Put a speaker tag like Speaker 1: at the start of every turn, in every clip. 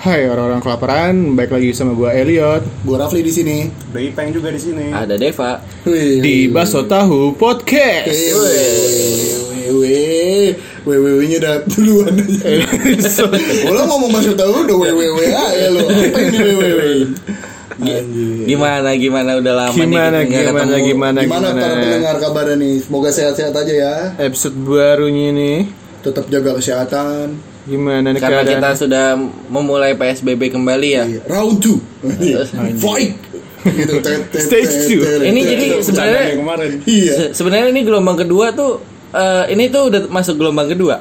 Speaker 1: Hai orang-orang kelaparan, baik lagi sama gua Elliot
Speaker 2: Gue Rafli di sini.
Speaker 3: Ada Ipeng juga di sini.
Speaker 4: Ada Deva.
Speaker 2: Wih.
Speaker 1: di Baso Tahu
Speaker 4: Iya,
Speaker 2: Wih,
Speaker 1: Podcast.
Speaker 2: wih, wih. Wih, wih, wihnya udah duluan aja. Lo ngomong masuk tahu udah wih, wih, wih aja lo. Apa yang di wih, wih, wih? Anjir.
Speaker 4: Gimana gimana udah lama
Speaker 1: Gimana
Speaker 4: nih kita nggak
Speaker 1: gimana
Speaker 4: ketemu.
Speaker 1: gimana
Speaker 2: Ya, Gimana para
Speaker 1: gimana?
Speaker 2: pendengar kabarnya nih? Semoga sehat-sehat aja ya.
Speaker 1: Episode barunya nih.
Speaker 2: Tetap jaga kesehatan.
Speaker 1: Gimana nih
Speaker 4: Karena kita
Speaker 1: keadaan?
Speaker 4: sudah memulai PSBB kembali ya.
Speaker 2: Iya, Round 2. Fight. Gitu. tet, tet,
Speaker 1: Stage
Speaker 2: tet,
Speaker 1: two.
Speaker 2: tet,
Speaker 4: Ini
Speaker 2: tet,
Speaker 4: jadi
Speaker 2: tet.
Speaker 4: sebenarnya
Speaker 3: Bercandanya kemarin.
Speaker 2: Iya.
Speaker 4: se- sebenarnya ini gelombang kedua tuh eh, ini tuh udah masuk gelombang kedua.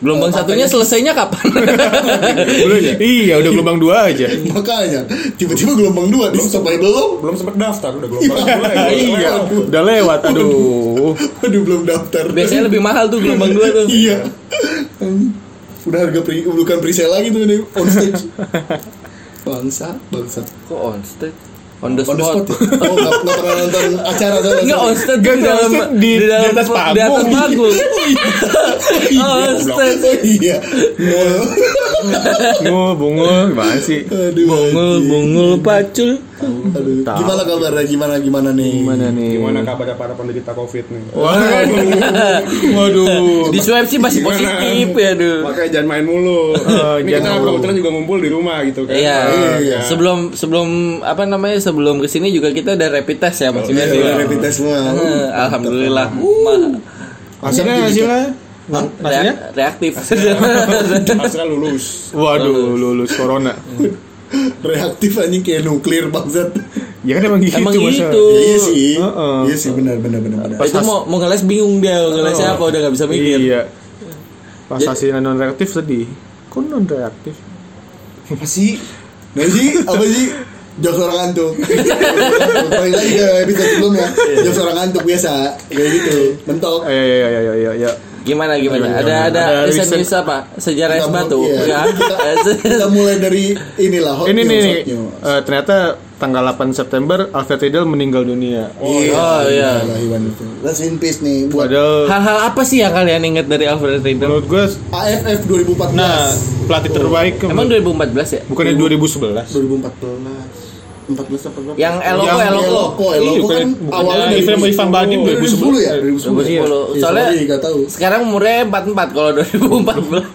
Speaker 4: Gelombang
Speaker 2: Oh,
Speaker 4: satunya selesainya kapan?
Speaker 1: Belum ya? Iya, udah gelombang dua aja.
Speaker 2: Makanya tiba-tiba gelombang dua di sampai belum.
Speaker 3: Belum sempet daftar udah gelombang kedua. ya.
Speaker 2: Iya.
Speaker 1: Udah lewat, aduh.
Speaker 2: Aduh belum daftar.
Speaker 4: Biasanya lebih mahal tuh gelombang dua tuh.
Speaker 2: iya udah harga pri, bukan presale lagi tuh nih on stage bangsa bangsa
Speaker 4: Kok on stage? On the
Speaker 2: on the spot
Speaker 4: spot.
Speaker 2: ya? oh nggak nggak pernah nonton acara tuh
Speaker 4: Enggak on stage
Speaker 1: Nggak,
Speaker 4: di
Speaker 1: nggak on
Speaker 4: dalam
Speaker 1: stage di- di atas
Speaker 4: Di atas
Speaker 1: panggung.
Speaker 4: panggung. Oh,
Speaker 2: Iya,
Speaker 4: on stage.
Speaker 2: oh, iya Nol.
Speaker 1: Bungul, bungul, gimana sih?
Speaker 2: aduh
Speaker 4: Bungul
Speaker 2: anjing.
Speaker 4: bungul pacul.
Speaker 2: aduh gimana kabarnya gimana gimana nih
Speaker 1: Gimana nih?
Speaker 3: Gimana kabar para penderita Covid nih?
Speaker 1: Waduh, waduh.
Speaker 4: Di swab sih masih positif ya duh.
Speaker 3: Makanya jangan main mulu.
Speaker 1: Oh,
Speaker 3: ini
Speaker 1: jangan
Speaker 3: kita
Speaker 1: mulu.
Speaker 3: kebetulan juga ngumpul di rumah gitu kan.
Speaker 4: Iya.
Speaker 3: Nah,
Speaker 2: Iya.
Speaker 3: kan.
Speaker 4: Sebelum sebelum apa namanya sebelum kesini juga kita ada rapid test ya masih
Speaker 2: Iya,
Speaker 4: masih.
Speaker 2: udah rapid test semua
Speaker 1: Nah.
Speaker 4: Eh, Alhamdulillah. Uh,
Speaker 1: Hasilnya,
Speaker 2: Tapi kita-
Speaker 1: hasilnya?
Speaker 2: Hah?
Speaker 4: ya?
Speaker 1: Hasilnya?
Speaker 4: reaktif.
Speaker 3: Hasilnya lulus.
Speaker 1: Waduh, lulus corona.
Speaker 2: reaktif anjing kayak nuklir bangsat
Speaker 1: Ya kan emang gitu,
Speaker 4: Emang
Speaker 1: masa?
Speaker 4: gitu.
Speaker 2: Ya, iya sih
Speaker 1: Heeh.
Speaker 2: iya sih benar benar benar benar
Speaker 4: Itu mau mau ngeles bingung dia mau ngeles apa udah nggak bisa mikir.
Speaker 1: Iya. Pas hasilnya non reaktif sedih. Kok non reaktif?
Speaker 2: apa sih? Nah sih, apa sih? Jokes orang ngantuk Balik lagi ke episode sebelumnya
Speaker 1: Iya.
Speaker 2: Jokes orang ngantuk biasa Kayak gitu, mentok
Speaker 1: Ayo ayo ayo ayo ayo. ayo.
Speaker 4: Gimana gimana? Ada ada
Speaker 1: Ada
Speaker 4: bisa
Speaker 1: recent-
Speaker 4: bisa apa? Sejarah es
Speaker 2: Kita mau-
Speaker 4: batu.
Speaker 2: iya.
Speaker 4: Ya.
Speaker 2: Kita, kita mulai dari inilah hot
Speaker 1: Ini
Speaker 2: news,
Speaker 1: nih nih,
Speaker 2: hot news.
Speaker 1: eh, ternyata tanggal 8 September Alfred Riedel meninggal dunia.
Speaker 4: Oh iya.
Speaker 2: Alhamdulillah, Iwan itu. Rest in peace nih buat
Speaker 1: Padahal
Speaker 4: Hal-hal apa sih yang kalian ingat dari Alfred Riedel?
Speaker 1: menurut gue
Speaker 2: AFF 2014.
Speaker 1: nah pelatih terbaik
Speaker 4: Emang 2014 ya?
Speaker 1: bukannya 2011.
Speaker 2: 2014. 14 apa berapa?
Speaker 4: Yang Eloko
Speaker 1: Yang
Speaker 4: Eloko.
Speaker 2: Eloko,
Speaker 1: Iya,
Speaker 2: Eloko kan
Speaker 1: bukannya-
Speaker 2: awalnya
Speaker 1: bukannya Ivan Ivan Badim
Speaker 2: 2010 ya?
Speaker 1: 2010.
Speaker 2: 2010.
Speaker 1: Iya.
Speaker 4: 2010.
Speaker 2: Iya,
Speaker 4: Soalnya
Speaker 2: sorry, nggak tahu.
Speaker 4: sekarang umurnya 44 kalau 2014.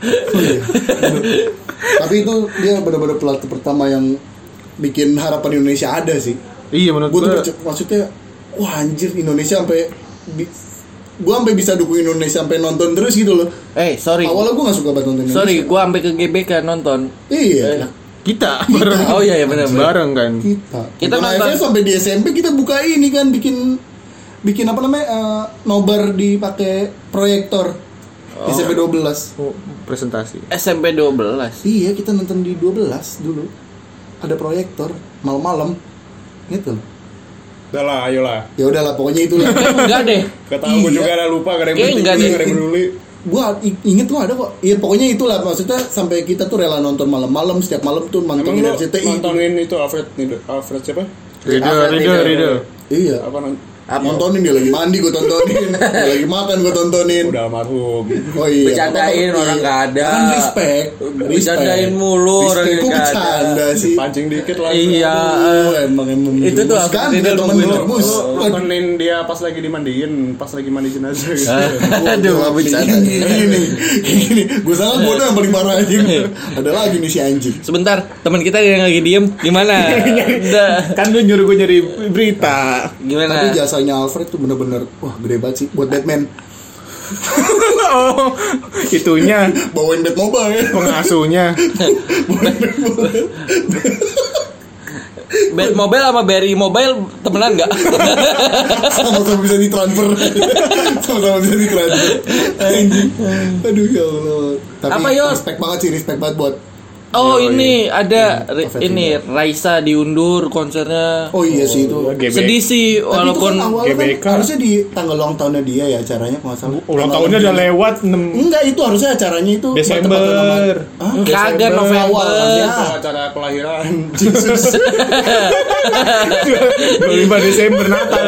Speaker 2: Tapi itu dia benar-benar pelatih pertama yang bikin harapan Indonesia ada sih.
Speaker 1: Iya menurut
Speaker 2: gue tuh
Speaker 1: gue.
Speaker 2: percaya- maksudnya wah anjir Indonesia sampai bi- gue sampai bisa dukung Indonesia sampai nonton terus gitu loh
Speaker 4: eh, sorry.
Speaker 2: awalnya gue gak suka banget nonton Indonesia
Speaker 4: Sorry, Eh, gua sampai ke GBK nonton.
Speaker 2: iya
Speaker 1: Kita bareng
Speaker 4: Oh iya ya benar. benar.
Speaker 1: bareng kan.
Speaker 2: kita
Speaker 4: Kita
Speaker 2: kita
Speaker 4: nonton.
Speaker 2: sampai di SMP kita buka ini kan bikin bikin apa namanya eh, nobar dipakai proyektor di SMP 12
Speaker 1: Oh, presentasi.
Speaker 4: SMP 12.
Speaker 2: iya kita nonton di 12 dulu ada proyektor malam-malam gitu
Speaker 3: Udah lah, ayolah.
Speaker 2: ya udahlah pokoknya itulah
Speaker 4: Eh, Enggak deh.
Speaker 3: Ketahu gue
Speaker 2: Iya.
Speaker 3: juga ada lupa, gak ada yang
Speaker 4: Iya,
Speaker 3: peduli,
Speaker 4: enggak
Speaker 3: gak
Speaker 4: deh.
Speaker 3: ada yang peduli.
Speaker 2: gua i- inget tuh ada kok iya pokoknya itulah maksudnya sampai kita tuh rela nonton malam-malam setiap malam tuh
Speaker 3: Emang
Speaker 2: mantengin
Speaker 3: lu
Speaker 2: RCTI
Speaker 3: nontonin itu Alfred, Alfred siapa?
Speaker 1: Riedel
Speaker 4: Alfred
Speaker 1: Riedel
Speaker 4: Riedel.
Speaker 1: Riedel.
Speaker 2: iya
Speaker 3: Apa nonton?
Speaker 2: nontonin dia lagi mandi gua tontonin dia lagi makan gua tontonin
Speaker 3: Udah almarhum.
Speaker 2: oh iya
Speaker 4: Bercandain,
Speaker 2: Apa-apa,
Speaker 4: orang
Speaker 2: iya.
Speaker 4: nggak ada.
Speaker 2: kan respect
Speaker 4: Bercandain mulu, orang
Speaker 2: respect kok
Speaker 4: nggak ada.
Speaker 2: bercanda sih
Speaker 3: Pancing dikit lah.
Speaker 4: Iya.
Speaker 2: Aduh, emang emang
Speaker 4: Itu tuh
Speaker 2: menjerumuskan,
Speaker 4: Alfred
Speaker 2: kita
Speaker 4: Riedel
Speaker 2: teman
Speaker 4: nungguin
Speaker 3: Lu-
Speaker 2: menjerumus
Speaker 3: lu Oh, nontonin dia pas lagi dimandiin, pas lagi mandi jenazah gitu.
Speaker 4: Aduh, iya. mau bercanda.
Speaker 2: gini gini gini gue salah gue udah yang paling marah aja
Speaker 4: Iya.
Speaker 2: ada lagi nih si anjing
Speaker 4: Sebentar, teman kita yang lagi diem gimana? Udah.
Speaker 1: Kan lu nyuruh gue nyari berita.
Speaker 4: Gimana?
Speaker 2: Tapi jasanya Alfred tuh bener-bener wah gede banget sih buat Batman.
Speaker 1: oh, itunya
Speaker 2: Bawain Batmobile ya.
Speaker 1: pengasuhnya.
Speaker 2: Bawain Batmobile.
Speaker 4: Bad Mobile sama Berry Mobile temenan enggak?
Speaker 2: Sama-sama bisa ditransfer. Sama-sama bisa ditransfer. Anjing. Aduh ya Allah. Tapi
Speaker 4: Apa, Yos?
Speaker 2: respect banget sih, respect banget buat
Speaker 4: oh, ini ada ri-
Speaker 2: Alfred
Speaker 4: ini Raisa diundur konsernya.
Speaker 2: Oh iya sih itu.
Speaker 1: GBK.
Speaker 4: Sedih sih
Speaker 2: Tapi itu kan
Speaker 4: walaupun
Speaker 2: awalnya kan
Speaker 1: GBK.
Speaker 2: harusnya di tanggal ulang tahunnya dia ya acaranya kalau nggak salah.
Speaker 1: Ulang
Speaker 2: Tanggal
Speaker 1: tahunnya udah
Speaker 2: tujuh.
Speaker 1: lewat 6
Speaker 2: Enggak itu harusnya acaranya itu
Speaker 1: Desember.
Speaker 2: bertepatan sama- Hah?
Speaker 4: kagak
Speaker 1: Desember.
Speaker 2: Ah, Awal kan
Speaker 4: November.
Speaker 2: ya.
Speaker 3: Itu acara kelahiran.
Speaker 2: Jesus.
Speaker 1: 25 Desember Natal.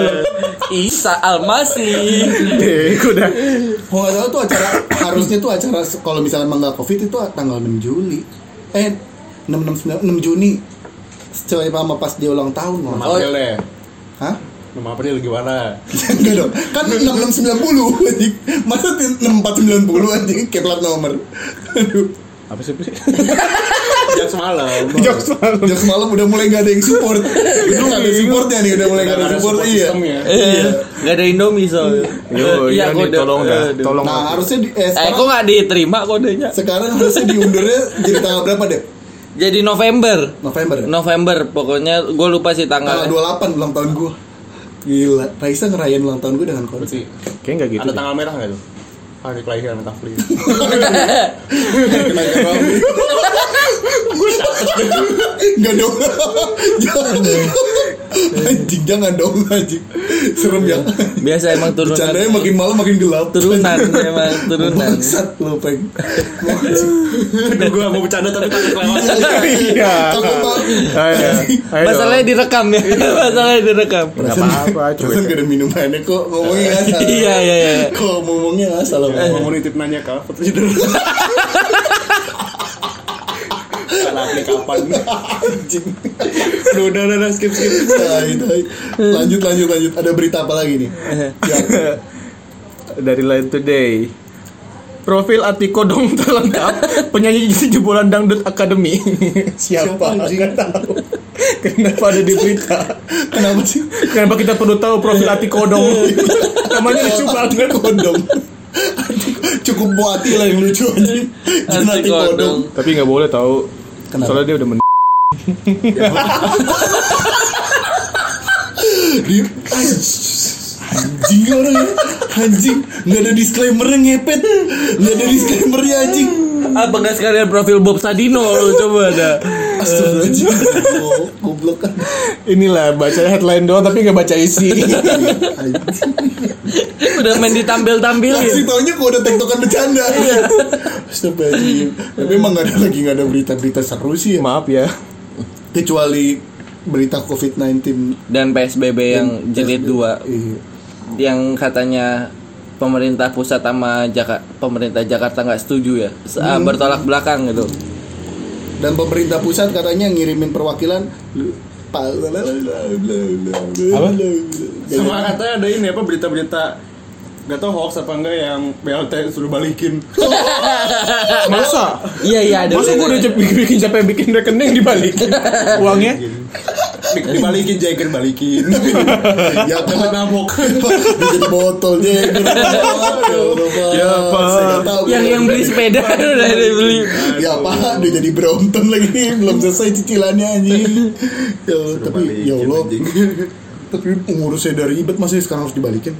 Speaker 4: Isa Almasih.
Speaker 1: Dek udah.
Speaker 2: Kalau nggak salah tuh acara harusnya tuh acara se- kalau misalnya emang nggak covid itu tanggal 6 Juli. Eh enam enam sembilan enam Juni sesuai sama pas dia ulang tahun Mon.
Speaker 3: 6
Speaker 4: Oh.
Speaker 3: April deh
Speaker 2: Hah?
Speaker 3: 6 April gimana?
Speaker 2: Enggak dong, kan 6690 anjing. Masa 6490 anjing kayak plat nomor. Aduh.
Speaker 3: Apa sih? Pri? Jam semalam
Speaker 1: Jok semalam.
Speaker 2: Jam semalam udah mulai gak ada yang support. Itu gak ada supportnya nih, udah mulai gak ada support. Iya.
Speaker 3: sistemnya.
Speaker 4: Gak ada Indomie soalnya.
Speaker 1: Yo, iya nih,
Speaker 4: kode.
Speaker 1: tolong dah,
Speaker 4: Aduh.
Speaker 1: tolong.
Speaker 2: Nah, harusnya di, eh,
Speaker 4: Eh, kok
Speaker 2: sekarang,
Speaker 4: gak diterima kodenya?
Speaker 2: sekarang harusnya diundurnya jadi tanggal berapa deh?
Speaker 4: Jadi November.
Speaker 2: November. ya?
Speaker 4: November pokoknya gue lupa sih
Speaker 2: Tanggal
Speaker 4: tanggalnya.
Speaker 2: 28 ulang tahun gua. Gila, Raisa ngerayain ulang tahun gua dengan
Speaker 3: Apa
Speaker 2: kode.
Speaker 3: sih?
Speaker 1: Kayaknya nggak gitu.
Speaker 3: Ada
Speaker 1: deh.
Speaker 3: tanggal merah nggak tuh? Hari kelahiran Tafli
Speaker 2: Enggak dong. jangan. anjing, jangan dong anjing. Serem ya.
Speaker 4: Biasa emang turunan.
Speaker 2: Bercandanya makin malam makin gelap.
Speaker 4: Turunan emang turunan.
Speaker 2: Bangsat lo peng.
Speaker 3: Aduh gue mau bercanda tapi takut kelewat
Speaker 1: Iya. Ah,
Speaker 2: Takut banget.
Speaker 1: Ayo, ayo.
Speaker 4: Masalahnya direkam ya. Masalahnya direkam.
Speaker 1: Nggak apa-apa,
Speaker 2: Perasaan
Speaker 1: cuek.
Speaker 2: gak ada minumannya kok ngomongnya nggak salah.
Speaker 4: Iya iya iya.
Speaker 2: Kok ngomongnya nggak salah.
Speaker 3: Mau nitip nanya ke apa tuh Salah update kapan
Speaker 2: Anjing.
Speaker 3: Aduh udah udah udah skip skip
Speaker 2: Tai, tai. Lanjut lanjut lanjut. Ada berita apa lagi nih? Ya.
Speaker 1: Dari Line Today. Profil Atiko Dong terlengkap penyanyi jebolan dangdut Academy.
Speaker 2: Siapa? Nggak tahu.
Speaker 1: Kenapa ada di berita?
Speaker 2: Kenapa sih?
Speaker 1: Kenapa kita perlu tahu profil Atiko Dong? Namanya lucu
Speaker 2: Anti
Speaker 1: banget.
Speaker 2: kodong. Anti- Cukup buati lah yang lucu anjing. Jangan anti kodong.
Speaker 1: Tapi nggak boleh tahu.
Speaker 2: Kenapa?
Speaker 1: Soalnya dia udah men.
Speaker 2: Dia anjing orang ya. anjing nggak ada disclaimer ngepet nggak ada disclaimer ya anjing
Speaker 4: Apa nggak sekalian profil Bob Sadino lu coba ada.
Speaker 2: astagfirullahaladzim Oh, goblok kan
Speaker 1: Inilah baca headline doang tapi nggak baca isi.
Speaker 2: anjing
Speaker 4: Udah main ditampil-tampilin.
Speaker 2: kasih taunya kok udah tektokan bercanda astagfirullahaladzim tapi emang nggak ada lagi nggak ada berita-berita seru sih ya
Speaker 1: Maaf ya.
Speaker 2: kecuali berita covid-19
Speaker 4: Dan PSBB yang jilid 2
Speaker 2: Iya.
Speaker 4: yang katanya pemerintah pusat sama Jaka, pemerintah Jakarta nggak setuju ya Se- ah, bertolak belakang gitu
Speaker 2: dan pemerintah pusat katanya ngirimin perwakilan apa
Speaker 3: Sama katanya ada ini apa berita-berita Gak tau hoax apa enggak yang BLT suruh balikin
Speaker 1: Masa?
Speaker 4: iya iya ada
Speaker 1: Masa gue udah cep- bikin capek bikin rekening dibalik uangnya?
Speaker 3: Di- Dibalikin Jagger balikin
Speaker 2: ya
Speaker 3: Dapat
Speaker 2: kan
Speaker 3: mabok
Speaker 2: Dia jadi botol dia ya
Speaker 1: Ya, Pak.
Speaker 4: yang yang beli sepeda udah ada beli
Speaker 2: ya pak dia jadi Brompton lagi belum selesai cicilannya anjing ya tapi ya Allah tapi umur saya udah ribet masih ya, sekarang harus dibalikin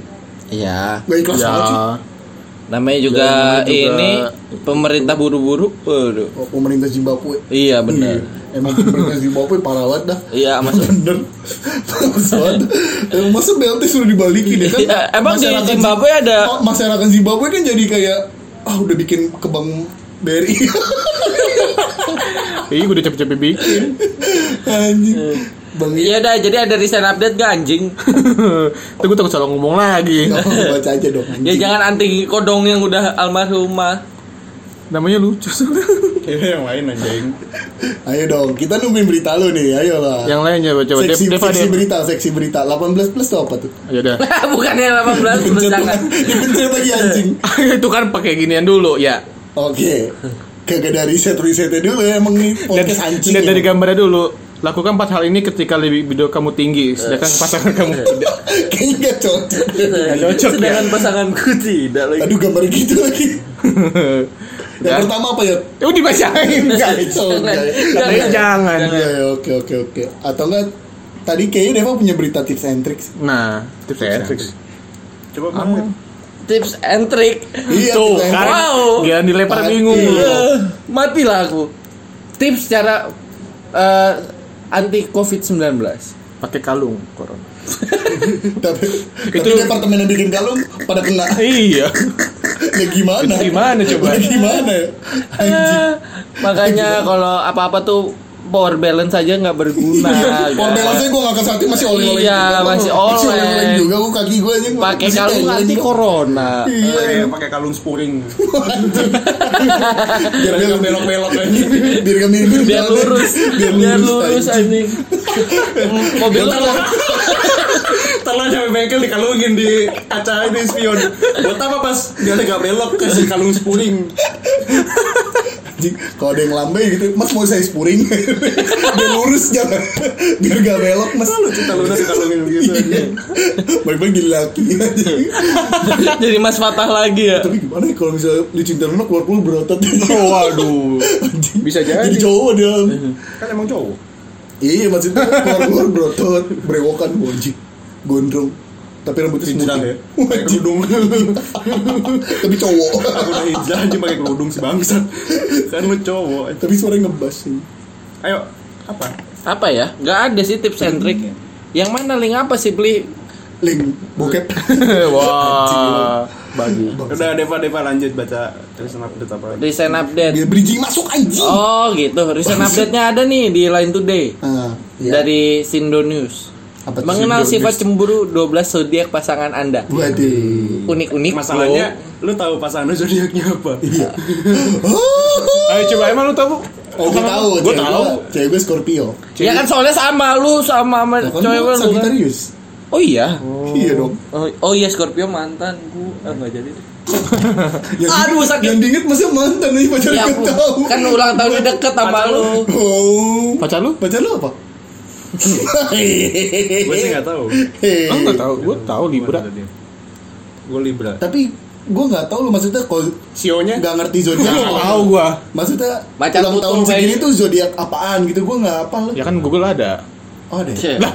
Speaker 4: iya
Speaker 2: gak ikhlas banget sih
Speaker 1: Ya.
Speaker 4: namanya
Speaker 1: Ya,
Speaker 4: juga,
Speaker 1: namanya juga-
Speaker 4: ini pemerintah buru-buru waduh
Speaker 2: Oh, pemerintah Zimbabwe
Speaker 4: iya benar
Speaker 2: Iya, emang pemerintah Zimbabwe parah banget dah
Speaker 4: iya masuk
Speaker 2: bener Males banget. Eh, masa BLT suruh dibalikin ya kan
Speaker 4: Iya, emang di
Speaker 2: Masyarakat
Speaker 4: Zimbabwe
Speaker 2: Zim-
Speaker 4: ada-
Speaker 2: Ma- masyarakat Zimbabwe kan jadi kayak ah udah bikin ke bank BRI
Speaker 1: Ih, gue udah capek-capek bikin.
Speaker 2: anjing
Speaker 1: Hmm.
Speaker 2: bang
Speaker 4: iya dah jadi ada recent update gak anjing
Speaker 1: Tuh gue takut salah ngomong lagi.
Speaker 2: Gak apa-apa, baca aja dong
Speaker 4: ya
Speaker 2: anjing.
Speaker 4: jangan anti kodong yang udah almarhumah
Speaker 1: Namanya lucu sebenarnya.
Speaker 3: Ini Iya, yang lain anjing
Speaker 2: ayo dong kita nungguin berita lu nih ayo lah
Speaker 1: Yang lainnya coba coba
Speaker 2: seksi,
Speaker 1: Deva
Speaker 2: seksi
Speaker 1: Deva.
Speaker 2: berita seksi berita 18 plus tuh apa tuh
Speaker 1: Ya udah.
Speaker 4: bukannya 18
Speaker 2: dipencet
Speaker 4: jangan
Speaker 2: dipencet lagi anjing
Speaker 1: Itu kan pakai ginian dulu ya.
Speaker 2: oke kagak dari riset risetnya dulu ya emang nih
Speaker 1: Dan,
Speaker 2: podcast anjing
Speaker 1: dan dari
Speaker 2: ya.
Speaker 1: gambarnya dulu. Lakukan empat hal ini ketika lebih video kamu tinggi, sedangkan pasangan kamu tidak.
Speaker 2: kayaknya gak cocok
Speaker 1: cocok ya.
Speaker 4: sedangkan pasanganku tidak lagi
Speaker 2: aduh gambar gitu lagi yang
Speaker 1: Dan-
Speaker 2: pertama apa ya
Speaker 1: Eh, dibacain guys. Katanya
Speaker 4: Jangan.
Speaker 1: jangan.
Speaker 2: Iya, iya, oke oke oke. Atau enggak tadi kayaknya Deva punya berita tips and tricks.
Speaker 1: Nah, tips and tricks.
Speaker 3: Coba banget
Speaker 4: tips and trick
Speaker 2: Iya,
Speaker 1: Tuh,
Speaker 2: tips and
Speaker 1: kan
Speaker 2: tricks.
Speaker 4: Wow. Eh,
Speaker 1: dia dilempar
Speaker 2: Mati.
Speaker 1: bingung.
Speaker 2: Iya.
Speaker 4: matilah aku tips cara eh, anti covid 19
Speaker 1: Pakai kalung corona.
Speaker 2: Tapi, tapi
Speaker 1: Itu-
Speaker 2: departemen yang bikin kalung pada kena.
Speaker 1: Iya.
Speaker 2: ya gimana?
Speaker 1: Itu gimana coba?
Speaker 4: Eh,
Speaker 2: Ya gimana ya? Anjing.
Speaker 4: makanya kalau apa apa tuh power balance aja nggak berguna.
Speaker 2: Iya, Power balance gue gak kesati masih
Speaker 4: Nah,
Speaker 2: oleh-oleh
Speaker 4: Iya,
Speaker 2: juga.
Speaker 4: masih
Speaker 2: Masih
Speaker 4: oleh.
Speaker 2: oleh-oleh juga Gue kaki gue aja
Speaker 4: Pakai
Speaker 2: masih
Speaker 4: kalung
Speaker 2: oleh-oleh
Speaker 4: anti
Speaker 2: juga.
Speaker 4: corona.
Speaker 2: Iya
Speaker 3: Eh, pakai kalung spuring
Speaker 2: Biar
Speaker 3: Biar
Speaker 2: belok
Speaker 3: nggak belok-belok aja
Speaker 2: Biar gak miring
Speaker 4: Biar lurus, biar lurus anjing. Mobil lu
Speaker 3: Telah sampai bengkel dikalungin di kaca di spion Buat apa pas dia nggak belok kasih kalung spuring
Speaker 2: Anjing, Kalau ada yang lambai gitu Mas mau saya spuring Biar lurus jangan Biar gak belok mas Iya.
Speaker 3: Kita lunas dikalungin begitu aja
Speaker 2: Baik-baik jadi laki aja
Speaker 4: jadi Mas Fatah lagi ya.
Speaker 2: Tapi gimana ya kalau misalnya licin ternak keluar pun berotot
Speaker 3: Oh,
Speaker 1: Waduh.
Speaker 2: Anjing.
Speaker 1: Bisa jadi.
Speaker 2: Jadi cowok dia
Speaker 3: Kan emang cowok
Speaker 2: Iya maksudnya keluar-keluar berotot Berewokan wajib Gondrong Tapi rambutnya
Speaker 3: Hijrah ya
Speaker 2: semutnya
Speaker 3: Pakai kerudung
Speaker 2: Tapi cowok
Speaker 3: Aku udah hijrah aja pakai kerudung si bangsat Kan lu cowok
Speaker 2: Tapi suaranya ngebas sih
Speaker 3: Ayo apa?
Speaker 4: Apa ya? Nggak ada sih tips and trick.
Speaker 2: Iya.
Speaker 4: Yang mana link apa sih beli?
Speaker 2: Link bokep
Speaker 4: Wah. Bagi.
Speaker 3: Udah Deva Deva lanjut baca tulisan update apa lagi?
Speaker 4: Recent update.
Speaker 2: Dia bridging masuk anjing
Speaker 4: Oh gitu. Recent update-nya ada nih di Line Today.
Speaker 2: Ah, iya.
Speaker 4: dari Sindo News.
Speaker 2: Apa tuh
Speaker 4: Mengenal
Speaker 2: Sindo
Speaker 4: sifat cemburu 12 zodiak pasangan Anda.
Speaker 2: Waduh
Speaker 4: Unik-unik
Speaker 3: Masalahnya lu tahu pasangan lu zodiaknya apa?
Speaker 2: Iya Oh,
Speaker 1: Ayo coba emang lu tahu?
Speaker 2: Oh gue tahu
Speaker 1: Gue
Speaker 2: cewek
Speaker 1: tahu.
Speaker 2: gua- Cewek gue Scorpio
Speaker 4: bro. Ya kan soalnya sama lu sama sama
Speaker 2: Nah, kan
Speaker 4: cewek
Speaker 2: gua
Speaker 4: lu kan.
Speaker 2: Sagittarius
Speaker 4: Oh iya.
Speaker 2: Iya dong
Speaker 4: Oh, oh iya Scorpio mantan gua ah, nggak jadi.
Speaker 2: Yang-
Speaker 4: Aduh, sakit.
Speaker 2: Yang diinget masih mantan nih pacar
Speaker 4: Ya,
Speaker 2: gue
Speaker 4: aku-
Speaker 2: tahu
Speaker 4: kan ulang tahunnya deket sama lu.
Speaker 2: Oh
Speaker 1: Pacar lu?
Speaker 2: Pacar lu apa?
Speaker 3: Gue sih nggak tahu.
Speaker 2: Hei.
Speaker 1: Aku nggak tahu. Gue tahu Libra.
Speaker 3: Gue Libra. E
Speaker 2: Tapi gue nggak tahu lu maksudnya kalau
Speaker 3: Sionya
Speaker 2: nggak ngerti zodiak.
Speaker 1: Nggak tahu gue.
Speaker 2: Maksudnya
Speaker 4: Macan
Speaker 2: ulang
Speaker 4: tutul,
Speaker 2: tahun
Speaker 4: guys.
Speaker 2: segini tuh zodiak apaan gitu gue nggak apa lu.
Speaker 1: Ya kan Google ada.
Speaker 2: Oh ada. ya?
Speaker 4: Cewek.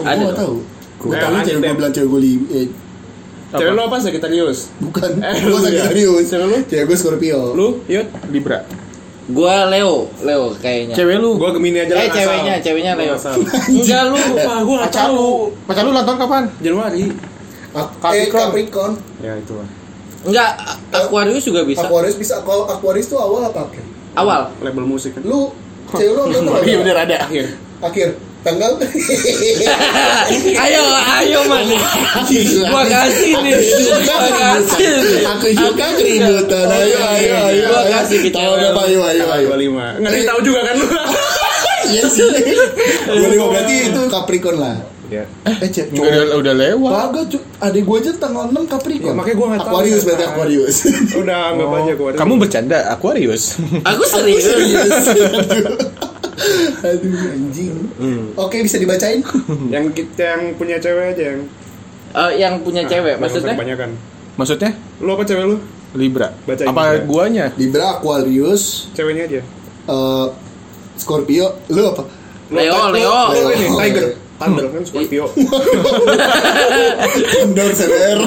Speaker 2: Oh, gue
Speaker 4: Ada
Speaker 2: nggak
Speaker 4: dong.
Speaker 2: tahu. Gue
Speaker 3: Eh,
Speaker 2: tahu
Speaker 3: lanjut,
Speaker 2: cewek gue
Speaker 3: Dem.
Speaker 2: bilang cewek gue li eh,
Speaker 3: Cewek lu apa Sagittarius?
Speaker 2: bukan.
Speaker 3: Eh,
Speaker 2: Gue
Speaker 3: lu ya.
Speaker 2: Sagittarius.
Speaker 3: Cewek lu?
Speaker 2: Cewek gue Scorpio.
Speaker 1: Lu, Yud? Libra.
Speaker 4: Gua Leo, Leo kayaknya.
Speaker 1: Cewek lu.
Speaker 3: Gue Gemini aja
Speaker 4: eh
Speaker 3: lah,
Speaker 4: ceweknya,
Speaker 3: asal.
Speaker 4: ceweknya Leo.
Speaker 3: Gua asal.
Speaker 4: Enggak lu.
Speaker 3: Wah, gue nggak tahu.
Speaker 1: Pacar lu ulang tahun kapan?
Speaker 3: Januari.
Speaker 2: Ah, eh,
Speaker 1: Capricorn.
Speaker 2: Capricorn.
Speaker 3: Ya itu lah.
Speaker 4: Enggak Aquarius juga bisa.
Speaker 2: Aquarius bisa kalau Aquarius tuh awal apa akhir?
Speaker 4: Awal.
Speaker 3: Label musik kan.
Speaker 2: Lu cewek lu apa tuh?
Speaker 1: Iya bener ada.
Speaker 3: Akhir.
Speaker 2: Akhir tanggal.
Speaker 4: ayo, ayo manis.
Speaker 2: Gila.
Speaker 4: Gua kasih nih. Gua kasih nih.
Speaker 2: Aku juga keributan. Ayo, ayo, ayo.
Speaker 4: Gua
Speaker 2: ayo.
Speaker 4: kasih ke
Speaker 2: Tahun
Speaker 4: cewek
Speaker 2: apa? Ayo, ayo, ayo.
Speaker 3: Tanggal 25. Nggak ada yang tahu juga kan lu.
Speaker 2: Iya sih. Dua lima berarti itu Capricorn lah.
Speaker 3: Ya.
Speaker 2: Eh, cek.
Speaker 1: Udah, udah lewat.
Speaker 2: Kagak, cu. Adik gua aja tanggal 6 Capricorn.
Speaker 3: Ya, makanya gua nggak tahu. kan.
Speaker 2: Aquarius berarti Aquarius.
Speaker 3: Udah anggap aja gue.
Speaker 1: Kamu bercanda Aquarius.
Speaker 4: Aku
Speaker 3: Iya,
Speaker 4: serius.
Speaker 2: Aduh, Iya, anjing.
Speaker 3: Hmm.
Speaker 2: Oke, bisa dibacain?
Speaker 3: yang kita yang punya cewek aja yang.
Speaker 4: Eh, yang punya
Speaker 3: Nah,
Speaker 4: cewek
Speaker 3: nggak usah
Speaker 4: maksudnya?
Speaker 3: Kebanyakan.
Speaker 1: Maksudnya?
Speaker 3: Lu apa cewek lu?
Speaker 1: Libra.
Speaker 3: Bacain
Speaker 1: Apa
Speaker 3: Libra.
Speaker 1: guanya?
Speaker 2: Libra, Aquarius,
Speaker 3: Ceweknya aja.
Speaker 2: eh, Scorpio, lu apa?
Speaker 3: Lu
Speaker 4: Leo,
Speaker 3: apa- lu-
Speaker 4: Leo.
Speaker 3: Lu ini
Speaker 2: Leo.
Speaker 3: Tiger. Thunder kan Scorpio.
Speaker 2: Endor CBR,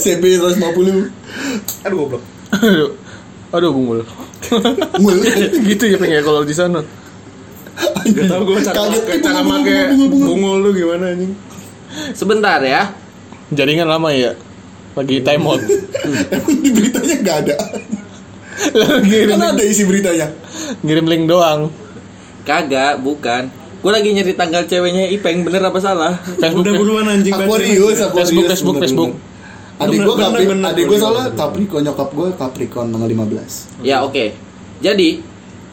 Speaker 2: CB 150.
Speaker 3: Aduh goblok.
Speaker 1: Aduh. Aduh gumul.
Speaker 2: Mul.
Speaker 1: gitu ya pengen kalau di sana.
Speaker 3: Gak tau gue cara
Speaker 2: Kaget,
Speaker 3: make- cara
Speaker 2: bunga,
Speaker 3: make
Speaker 2: bunga, bunga, bunga.
Speaker 3: bungul lu gimana anjing
Speaker 4: Sebentar ya.
Speaker 1: Jaringan lama ya. Lagi time out.
Speaker 2: Emang di beritanya nggak ada.
Speaker 1: ngirim,
Speaker 2: Kan ada isi beritanya.
Speaker 1: ngirim link doang.
Speaker 4: Kagak, bukan. Gue lagi nyari tanggal ceweknya Ipeng bener apa salah?
Speaker 1: Facebook. ya.
Speaker 3: Udah buruan anjing baca.
Speaker 2: Aquarius, Aquarius.
Speaker 1: Facebook, Facebook,
Speaker 2: bener-bener.
Speaker 1: Facebook.
Speaker 2: Adik gue
Speaker 3: Bener,
Speaker 2: Capri,
Speaker 3: bener,
Speaker 2: adik gue
Speaker 3: bener.
Speaker 2: soalnya Capricorn, nyokap gue Capricorn tanggal 15
Speaker 4: ya oke. Jadi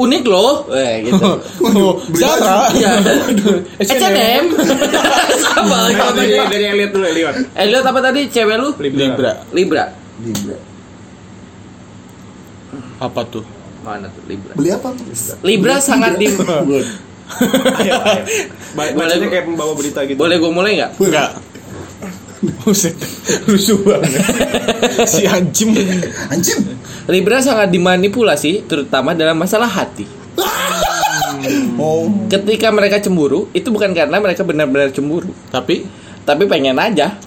Speaker 4: unik loh, eh gitu.
Speaker 1: Oh, Zara. ya?
Speaker 4: Iya. H&M sama
Speaker 3: Nah, dari
Speaker 4: kamarnya.
Speaker 3: dari Elliot dulu Elliot
Speaker 4: Eh lihat apa tadi cewek lu?
Speaker 1: Libra.
Speaker 4: Libra.
Speaker 2: Libra.
Speaker 1: Apa tuh?
Speaker 4: Mana tuh Libra?
Speaker 2: Beli apa?
Speaker 4: Libra sangat di
Speaker 2: Buat.
Speaker 4: Iya,
Speaker 3: Ba- Bacanya kayak pembawa berita gitu
Speaker 4: Boleh gue mulai nggak?
Speaker 1: Enggak. Buset, rusuh banget. si anjing.
Speaker 2: Anjing.
Speaker 4: Libra sangat dimanipulasi terutama dalam masalah hati.
Speaker 2: Oh.
Speaker 4: Ketika mereka cemburu, itu bukan karena mereka benar-benar cemburu,
Speaker 1: Tapi
Speaker 4: tapi pengen aja.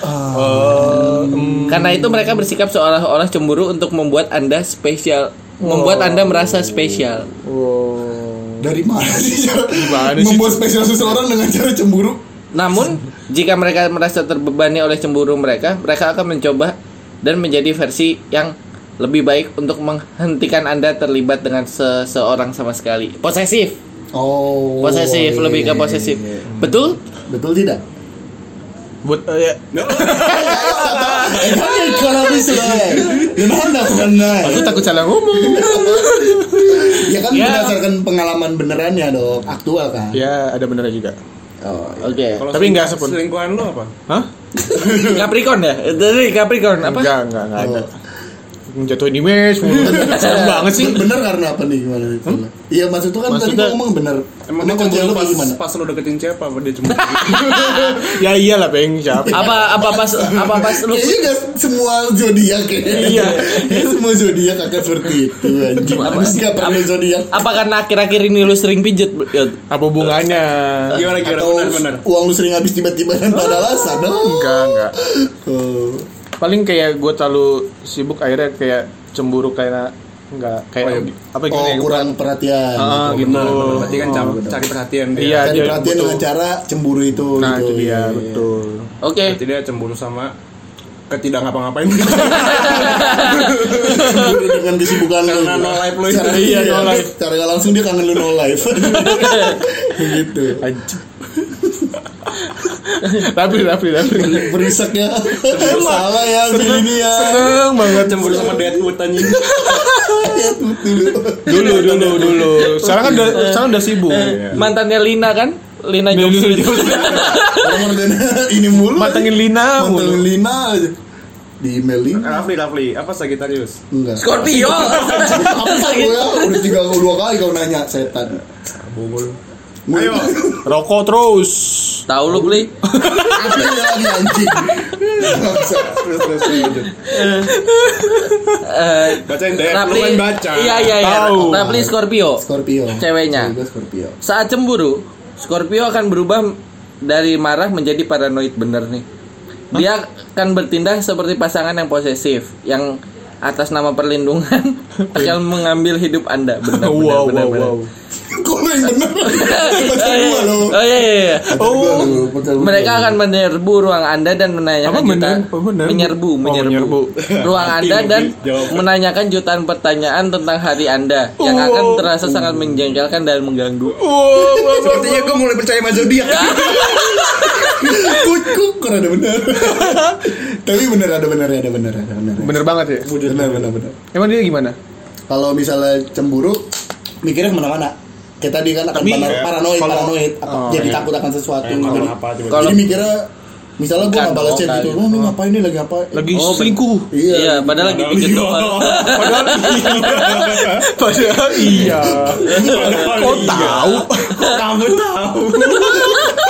Speaker 1: Oh.
Speaker 2: Hmm.
Speaker 4: Karena itu mereka bersikap seolah-olah cemburu untuk membuat Anda spesial, membuat Anda merasa spesial.
Speaker 2: Dari mana sih?
Speaker 1: mana sih?
Speaker 2: Membuat spesial seseorang dengan cara cemburu.
Speaker 4: Namun, jika mereka merasa terbebani oleh cemburu mereka, mereka akan mencoba dan menjadi versi yang lebih baik untuk menghentikan anda terlibat dengan seseorang sama sekali posesif
Speaker 2: Oh.
Speaker 4: posesif
Speaker 2: iya,
Speaker 4: lebih
Speaker 2: iya,
Speaker 4: ke
Speaker 2: iya,
Speaker 4: posesif
Speaker 2: iya.
Speaker 4: betul
Speaker 2: Betul tidak?
Speaker 1: Buat eh,
Speaker 2: Hadi karar Israel. Gimana benar?
Speaker 1: aku takut salah ngomong.
Speaker 2: Ya kan
Speaker 4: Ya.
Speaker 2: berdasarkan pengalaman benerannya dong, aktual kan.
Speaker 1: ya, ada benernya juga.
Speaker 2: Oh.
Speaker 4: oke
Speaker 3: Kalau
Speaker 1: Tapi
Speaker 3: selingkuh-
Speaker 1: nggak sepun.
Speaker 3: Selingkuhan lo apa?
Speaker 1: Hah?
Speaker 4: Capricorn ya dari Capricorn apa
Speaker 1: Enggak, enggak, enggak
Speaker 2: Oh.
Speaker 1: ada. Jatuhin image mulu. Serem banget sih.
Speaker 2: Iya. Bener karena apa nih gimana itu? Iya maksud tuh kan tadi
Speaker 1: Maksudnya-
Speaker 2: gua ngomong bener.
Speaker 3: Emang dia
Speaker 2: kerja lu
Speaker 3: cemburu pas,
Speaker 2: gimana?
Speaker 3: pas lo deketin siapa dia cemburu gitu?
Speaker 1: ya iyalah peng siapa.
Speaker 4: apa apa pas apa pas lu
Speaker 2: Kayaknya Iya, nggak semua zodiak ya.
Speaker 1: Iya.
Speaker 2: Kayaknya semua zodiak akan seperti itu. Anjing. Manusia nggak perlu zodiak.
Speaker 4: apa karena akhir-akhir ini lu sering pijet Yud?
Speaker 1: Apa hubungannya?
Speaker 3: Gimana gimana
Speaker 2: Atau
Speaker 3: benar benar
Speaker 2: uang lu sering habis tiba-tiba tanpa ada alasan. Oh.
Speaker 1: Enggak, enggak.
Speaker 2: Oh.
Speaker 1: Paling kayak gue terlalu sibuk akhirnya kayak cemburu karena enggak kayak apa gimana
Speaker 2: Oh,
Speaker 1: ya?
Speaker 2: kurang perhatian.
Speaker 1: Ah,
Speaker 2: gitu.
Speaker 1: gitu.
Speaker 3: Berarti kan cam- cari perhatian dia
Speaker 1: Iya,
Speaker 2: Cari
Speaker 1: dia
Speaker 2: perhatian
Speaker 1: butuh.
Speaker 2: dengan cara cemburu itu
Speaker 1: Nah,
Speaker 2: gitu.
Speaker 1: itu dia,
Speaker 2: Iya, iya.
Speaker 1: betul.
Speaker 4: oke
Speaker 3: Berarti dia cemburu sama ketidak ngapa-ngapain
Speaker 2: Cemburu dengan kesibukan lu.
Speaker 3: Karena no life lu itu.
Speaker 2: Cara,
Speaker 1: Iya,
Speaker 2: iya,
Speaker 1: no life.
Speaker 2: Cara nggak langsung dia kangen lu no life. gitu.
Speaker 1: Tapi tapi tapi.
Speaker 2: Berisaknya. Salah ya jadi ini ya.
Speaker 1: Seneng banget
Speaker 3: Cemburu sama Deadwood anjing
Speaker 2: Ya, tuh, dulu.
Speaker 1: dulu dulu dulu. Sekarang kan udah sekarang udah sibuk.
Speaker 4: Eh. mantannya Lina kan Lina Jovswit
Speaker 2: Orang ngerjain ini mulu.
Speaker 1: Matengin Lina mulu.
Speaker 2: Matengin Lina aja. Di email Lina.
Speaker 3: Eh, Rafli Rafli apa Sagittarius
Speaker 2: Enggak.
Speaker 4: Scorpio
Speaker 2: Apa sih gue ya?
Speaker 1: gitu?
Speaker 2: Udah tiga dua kali kau nanya setan.
Speaker 3: Bungul
Speaker 2: Gua-
Speaker 3: Ayo.
Speaker 1: Rokok terus.
Speaker 4: tahu lu beli
Speaker 2: Apa yang lagi anjing? Bangsa.
Speaker 3: Terus terus lanjut Bacain deh Lu
Speaker 4: Rapli
Speaker 3: kan baca
Speaker 4: iya iya iya
Speaker 1: Tahu.
Speaker 4: Rapli Scorpio
Speaker 2: Scorpio.
Speaker 4: Ceweknya.
Speaker 2: Gue Scorpio.
Speaker 4: saat cemburu Scorpio akan berubah dari marah menjadi paranoid bener nih dia akan bertindak seperti pasangan yang posesif yang atas nama perlindungan akan mengambil hidup anda benar benar
Speaker 1: Wow
Speaker 4: benar,
Speaker 1: wow
Speaker 4: benar.
Speaker 1: wow.
Speaker 2: Kok lu yang bener? Pacar
Speaker 4: Oh, iya.
Speaker 2: gua lo.
Speaker 4: Oh, iya, iya, iya.
Speaker 2: Pacar gua lo, pacar gua.
Speaker 4: Mereka akan menyerbu ruang Anda dan menanyakan
Speaker 1: Apa
Speaker 4: jutaan
Speaker 1: mener- apa mener-
Speaker 4: menyerbu,
Speaker 1: Oh, menyerbu.
Speaker 4: ruang Anda
Speaker 3: Nanti
Speaker 4: dan
Speaker 3: lebih jawab.
Speaker 4: menanyakan jutaan pertanyaan tentang hari Anda yang akan
Speaker 1: Wow.
Speaker 4: terasa sangat menjengkelkan dan mengganggu.
Speaker 1: Wow, wow, wow.
Speaker 3: Sepertinya gue mulai percaya sama zodiak.
Speaker 2: Kok kok kok ada bener. Tapi bener ada bener ada bener ada bener.
Speaker 1: Bener banget ya.
Speaker 2: Bener bener bener.
Speaker 1: Emang dia gimana?
Speaker 2: kalau misalnya cemburu mikirnya kemana-mana kayak tadi kan akan
Speaker 1: Tapi,
Speaker 2: parano-
Speaker 1: ya,
Speaker 2: paranoid
Speaker 1: kalau-
Speaker 2: paranoid apa-
Speaker 1: Oh,
Speaker 2: jadi
Speaker 1: iya.
Speaker 2: takut akan sesuatu
Speaker 3: Emang
Speaker 2: jadi,
Speaker 3: apa coba?
Speaker 4: Kalau-
Speaker 2: jadi mikirnya misalnya gue nggak
Speaker 4: Bukan,
Speaker 2: balas chat
Speaker 4: bukan.
Speaker 2: gitu oh ini ngapain ini lagi apa
Speaker 1: Lagi
Speaker 4: Oh, ben-
Speaker 1: selingkuh.
Speaker 2: iya
Speaker 4: Iya, padahal lagi pijet doang.
Speaker 1: Padahal iya. iya. Padahal iya. Kok tahu?
Speaker 3: Kamu tahu.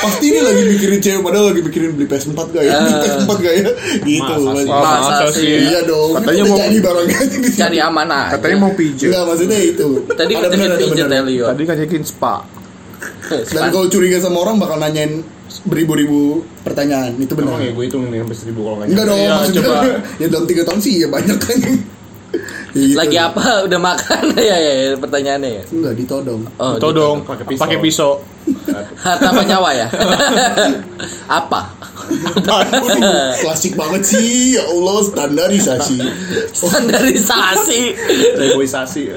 Speaker 2: pasti ini lagi mikirin cewek padahal lagi mikirin beli PS4 gak ya beli PS4 gak ya gitu
Speaker 3: Masa sih?
Speaker 2: Wah,
Speaker 4: Masa sih?
Speaker 2: iya dong
Speaker 1: Katanya
Speaker 2: kita
Speaker 1: mau-
Speaker 2: jadi barang aja di sini
Speaker 4: Cari amanah.
Speaker 1: Katanya mau pijat.
Speaker 2: Enggak maksudnya itu
Speaker 4: Tadi
Speaker 2: Ada
Speaker 4: kan
Speaker 2: bener, ada
Speaker 4: pijat
Speaker 2: bener.
Speaker 4: ya, Leo.
Speaker 1: Tadi ngajakin spa.
Speaker 2: dan kalau curiga sama orang bakal nanyain beribu-ribu pertanyaan itu benar
Speaker 3: Emang ya gue hitungin nih sampai seribu kalau nggak
Speaker 2: Enggak dong,
Speaker 1: Iya,
Speaker 2: maksudnya
Speaker 1: coba.
Speaker 2: ya dalam tiga tahun sih ya banyak kan. Gitu.
Speaker 4: Lagi apa? Udah makan ya, ya, ya, pertanyaannya ya.
Speaker 2: Enggak ditodong.
Speaker 4: Oh,
Speaker 1: Tuh dong,
Speaker 3: pakai pisau.
Speaker 1: pakai pisau.
Speaker 4: harta apa nyawa ya? apa?
Speaker 2: Aduh, klasik banget sih. Ya Allah, standarisasi.
Speaker 4: Standarisasi.
Speaker 3: Reboisasi.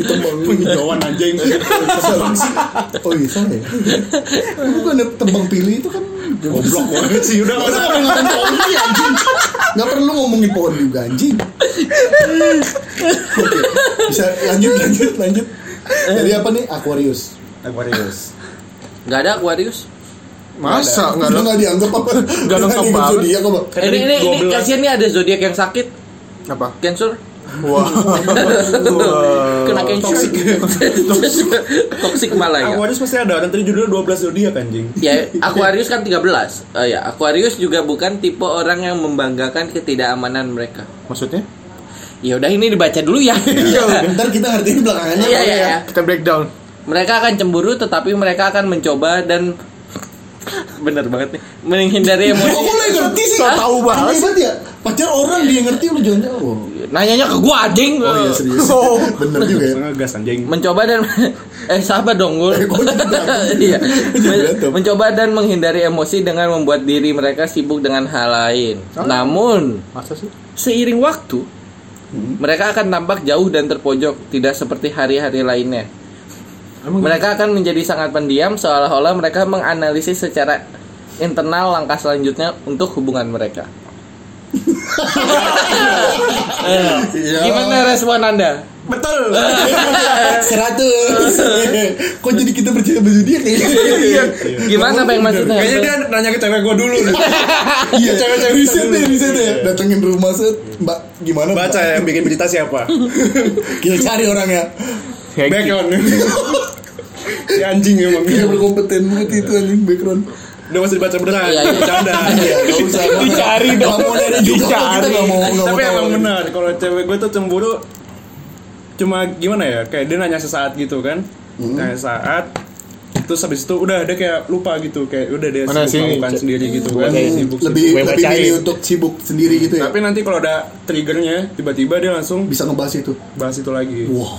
Speaker 2: Itu bangun
Speaker 3: Penjauhan anjing.
Speaker 2: Oh iya, salah ya. Bukan ada tebang pilih itu kan
Speaker 3: Goblok banget sih udah nggak
Speaker 2: Masa
Speaker 3: usah.
Speaker 2: ngomongin pohon sih anjing Gak perlu ngomongin pohon juga anjing Oke Bisa lanjut lanjut lanjut Jadi apa nih Aquarius
Speaker 3: Aquarius.
Speaker 4: Gak ada Aquarius.
Speaker 1: Masa enggak
Speaker 2: Enggak
Speaker 1: ada?
Speaker 2: Enggak dianggap apa
Speaker 1: Nggak lengkap
Speaker 2: Dianggap
Speaker 1: banget.
Speaker 2: zodiak apa?
Speaker 4: Eh, ini ini, ini kasihan nih ada zodiak yang sakit,
Speaker 1: Apa?
Speaker 4: cancer.
Speaker 1: Wah.
Speaker 4: Kena cancer.
Speaker 3: Toxic.
Speaker 4: Toxic. Toxic malah ya.
Speaker 3: Nah, Aquarius pasti ada dan tadi judulnya 12 zodiak anjing.
Speaker 4: Ya, Aquarius kan 13. Oh ya, Aquarius juga bukan tipe orang yang membanggakan ketidakamanan mereka.
Speaker 1: Maksudnya?
Speaker 4: Ya udah ini dibaca dulu ya.
Speaker 2: Bentar kita ngertiin belakangannya ya.
Speaker 4: Iya, iya, iya.
Speaker 1: Kita breakdown.
Speaker 4: Mereka akan cemburu tetapi mereka akan mencoba dan bener banget nih menghindari
Speaker 2: Kok
Speaker 4: emosi.
Speaker 2: lo yang ngerti sih?
Speaker 1: So tau banget.
Speaker 2: Aneh ya Pacar orang dia yang ngerti lu jangan jauh
Speaker 4: Nanyanya ke gua anjing.
Speaker 2: Oh iya serius
Speaker 1: Oh.
Speaker 2: Bener juga ya
Speaker 3: Ngegas anjing.
Speaker 4: mencoba dan eh sabar dong Gul.
Speaker 2: Eh, gua jadi berantem.
Speaker 4: iya.
Speaker 2: Gua jadi
Speaker 4: Men-
Speaker 2: berantem.
Speaker 4: mencoba dan menghindari emosi dengan membuat
Speaker 2: Oh.
Speaker 4: diri mereka sibuk dengan hal lain. Namun
Speaker 1: Masa sih?
Speaker 4: seiring waktu Mereka akan tampak jauh dan terpojok, tidak seperti hari-hari lainnya.
Speaker 1: Emang
Speaker 4: mereka akan menjadi sangat pendiam, seolah-olah mereka menganalisis secara internal langkah selanjutnya untuk hubungan mereka. Eh,
Speaker 2: Ya.
Speaker 4: Gimana respon Anda?
Speaker 3: Betul.
Speaker 2: Seratus. Kok jadi kita percaya baju dia gitu? Iya. kayaknya?
Speaker 4: Gimana apa yang maksudnya?
Speaker 3: Kayaknya dia nanya ke cewek gue dulu nih.
Speaker 2: Iya,
Speaker 3: Cewek-cewek
Speaker 2: riset deh,
Speaker 3: dulu.
Speaker 2: riset deh. Datengin rumah set, Mbak, gimana? Mbak?
Speaker 3: Baca yang bikin berita siapa?
Speaker 2: Kita cari ya. orangnya.
Speaker 1: Kayak
Speaker 3: Back on. si anjing emang.
Speaker 2: Dia berkompeten banget itu anjing background.
Speaker 3: Udah masih dibaca beneran.
Speaker 4: Iya, iya.
Speaker 3: Bercanda.
Speaker 2: Iya, nggak usah.
Speaker 1: Dicari dong.
Speaker 2: Nggak mau nyari juga,
Speaker 1: Iya,
Speaker 2: kok. kita nggak mau nggak mau
Speaker 3: Tapi
Speaker 2: tahu.
Speaker 3: emang benar kalau cewek gue tuh cemburu cuma gimana ya kayak dia nanya sesaat gitu kan nanya saat terus habis itu udah dia kayak lupa gitu kayak udah dia
Speaker 1: Mana sih?
Speaker 3: sibuk makan sendiri gitu kan sibuk
Speaker 2: Lebih
Speaker 1: Gue
Speaker 2: lebih
Speaker 1: bacain.
Speaker 2: milih untuk sibuk sendiri gitu ya.
Speaker 3: tapi nanti kalau ada triggernya tiba-tiba dia langsung
Speaker 2: Bisa ngebahas itu.
Speaker 3: bahas itu lagi
Speaker 2: Wow.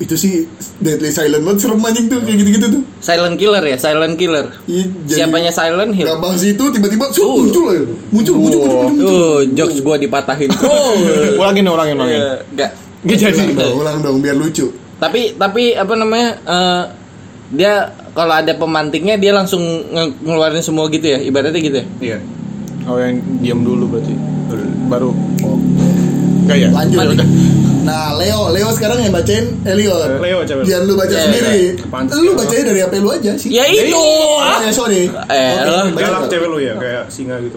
Speaker 2: Itu sih deadly silent banget serem anjing tuh kayak gitu-gitu tuh.
Speaker 4: Silent killer ya, silent killer.
Speaker 2: Iya, jadi-
Speaker 4: Siapanya silent hill?
Speaker 2: Gak bahas itu tiba-tiba sup, muncul aja. Muncul, muncul, muncul, muncul.
Speaker 4: Tuh, jokes gua dipatahin. Oh,
Speaker 1: ulangin ulangin ulangin.
Speaker 4: enggak.
Speaker 1: Gak jadi.
Speaker 2: Ulang dong, ulang dong biar lucu.
Speaker 4: Tapi tapi apa namanya? eh, dia kalau ada pemantiknya dia langsung nge- ngeluarin semua gitu ya, ibaratnya gitu ya.
Speaker 3: iya
Speaker 1: Oh yang diam dulu berarti. Baru. Enggak ya?
Speaker 2: Lanjut. Nah, Leo, Leo sekarang yang bacain
Speaker 1: Eh,
Speaker 2: Elliot.
Speaker 3: Leo coba
Speaker 2: Jangan lu baca
Speaker 4: Iya,
Speaker 2: sendiri.
Speaker 3: iya. Pantes.
Speaker 2: Lu bacanya dari apa lu aja sih?
Speaker 4: Ya itu. ah.
Speaker 2: Eh, sorry.
Speaker 4: Eh,
Speaker 2: Oke,
Speaker 4: lo
Speaker 2: baca,
Speaker 3: galak
Speaker 2: Pak.
Speaker 3: cewek lu ya kayak singa gitu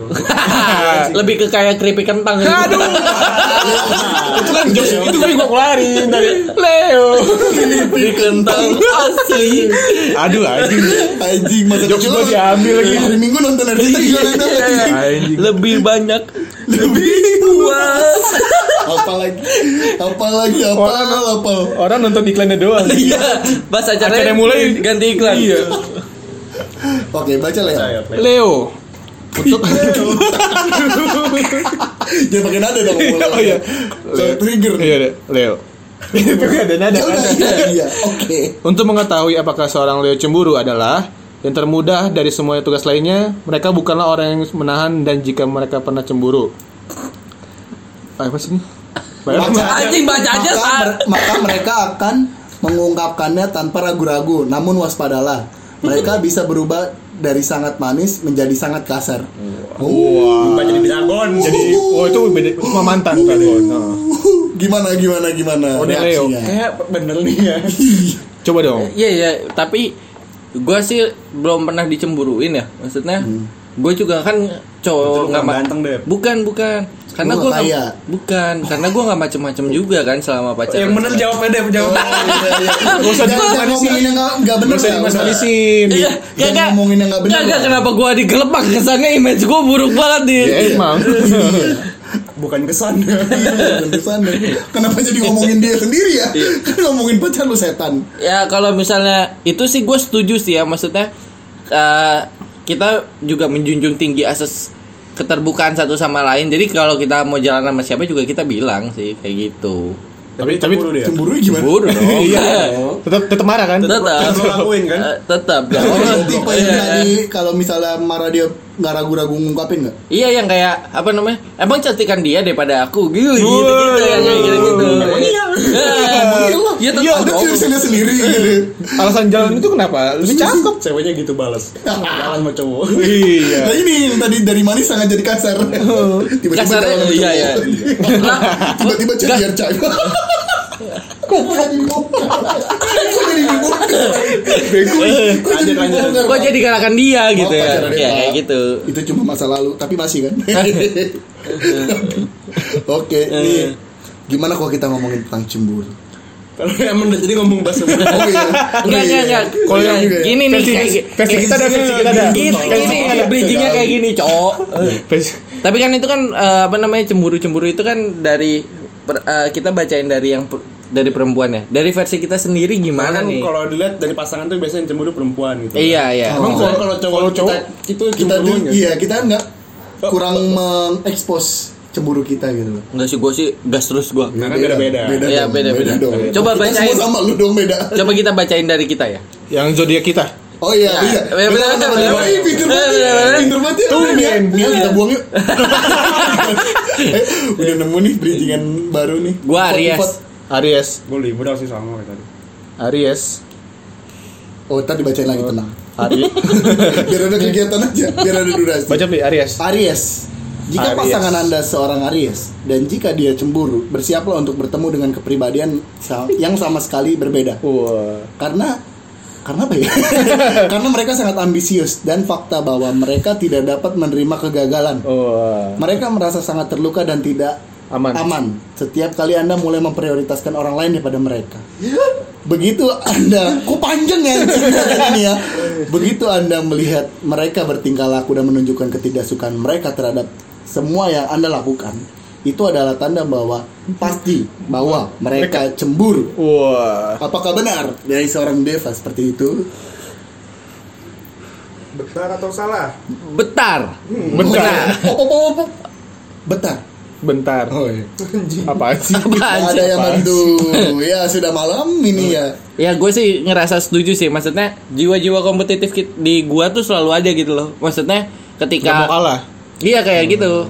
Speaker 4: Lebih ke kayak keripik kentang. gitu. Aduh.
Speaker 1: Itu kan jokes itu kan gua keluarin tadi.
Speaker 4: Leo. Keripik kentang asli.
Speaker 1: Aduh anjing.
Speaker 2: Anjing masa
Speaker 1: Jokes
Speaker 2: kecil
Speaker 1: gua
Speaker 2: lu-
Speaker 1: diambil lagi.
Speaker 2: Hari Minggu nonton hari
Speaker 1: Iya,
Speaker 4: Iya.
Speaker 2: Minggu nonton hari-
Speaker 1: Anjing.
Speaker 4: Lebih banyak
Speaker 2: lebih
Speaker 1: Iya.
Speaker 4: puas.
Speaker 2: apa lagi apa lagi apa apa
Speaker 1: Orang nonton iklannya doang.
Speaker 4: Iya. Pas acaranya
Speaker 1: Acaranya mulai.
Speaker 4: ganti iklan.
Speaker 1: Iya.
Speaker 2: oke baca ya. Leo
Speaker 1: ya.
Speaker 3: Saya, Leo.
Speaker 1: Leo.
Speaker 2: jangan pakai nada dong ngomong.
Speaker 1: Oh, iya.
Speaker 2: Saya trigger
Speaker 1: Iya, deh, Leo. Itu kan ada nada
Speaker 2: Ya
Speaker 1: kan?
Speaker 2: udah, iya, iya oke
Speaker 1: Untuk mengetahui apakah seorang Leo cemburu adalah yang termudah dari semua tugas lainnya, mereka bukanlah orang yang menahan dan jika mereka pernah cemburu. Ah, Apa sih ini? Bayar
Speaker 2: Baca.
Speaker 4: Anjing baca aja
Speaker 2: maka,
Speaker 4: Sar.
Speaker 2: mer- maka mereka akan mengungkapkannya tanpa ragu-ragu namun waspadalah mereka bisa berubah dari sangat manis menjadi sangat kasar Oh.
Speaker 3: Bukan jadi dragon jadi
Speaker 1: Jadi, oh itu beda, sama mantan kali. Nah.
Speaker 2: gimana gimana gimana
Speaker 1: Oh, dia Leo.
Speaker 2: reaksinya
Speaker 3: kayak bener nih ya
Speaker 1: Coba dong.
Speaker 4: Iya iya, tapi gue sih belum pernah dicemburuin ya. Maksudnya
Speaker 2: Hmm.
Speaker 4: gue juga kan
Speaker 3: Betul,
Speaker 4: cowok nggak
Speaker 3: nggak
Speaker 4: ma-
Speaker 3: ganteng, Dep.
Speaker 4: Bukan bukan, karena
Speaker 2: Lu
Speaker 4: gue
Speaker 2: nggak kaya. Oh,
Speaker 4: bukan karena gue nggak macem-macem juga kan selama
Speaker 3: yang
Speaker 4: pacaran.
Speaker 3: bener jawabnya deh jawab
Speaker 2: Gak usah Oh, iya, jangan ngomongin yang gak, gak bener
Speaker 1: Bisa
Speaker 2: ya, udah.
Speaker 1: dimasalisin.
Speaker 4: Iya,
Speaker 2: Jangan ngomongin yang nggak benar.
Speaker 4: Nggak, nggak, kenapa gue digelepak kesannya image gue buruk banget nih.
Speaker 2: Iya,
Speaker 1: Ya emang.
Speaker 3: bukan kesan
Speaker 2: Bukan di sana. Kenapa jadi ngomongin dia sendiri ya? Kan
Speaker 1: Iya.
Speaker 2: ngomongin pacar lu setan.
Speaker 4: Ya kalau misalnya itu sih gue setuju sih ya maksudnya eh, kita juga menjunjung tinggi asas keterbukaan satu sama lain. Jadi kalau kita mau jalan sama siapa juga kita bilang sih kayak gitu.
Speaker 1: tapi tapi
Speaker 3: Cemburu dia
Speaker 4: Iya.
Speaker 2: Cemburu gimana? Oh, iya,
Speaker 4: Cemburu dong.
Speaker 1: tetap tetap marah kan?
Speaker 4: tetap
Speaker 3: Tetap lo lakuin, kan?
Speaker 4: Eh, tetap Iya.
Speaker 2: Oh,
Speaker 4: dong.
Speaker 2: tipe yang tadi kalau misalnya marah dia nggak ragu-ragu ngungkapin nggak?
Speaker 4: iya yang kayak apa namanya emang cantikan dia daripada aku gitu gitu gitu yang kayak gitu gitu
Speaker 3: iya?
Speaker 4: ya
Speaker 2: Iya,
Speaker 4: tetap Eh.
Speaker 2: ada
Speaker 4: dong.
Speaker 2: virusnya sendiri gitu.
Speaker 4: Iya.
Speaker 1: Alasan jalan itu kenapa? Lebih cakep.
Speaker 3: ceweknya gitu balas jalan sama cowok
Speaker 1: Iya.
Speaker 2: Nah ini yang tadi dari manis sangat jadi kasar. Tiba-tiba
Speaker 4: kasarnya
Speaker 2: jalan sama
Speaker 4: iya ya
Speaker 2: cowok. Tiba-tiba jadi arca. Goblok Kok jadi dibongkar? Kok jadi
Speaker 3: Lanjut, lanjut.
Speaker 2: dibongkar?
Speaker 4: Eh, kok Oh, jadi kalahkan dia gitu
Speaker 2: Oh,
Speaker 4: ya
Speaker 2: pacaran dia. Iya.
Speaker 4: ya kayak gitu
Speaker 2: Itu cuma masa lalu, tapi masih kan. Oke,
Speaker 4: Eh.
Speaker 2: nih. Gimana kalau kita ngomongin tentang cemburu?
Speaker 3: kalau emang udah jadi ngomong bahasa
Speaker 2: Oh iya.
Speaker 4: Enggak, enggak, enggak.
Speaker 1: Kalau yang
Speaker 4: gini nih,
Speaker 1: versi-
Speaker 4: kayak Iya.
Speaker 1: versi kita ada, versi kita ada.
Speaker 4: Gini,
Speaker 1: Versi
Speaker 4: gini,
Speaker 1: kita ada.
Speaker 4: bridgingnya kayak gini, cowok. Tapi kan itu kan eh, apa namanya cemburu-cemburu itu kan dari per- eh, kita bacain dari yang per- dari perempuan ya. Dari versi kita sendiri gimana
Speaker 3: kan
Speaker 4: nih?
Speaker 3: kalau dilihat dari pasangan tuh biasanya yang cemburu perempuan gitu
Speaker 4: Iya, iya.
Speaker 2: Oh.
Speaker 3: emang kalau kalau cowok,
Speaker 1: Kalau cowok,
Speaker 3: kita, itu
Speaker 2: Kita
Speaker 3: cemburu
Speaker 2: tuh
Speaker 3: nggak?
Speaker 2: iya, kita enggak
Speaker 4: Oh.
Speaker 2: kurang mengekspos cemburu kita gitu loh.
Speaker 4: Enggak sih gua sih gas terus gua.
Speaker 3: karena beda-beda
Speaker 4: Iya,
Speaker 2: dong,
Speaker 4: beda-beda.
Speaker 2: dong.
Speaker 4: Coba
Speaker 2: Kita
Speaker 4: bacain.
Speaker 2: semua sama lu dong beda.
Speaker 4: Coba kita bacain dari kita ya.
Speaker 1: Yang zodiak kita.
Speaker 2: Oh iya,
Speaker 4: Ya,
Speaker 2: bisa.
Speaker 4: ya, benar,
Speaker 2: Benar,
Speaker 4: benar,
Speaker 2: benar.
Speaker 4: benar.
Speaker 2: Ih, Pinter banget,
Speaker 4: Benar,
Speaker 2: ya.
Speaker 4: benar.
Speaker 2: pinter banget ya. Udah, Nia, Nia, kita buang yuk. Eh, udah nemu nih bridgingan baru nih.
Speaker 4: Gua
Speaker 2: Pot-
Speaker 4: Aries.
Speaker 2: pot.
Speaker 1: Aries,
Speaker 3: Gue libur sih sama kayak tadi.
Speaker 1: Aries,
Speaker 2: Oh, tadi dibacain lagi tenang.
Speaker 1: Aries.
Speaker 2: Biar ada kegiatan aja, biar ada durasi.
Speaker 1: Baca nih Aries.
Speaker 2: Aries. Jika
Speaker 1: Aries.
Speaker 2: pasangan Anda seorang Aries dan jika dia cemburu, bersiaplah untuk bertemu dengan kepribadian sa- yang sama sekali berbeda.
Speaker 1: Wah.
Speaker 2: Karena karena apa ya? karena mereka sangat ambisius dan fakta bahwa mereka tidak dapat menerima kegagalan.
Speaker 1: Wah.
Speaker 2: Mereka merasa sangat terluka dan tidak
Speaker 1: Aman.
Speaker 2: aman. Setiap kali Anda mulai memprioritaskan orang lain daripada mereka. Begitu Anda, kok panjang ya ceritanya ini ya. Begitu Anda melihat mereka bertingkah laku dan menunjukkan ketidaksukaan mereka terhadap semua yang Anda lakukan, itu adalah tanda bahwa pasti bahwa mereka cemburu.
Speaker 1: Wah.
Speaker 2: Apakah benar dari seorang Deva seperti itu?
Speaker 5: Benar atau salah?
Speaker 4: Betar.
Speaker 1: Bentar.
Speaker 2: Oh, Betar.
Speaker 1: Bentar.
Speaker 2: Oh, iya.
Speaker 1: Apaan sih?
Speaker 4: Apaan
Speaker 2: Ada
Speaker 4: sih?
Speaker 2: yang bantu. Ya sudah malam ini ya.
Speaker 4: Ya gue sih ngerasa setuju sih Maksudnya jiwa-jiwa kompetitif ki- di gua tuh selalu ada gitu loh
Speaker 1: Gak
Speaker 4: Maksudnya
Speaker 1: mau
Speaker 4: ketika
Speaker 1: kalah.
Speaker 4: Iya kayak gitu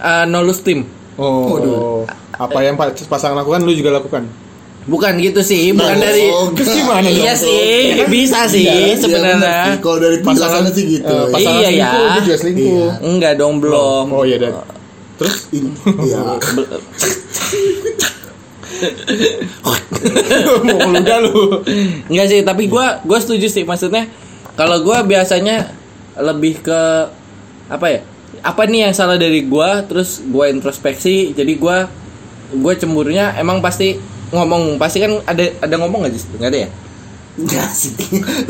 Speaker 4: Eh, No lose team
Speaker 1: Oh.
Speaker 2: Waduh.
Speaker 1: Apa yang pa- pasangan lakukan lu juga lakukan.
Speaker 4: Bukan gitu sih Bukan dari
Speaker 2: gimana Iya.
Speaker 4: Iya sih Bisa Iya, sih sebenarnya
Speaker 2: Kalau dari
Speaker 1: Pasangan-
Speaker 2: penjelasannya sih gitu.
Speaker 1: Eh, pasangan
Speaker 4: Iya, ya.
Speaker 1: selingkuh, dia juga selingkuh.
Speaker 4: Enggak dong belum
Speaker 1: Oh iya dan. Terus
Speaker 2: Ini- Iya.
Speaker 1: mau meludah lu.
Speaker 4: Enggak sih, tapi gua gua setuju sih maksudnya kalau gua biasanya lebih ke apa ya? Apa nih yang salah dari gua terus gua introspeksi jadi gua gua cemburunya emang pasti ngomong pasti kan ada ada ngomong nggak sih nggak ada ya
Speaker 2: Enggak sih.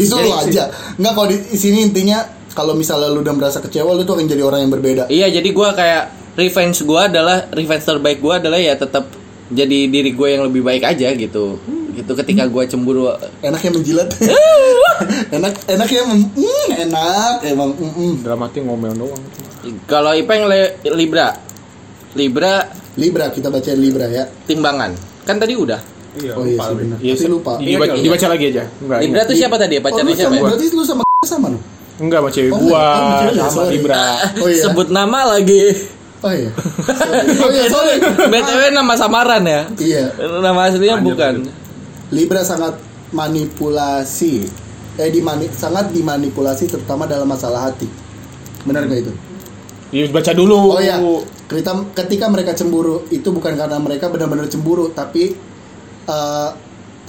Speaker 2: Itu lo aja. Enggak kalau di sini intinya kalau misalnya lu udah merasa kecewa lu tuh akan jadi orang yang berbeda.
Speaker 4: iya jadi gua kayak revenge gua adalah revenge terbaik gua adalah ya tetap jadi diri gue yang lebih baik aja gitu gitu ketika gua cemburu
Speaker 2: Enaknya ya menjilat. enak enaknya mem- mm, enak emang mm, mm.
Speaker 1: Dalam hati ngomel doang.
Speaker 4: kalau Ipeng le- Libra Libra
Speaker 2: Libra kita bacain Libra ya.
Speaker 4: timbangan kan tadi udah
Speaker 3: Iya,
Speaker 2: Oh iya
Speaker 3: lupa
Speaker 2: sih
Speaker 3: gue.
Speaker 2: benar. Tapi lupa.
Speaker 1: Diba- Dibaca, lagi aja. Enggak.
Speaker 4: Libra
Speaker 1: Libra.
Speaker 4: tuh siapa tadi ya
Speaker 2: Oh,
Speaker 4: pacarnya
Speaker 2: lu
Speaker 4: siapa
Speaker 2: sama,
Speaker 4: ya?
Speaker 2: berarti lu sama sama lu.
Speaker 1: Enggak sama cewek
Speaker 2: Oh,
Speaker 1: gua.
Speaker 2: enggak, sama cewek,
Speaker 1: Sama
Speaker 2: sorry.
Speaker 1: Libra.
Speaker 2: Oh iya.
Speaker 4: Sebut nama lagi.
Speaker 2: Oh iya. Sorry. Oh iya, sorry.
Speaker 4: BTW nama samaran ya.
Speaker 2: Iya.
Speaker 4: Nama aslinya bukan.
Speaker 2: Libra sangat manipulasi. Eh dimani, sangat dimanipulasi terutama dalam masalah hati. Benar gak itu?
Speaker 1: Ya baca dulu.
Speaker 2: Oh ya, ketika, ketika mereka cemburu itu bukan karena mereka benar-benar cemburu, tapi eh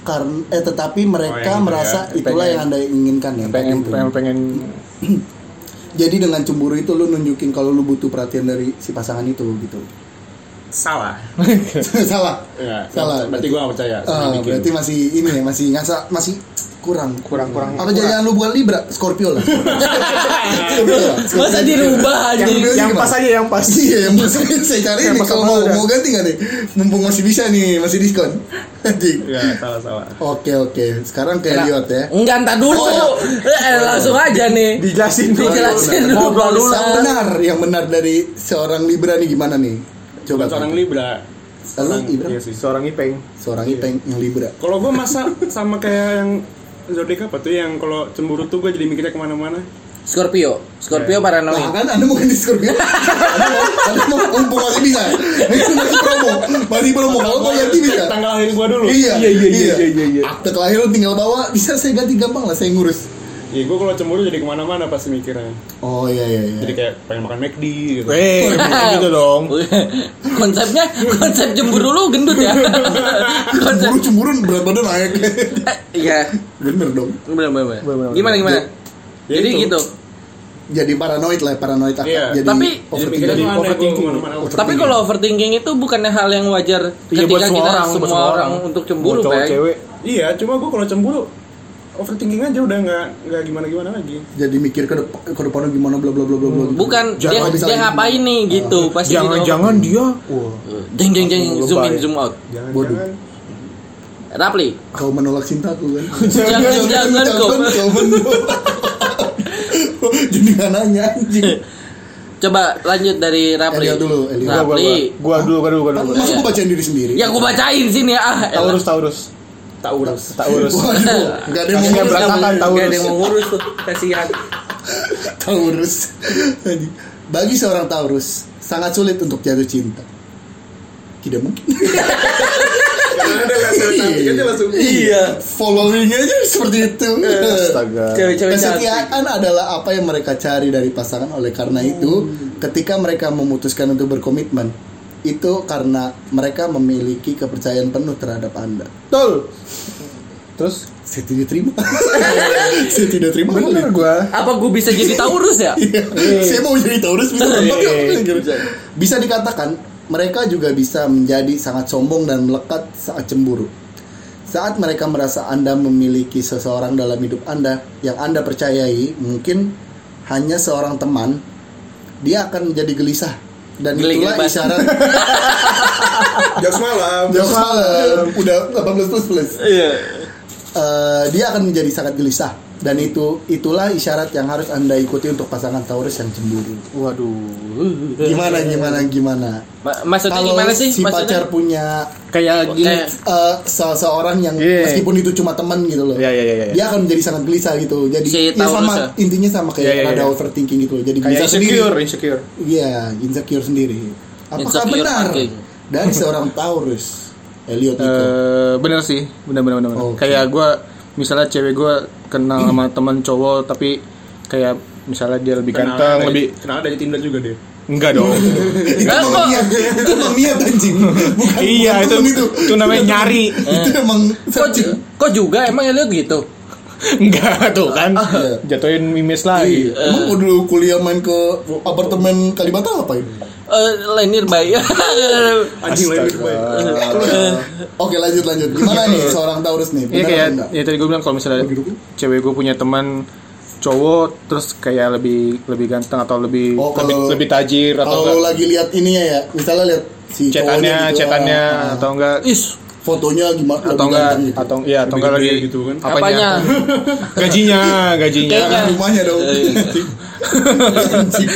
Speaker 2: karena eh tetapi mereka
Speaker 3: Oh, yang itu
Speaker 2: merasa
Speaker 3: ya,
Speaker 2: itulah
Speaker 1: pengen.
Speaker 2: yang Anda inginkan ya.
Speaker 1: Pengen
Speaker 2: Gitu.
Speaker 1: pengen, pengen
Speaker 2: Jadi dengan cemburu itu lu nunjukin kalau lu butuh perhatian dari si pasangan itu gitu.
Speaker 3: Salah.
Speaker 2: Salah.
Speaker 3: Enggak.
Speaker 2: Salah.
Speaker 3: Berarti gue gak percaya. Salah
Speaker 2: Ah,
Speaker 3: dikit.
Speaker 2: berarti masih ini ya, masih ngasa masih kurang
Speaker 5: Kurang kurang.
Speaker 2: apa jangan lu bukan Libra Scorpio lah Scorpio lah.
Speaker 4: Masa dirubah
Speaker 5: yang,
Speaker 4: anjing?
Speaker 2: Jadi-
Speaker 5: yang pas aja yang pas.
Speaker 2: Iya yang pas saya cari
Speaker 5: Yang
Speaker 2: nih
Speaker 5: pas
Speaker 2: kalau
Speaker 5: sama
Speaker 2: mau
Speaker 5: udah.
Speaker 2: mau ganti nggak nih mumpung masih bisa nih masih diskon Anjing.
Speaker 3: Iya, salah salah.
Speaker 2: oke oke sekarang
Speaker 5: Nah,
Speaker 2: ke Elliot ya
Speaker 4: Enggak, entar dulu.
Speaker 2: Oh.
Speaker 4: Eh, langsung aja nih.
Speaker 5: Dijelasin dulu.
Speaker 4: Dijelasin dulu.
Speaker 5: Ngobrol dulu.
Speaker 2: yang benar yang benar dari seorang Libra nih gimana nih coba
Speaker 3: Bukan seorang Libra.
Speaker 2: Seorang Libra?
Speaker 3: Iya sih.
Speaker 1: seorang Ipeng.
Speaker 2: seorang
Speaker 3: Iya.
Speaker 2: Ipeng yang Libra
Speaker 3: Kalau gue masa sama kayak yang zodiak apa tuh yang kalau cemburu tuh gue jadi mikirnya kemana-mana.
Speaker 4: Scorpio. Scorpio
Speaker 2: Nah,
Speaker 4: paranoid.
Speaker 2: kan Anda mau ganti Scorpio. Anda mau, Anda mau mumpung masih bisa. Masih promo. Masih promo. Kalau mau ganti bisa.
Speaker 3: Tanggal lahir gue dulu.
Speaker 2: ya? Iya,
Speaker 1: Iya, iya, iya, iya, iya.
Speaker 2: Akte kelahiran tinggal bawa, bisa saya ganti gampang lah, saya ngurus.
Speaker 3: Iya, gue kalau cemburu jadi kemana-mana pasti mikirnya.
Speaker 2: Oh iya iya iya.
Speaker 3: Jadi kayak pengen makan McD gitu.
Speaker 1: Weh, bukan gitu dong.
Speaker 4: Konsepnya konsep cemburu lu gendut ya. Konsep
Speaker 2: Cemburu cemburu berat badan naik.
Speaker 4: Iya.
Speaker 2: Bener dong.
Speaker 4: Bener, bener,
Speaker 1: Bener,
Speaker 4: bener.
Speaker 1: bener.
Speaker 4: Gimana gimana?
Speaker 3: Ya
Speaker 4: Jadi
Speaker 3: itu.
Speaker 4: gitu.
Speaker 2: Jadi paranoid lah, paranoid akan
Speaker 3: Iya,
Speaker 2: jadi
Speaker 4: tapi-
Speaker 3: Jadi
Speaker 2: overthinking.
Speaker 3: mikirnya tuh aneh gue
Speaker 1: overthinking.
Speaker 3: kemana-mana.
Speaker 4: Tapi kalau overthinking itu bukannya hal yang wajar
Speaker 1: Iya, buat
Speaker 4: ketika
Speaker 1: semua
Speaker 4: kita
Speaker 1: orang, buat
Speaker 4: semua
Speaker 1: semua
Speaker 4: orang
Speaker 1: orang.
Speaker 4: untuk cemburu,
Speaker 1: Mau cowok
Speaker 4: Pak. ya.
Speaker 1: cewek.
Speaker 3: Iya, cuma gue kalau cemburu overthinking aja udah nggak nggak gimana-gimana lagi.
Speaker 2: jadi mikir ke depan ke depannya gimana bla bla bla bla bla. gitu.
Speaker 4: Bukan
Speaker 2: Jangan
Speaker 4: dia,
Speaker 2: bisa
Speaker 4: dia
Speaker 2: lagi.
Speaker 4: ngapain nih gitu pasti gitu.
Speaker 1: Jangan-jangan dia
Speaker 2: Wah,
Speaker 4: Jeng jeng jeng zoom in
Speaker 1: Lebay.
Speaker 4: zoom out.
Speaker 1: Ya.
Speaker 2: Bodoh.
Speaker 3: Jangan-jangan
Speaker 4: Rapli.
Speaker 2: kau menolak cintaku kan.
Speaker 4: Jangan- jangan kau.
Speaker 2: kau menolak. Jadi nggak nanya anjing.
Speaker 4: Coba lanjut dari Rapli.
Speaker 2: Elio dulu, Elio.
Speaker 1: gua gua
Speaker 4: Rapli.
Speaker 1: gua gua dulu gua dulu gua
Speaker 2: Kan
Speaker 1: dulu.
Speaker 2: masa gua bacain diri sendiri?
Speaker 4: Ya gua bacain sini ah. elah.
Speaker 1: Taurus Taurus.
Speaker 3: tak urus.
Speaker 1: tak urus
Speaker 2: Waduh, nggak ada
Speaker 1: Kakinya
Speaker 2: yang mau ngurus.
Speaker 4: kan,
Speaker 1: berantakan tak
Speaker 4: Gak ada
Speaker 1: urus
Speaker 4: yang mau ngurus tuh kasihan.
Speaker 2: Taurus. Jadi, Bagi seorang Taurus, sangat sulit untuk jatuh cinta. Tidak mungkin.
Speaker 3: Karena ada laser cantik
Speaker 1: kan
Speaker 3: aja langsung.
Speaker 4: Iya.
Speaker 2: Following aja seperti itu.
Speaker 1: Eh, astaga
Speaker 4: Cewek-cewek cantik.
Speaker 2: Kesetiaan adalah apa yang mereka cari dari pasangan. Oleh karena
Speaker 1: Hmm.
Speaker 2: itu, ketika mereka memutuskan untuk berkomitmen, itu karena mereka memiliki kepercayaan penuh terhadap Anda.
Speaker 1: betul terus
Speaker 2: Saya tidak terima. Saya tidak terima.
Speaker 1: bener gua
Speaker 4: Apa gue bisa jadi Taurus ya?
Speaker 2: Iya. Saya mau jadi Taurus bisa berempat yuk. Bisa dikatakan mereka juga bisa menjadi sangat sombong dan melekat saat cemburu. Saat mereka merasa Anda memiliki seseorang dalam hidup Anda yang Anda percayai, mungkin hanya seorang teman, dia akan menjadi gelisah dan
Speaker 4: Geli
Speaker 2: itulah
Speaker 4: gelepas.
Speaker 2: isyarat
Speaker 5: Jam malam.
Speaker 2: jam malam udah 18 plus plus.
Speaker 1: Iya.
Speaker 2: Eh, dia akan menjadi sangat gelisah dan itu itulah isyarat yang harus Anda ikuti untuk pasangan Taurus yang cemburu.
Speaker 1: waduh
Speaker 2: gimana gimana gimana
Speaker 4: Ma- maksudnya
Speaker 2: kalau
Speaker 4: gimana sih?
Speaker 2: si
Speaker 4: maksudnya?
Speaker 2: pacar punya
Speaker 1: kayak gini
Speaker 4: Kayak-
Speaker 2: eh, seseorang yang
Speaker 1: Iya.
Speaker 2: meskipun itu cuma teman gitu loh
Speaker 1: Iya, iya, iya, iya.
Speaker 2: dia akan menjadi sangat gelisah gitu jadi
Speaker 4: Si
Speaker 2: ya sama
Speaker 4: Taurus ya?
Speaker 2: intinya sama kayak
Speaker 1: Iya, iya,
Speaker 2: ada
Speaker 1: iya.
Speaker 2: overthinking gitu loh jadi
Speaker 1: kayak
Speaker 2: gelisah sendiri
Speaker 1: insecure insecure
Speaker 2: iya insecure sendiri apakah
Speaker 4: Insecure gitu.
Speaker 2: benar
Speaker 4: thinking.
Speaker 2: dari seorang Taurus Elliot itu
Speaker 1: Eh, bener sih bener bener bener bener.
Speaker 2: Oke.
Speaker 1: kayak gua misalnya cewek gua kenal sama teman cowok tapi kayak misalnya dia lebih
Speaker 3: Kenal
Speaker 1: ganteng
Speaker 3: dari-
Speaker 1: lebih
Speaker 3: kenal dari Tinder juga deh.
Speaker 1: enggak dong
Speaker 2: itu
Speaker 4: Enggak kok.
Speaker 2: memiat itu memiat anjing bukan
Speaker 1: iya
Speaker 2: bukan
Speaker 1: itu
Speaker 2: temen
Speaker 1: itu, namanya nyari
Speaker 2: itu emang
Speaker 4: Kok, ju- kok juga emang Elliot gitu?
Speaker 1: enggak tuh kan
Speaker 2: Iya.
Speaker 1: jatuhin mimis lagi
Speaker 2: Iya. Emang gua dulu kuliah main ke apartemen Kalibata apa ini?
Speaker 4: Eh, lenir baik.
Speaker 3: Anjing lain gitu baik.
Speaker 2: Oke lanjut lanjut. Gimana nih seorang Taurus nih?
Speaker 1: Iya
Speaker 2: Benar
Speaker 1: kayak
Speaker 2: atau enggak?
Speaker 1: ya tadi gue bilang kalau misalnya
Speaker 2: Bagi-bagi.
Speaker 1: cewek gue punya teman cowok terus kayak lebih lebih ganteng atau lebih
Speaker 2: Oh,
Speaker 1: lebih,
Speaker 2: kalau-
Speaker 1: lebih tajir atau
Speaker 2: Kalau
Speaker 1: enggak
Speaker 2: lagi lihat ininya ya, misalnya lihat si
Speaker 1: cetannya
Speaker 2: cowoknya gitu,
Speaker 1: cetannya
Speaker 2: ah, ah.
Speaker 1: atau enggak
Speaker 4: Is,
Speaker 2: fotonya gimana?
Speaker 1: atau
Speaker 2: lebih
Speaker 1: enggak
Speaker 2: ganteng gitu.
Speaker 1: atau iya atau enggak
Speaker 3: gede
Speaker 1: lagi
Speaker 3: gitu kan.
Speaker 1: apanya,
Speaker 4: apanya?
Speaker 1: gajinya gajinya
Speaker 4: Kayaknya.
Speaker 2: rumahnya dong. Anjing.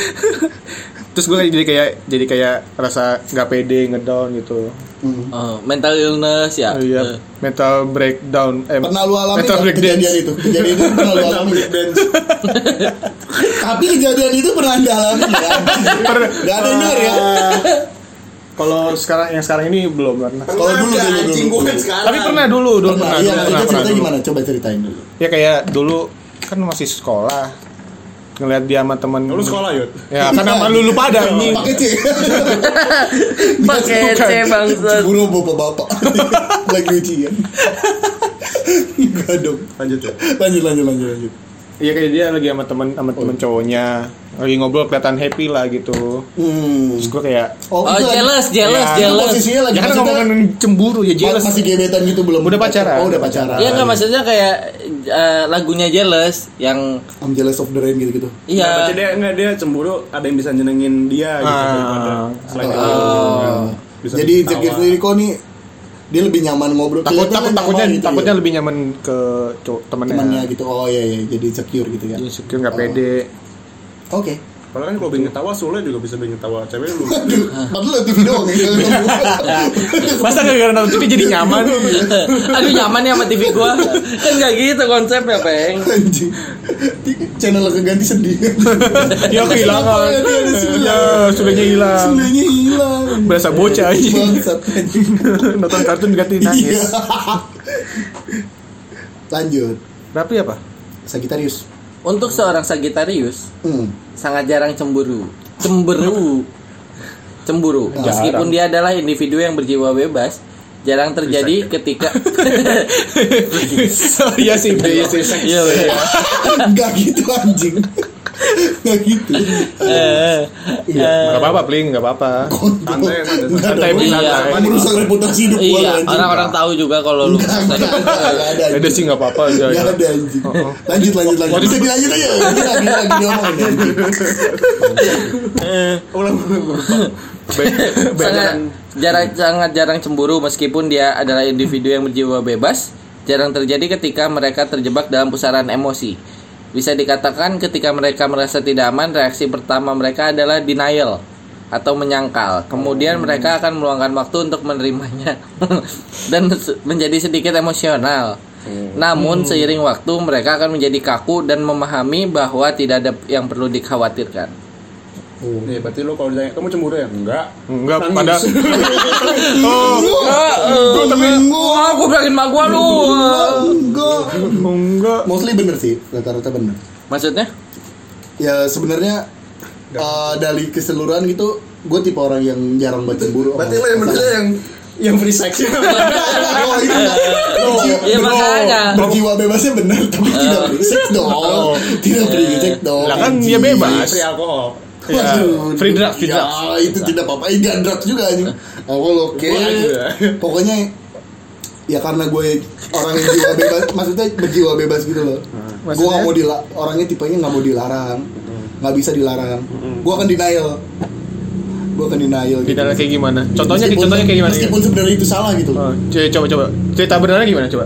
Speaker 1: terus gue jadi kayak jadi kayak rasa nggak pede ngedown gitu
Speaker 2: Hmm.
Speaker 4: Oh, mental illness ya.
Speaker 1: iya
Speaker 4: Eh,
Speaker 1: mental breakdown eh,
Speaker 2: pernah lu alami
Speaker 1: mental
Speaker 2: nggak
Speaker 1: breakdown
Speaker 2: kejadian itu? Kejadian itu pernah lu alami? nggak? Tapi kejadian itu pernah anda alami nggak?
Speaker 1: Per-
Speaker 2: Nggak ada yang denger ya?
Speaker 1: kalau sekarang yang sekarang ini belum pernah
Speaker 2: Kalau dulu
Speaker 5: Ada,
Speaker 2: dulu
Speaker 5: anjing
Speaker 2: dulu.
Speaker 5: bukan
Speaker 3: kan
Speaker 5: sekarang.
Speaker 1: tapi pernah dulu dulu
Speaker 2: Ah. Pernah.
Speaker 1: pernah,
Speaker 2: Iya,
Speaker 1: dulu, pernah, pernah
Speaker 2: itu cerita
Speaker 1: dulu.
Speaker 2: gimana? Coba ceritain dulu.
Speaker 1: ya kayak dulu kan masih sekolah ngelihat dia sama temen
Speaker 3: Lu sekolah yuk.
Speaker 1: ya kan sama lu lupa ada anjing
Speaker 2: Pakai C.
Speaker 4: Pakai C
Speaker 1: gitu.
Speaker 4: bangsat.
Speaker 2: Cemburu bapak-bapak Lagi ujian Enggak dong
Speaker 3: Lanjut ya.
Speaker 2: ya. Lanjut lanjut lanjut lanjut
Speaker 1: ya kayak dia lagi sama temen sama temen
Speaker 2: Oh.
Speaker 1: cowoknya lagi ngobrol kelihatan happy lah gitu
Speaker 2: Hmm
Speaker 1: terus gue kayak
Speaker 4: Oh,
Speaker 2: itu
Speaker 4: jealous, jealous,
Speaker 2: lagi-
Speaker 1: Ya,
Speaker 2: itu
Speaker 4: jealous.
Speaker 2: Posisinya lagi
Speaker 1: ya kan
Speaker 2: maksudnya
Speaker 1: ngomongin cemburu ya jelas
Speaker 2: Masih gebetan gitu belum
Speaker 1: Udah pacaran.
Speaker 2: Oh udah pacaran
Speaker 4: Iya nggak maksudnya kayak eh, lagunya Jealous yang
Speaker 2: I'm jealous of the rain gitu-gitu
Speaker 3: Nah, berarti
Speaker 4: iya
Speaker 3: dia enggak dia cemburu ada yang bisa nyenengin dia gitu
Speaker 1: Ah.
Speaker 3: daripada selain itu. kan. Bisa
Speaker 2: Oh, Jadi
Speaker 3: bikin
Speaker 2: insecure
Speaker 3: ketawa.
Speaker 2: sendiri kok nih Dia lebih nyaman ngobrol
Speaker 1: takut
Speaker 2: Kelihatan
Speaker 1: takut
Speaker 2: nyaman
Speaker 1: takutnya
Speaker 2: gitu
Speaker 1: takutnya
Speaker 2: ya.
Speaker 1: lebih nyaman ke cowok temennya,
Speaker 2: Temannya gitu Oh iya iya jadi insecure gitu ya
Speaker 1: insecure nggak pede
Speaker 2: Oke
Speaker 3: Padahal kan kalau bikin ketawa Sule juga bisa bikin ketawa cewek lu.
Speaker 2: Aduh, Padahal TV doang
Speaker 4: Nah.
Speaker 2: ya
Speaker 1: masa nggak gara nonton TV jadi nyaman
Speaker 4: aduh nyaman ya sama TV gua kan nggak gitu konsepnya peng
Speaker 2: anjing channel keganti sedih
Speaker 1: ya kehilangan
Speaker 2: Kenapa ya, dia ada sulit?
Speaker 1: ya sulitnya hilang
Speaker 2: Sebenarnya hilang
Speaker 1: berasa bocah aja
Speaker 2: bangsat anjing.
Speaker 1: nonton kartun ganti
Speaker 2: iya
Speaker 1: nangis
Speaker 2: lanjut
Speaker 1: tapi apa
Speaker 2: Sagittarius
Speaker 4: untuk seorang Sagittarius
Speaker 2: hmm.
Speaker 4: sangat jarang cemburu cemburu cemburu meskipun dia adalah individu yang berjiwa bebas jarang terjadi ketika
Speaker 1: ya sih ya sih
Speaker 4: Iya, iya.
Speaker 2: nggak gitu anjing nggak gitu
Speaker 4: Eh,
Speaker 1: nggak apa-apa pling nggak apa-apa
Speaker 2: kontol
Speaker 3: Santai, santai,
Speaker 2: nggak
Speaker 1: santai
Speaker 2: dong.
Speaker 1: pling
Speaker 4: Iya.
Speaker 1: santai
Speaker 2: merusak reputasi hidup gua
Speaker 4: iya
Speaker 2: anjing.
Speaker 4: orang-orang tahu juga kalau lu
Speaker 2: Nggak, nggak, nggak, nggak ada
Speaker 1: ada
Speaker 2: anjing.
Speaker 1: sih nggak apa-apa aja
Speaker 2: Nggak ada anjing lanjut lanjut lanjut bisa dilanjut aja Ini lagi lagi diomongin anjing.
Speaker 4: sangat jarang sangat jarang cemburu meskipun dia adalah individu yang berjiwa bebas jarang terjadi ketika mereka terjebak dalam pusaran emosi bisa dikatakan ketika mereka merasa tidak aman reaksi pertama mereka adalah denial atau menyangkal. Kemudian mereka akan meluangkan waktu untuk menerimanya dan se- menjadi sedikit emosional. Namun seiring waktu mereka akan menjadi kaku dan memahami bahwa tidak ada yang perlu dikhawatirkan.
Speaker 3: Nih, berarti lo kalau ditanya, kamu cemburu ya? Enggak.
Speaker 1: Enggak
Speaker 3: Nangis.
Speaker 1: pada Oh,
Speaker 4: Enggak, Wah, gua bilangin mak gua lu.
Speaker 2: Enggak.
Speaker 1: enggak.
Speaker 2: Mostly bener sih, rata-rata bener.
Speaker 4: Maksudnya?
Speaker 2: Ya sebenarnya eh, dari keseluruhan gitu, gue tipe orang yang jarang banget cemburu.
Speaker 5: Berarti lo yang bener yang
Speaker 3: Yang free sex
Speaker 2: Oh, itu berjiwa-
Speaker 4: Iya makanya. Eh.
Speaker 2: berjiwa bebasnya bener, tapi tidak berisik
Speaker 3: Oh.
Speaker 2: dong. Tidak
Speaker 3: Eh.
Speaker 2: berisik dong.
Speaker 1: Lah kan
Speaker 2: anjing.
Speaker 1: dia bebas. Iya.
Speaker 3: free alkohol.
Speaker 2: Waduh,
Speaker 1: free drugs, Nah. free
Speaker 2: ya,
Speaker 1: drugs.
Speaker 2: itu tidak apa-apa. Ini dan drugs juga anjing. Awal oke.
Speaker 3: Boleh juga.
Speaker 2: Pokoknya ya karena gue orang yang jiwa bebas, maksudnya berjiwa bebas gitu loh.
Speaker 1: Nah,
Speaker 2: Gue gak mau dilarang, orangnya tipenya nggak mau dilarang,
Speaker 1: Hmm.
Speaker 2: nggak bisa dilarang. Gue akan denial, gue akan denial.
Speaker 1: Di
Speaker 2: gitu.
Speaker 1: dalam kayak gimana? Contohnya
Speaker 2: Meskipun-
Speaker 1: contohnya kayak gimana? ya?
Speaker 2: Meskipun sebenarnya itu salah gitu.
Speaker 1: Oh, c- coba coba. Cerita benarnya gimana coba?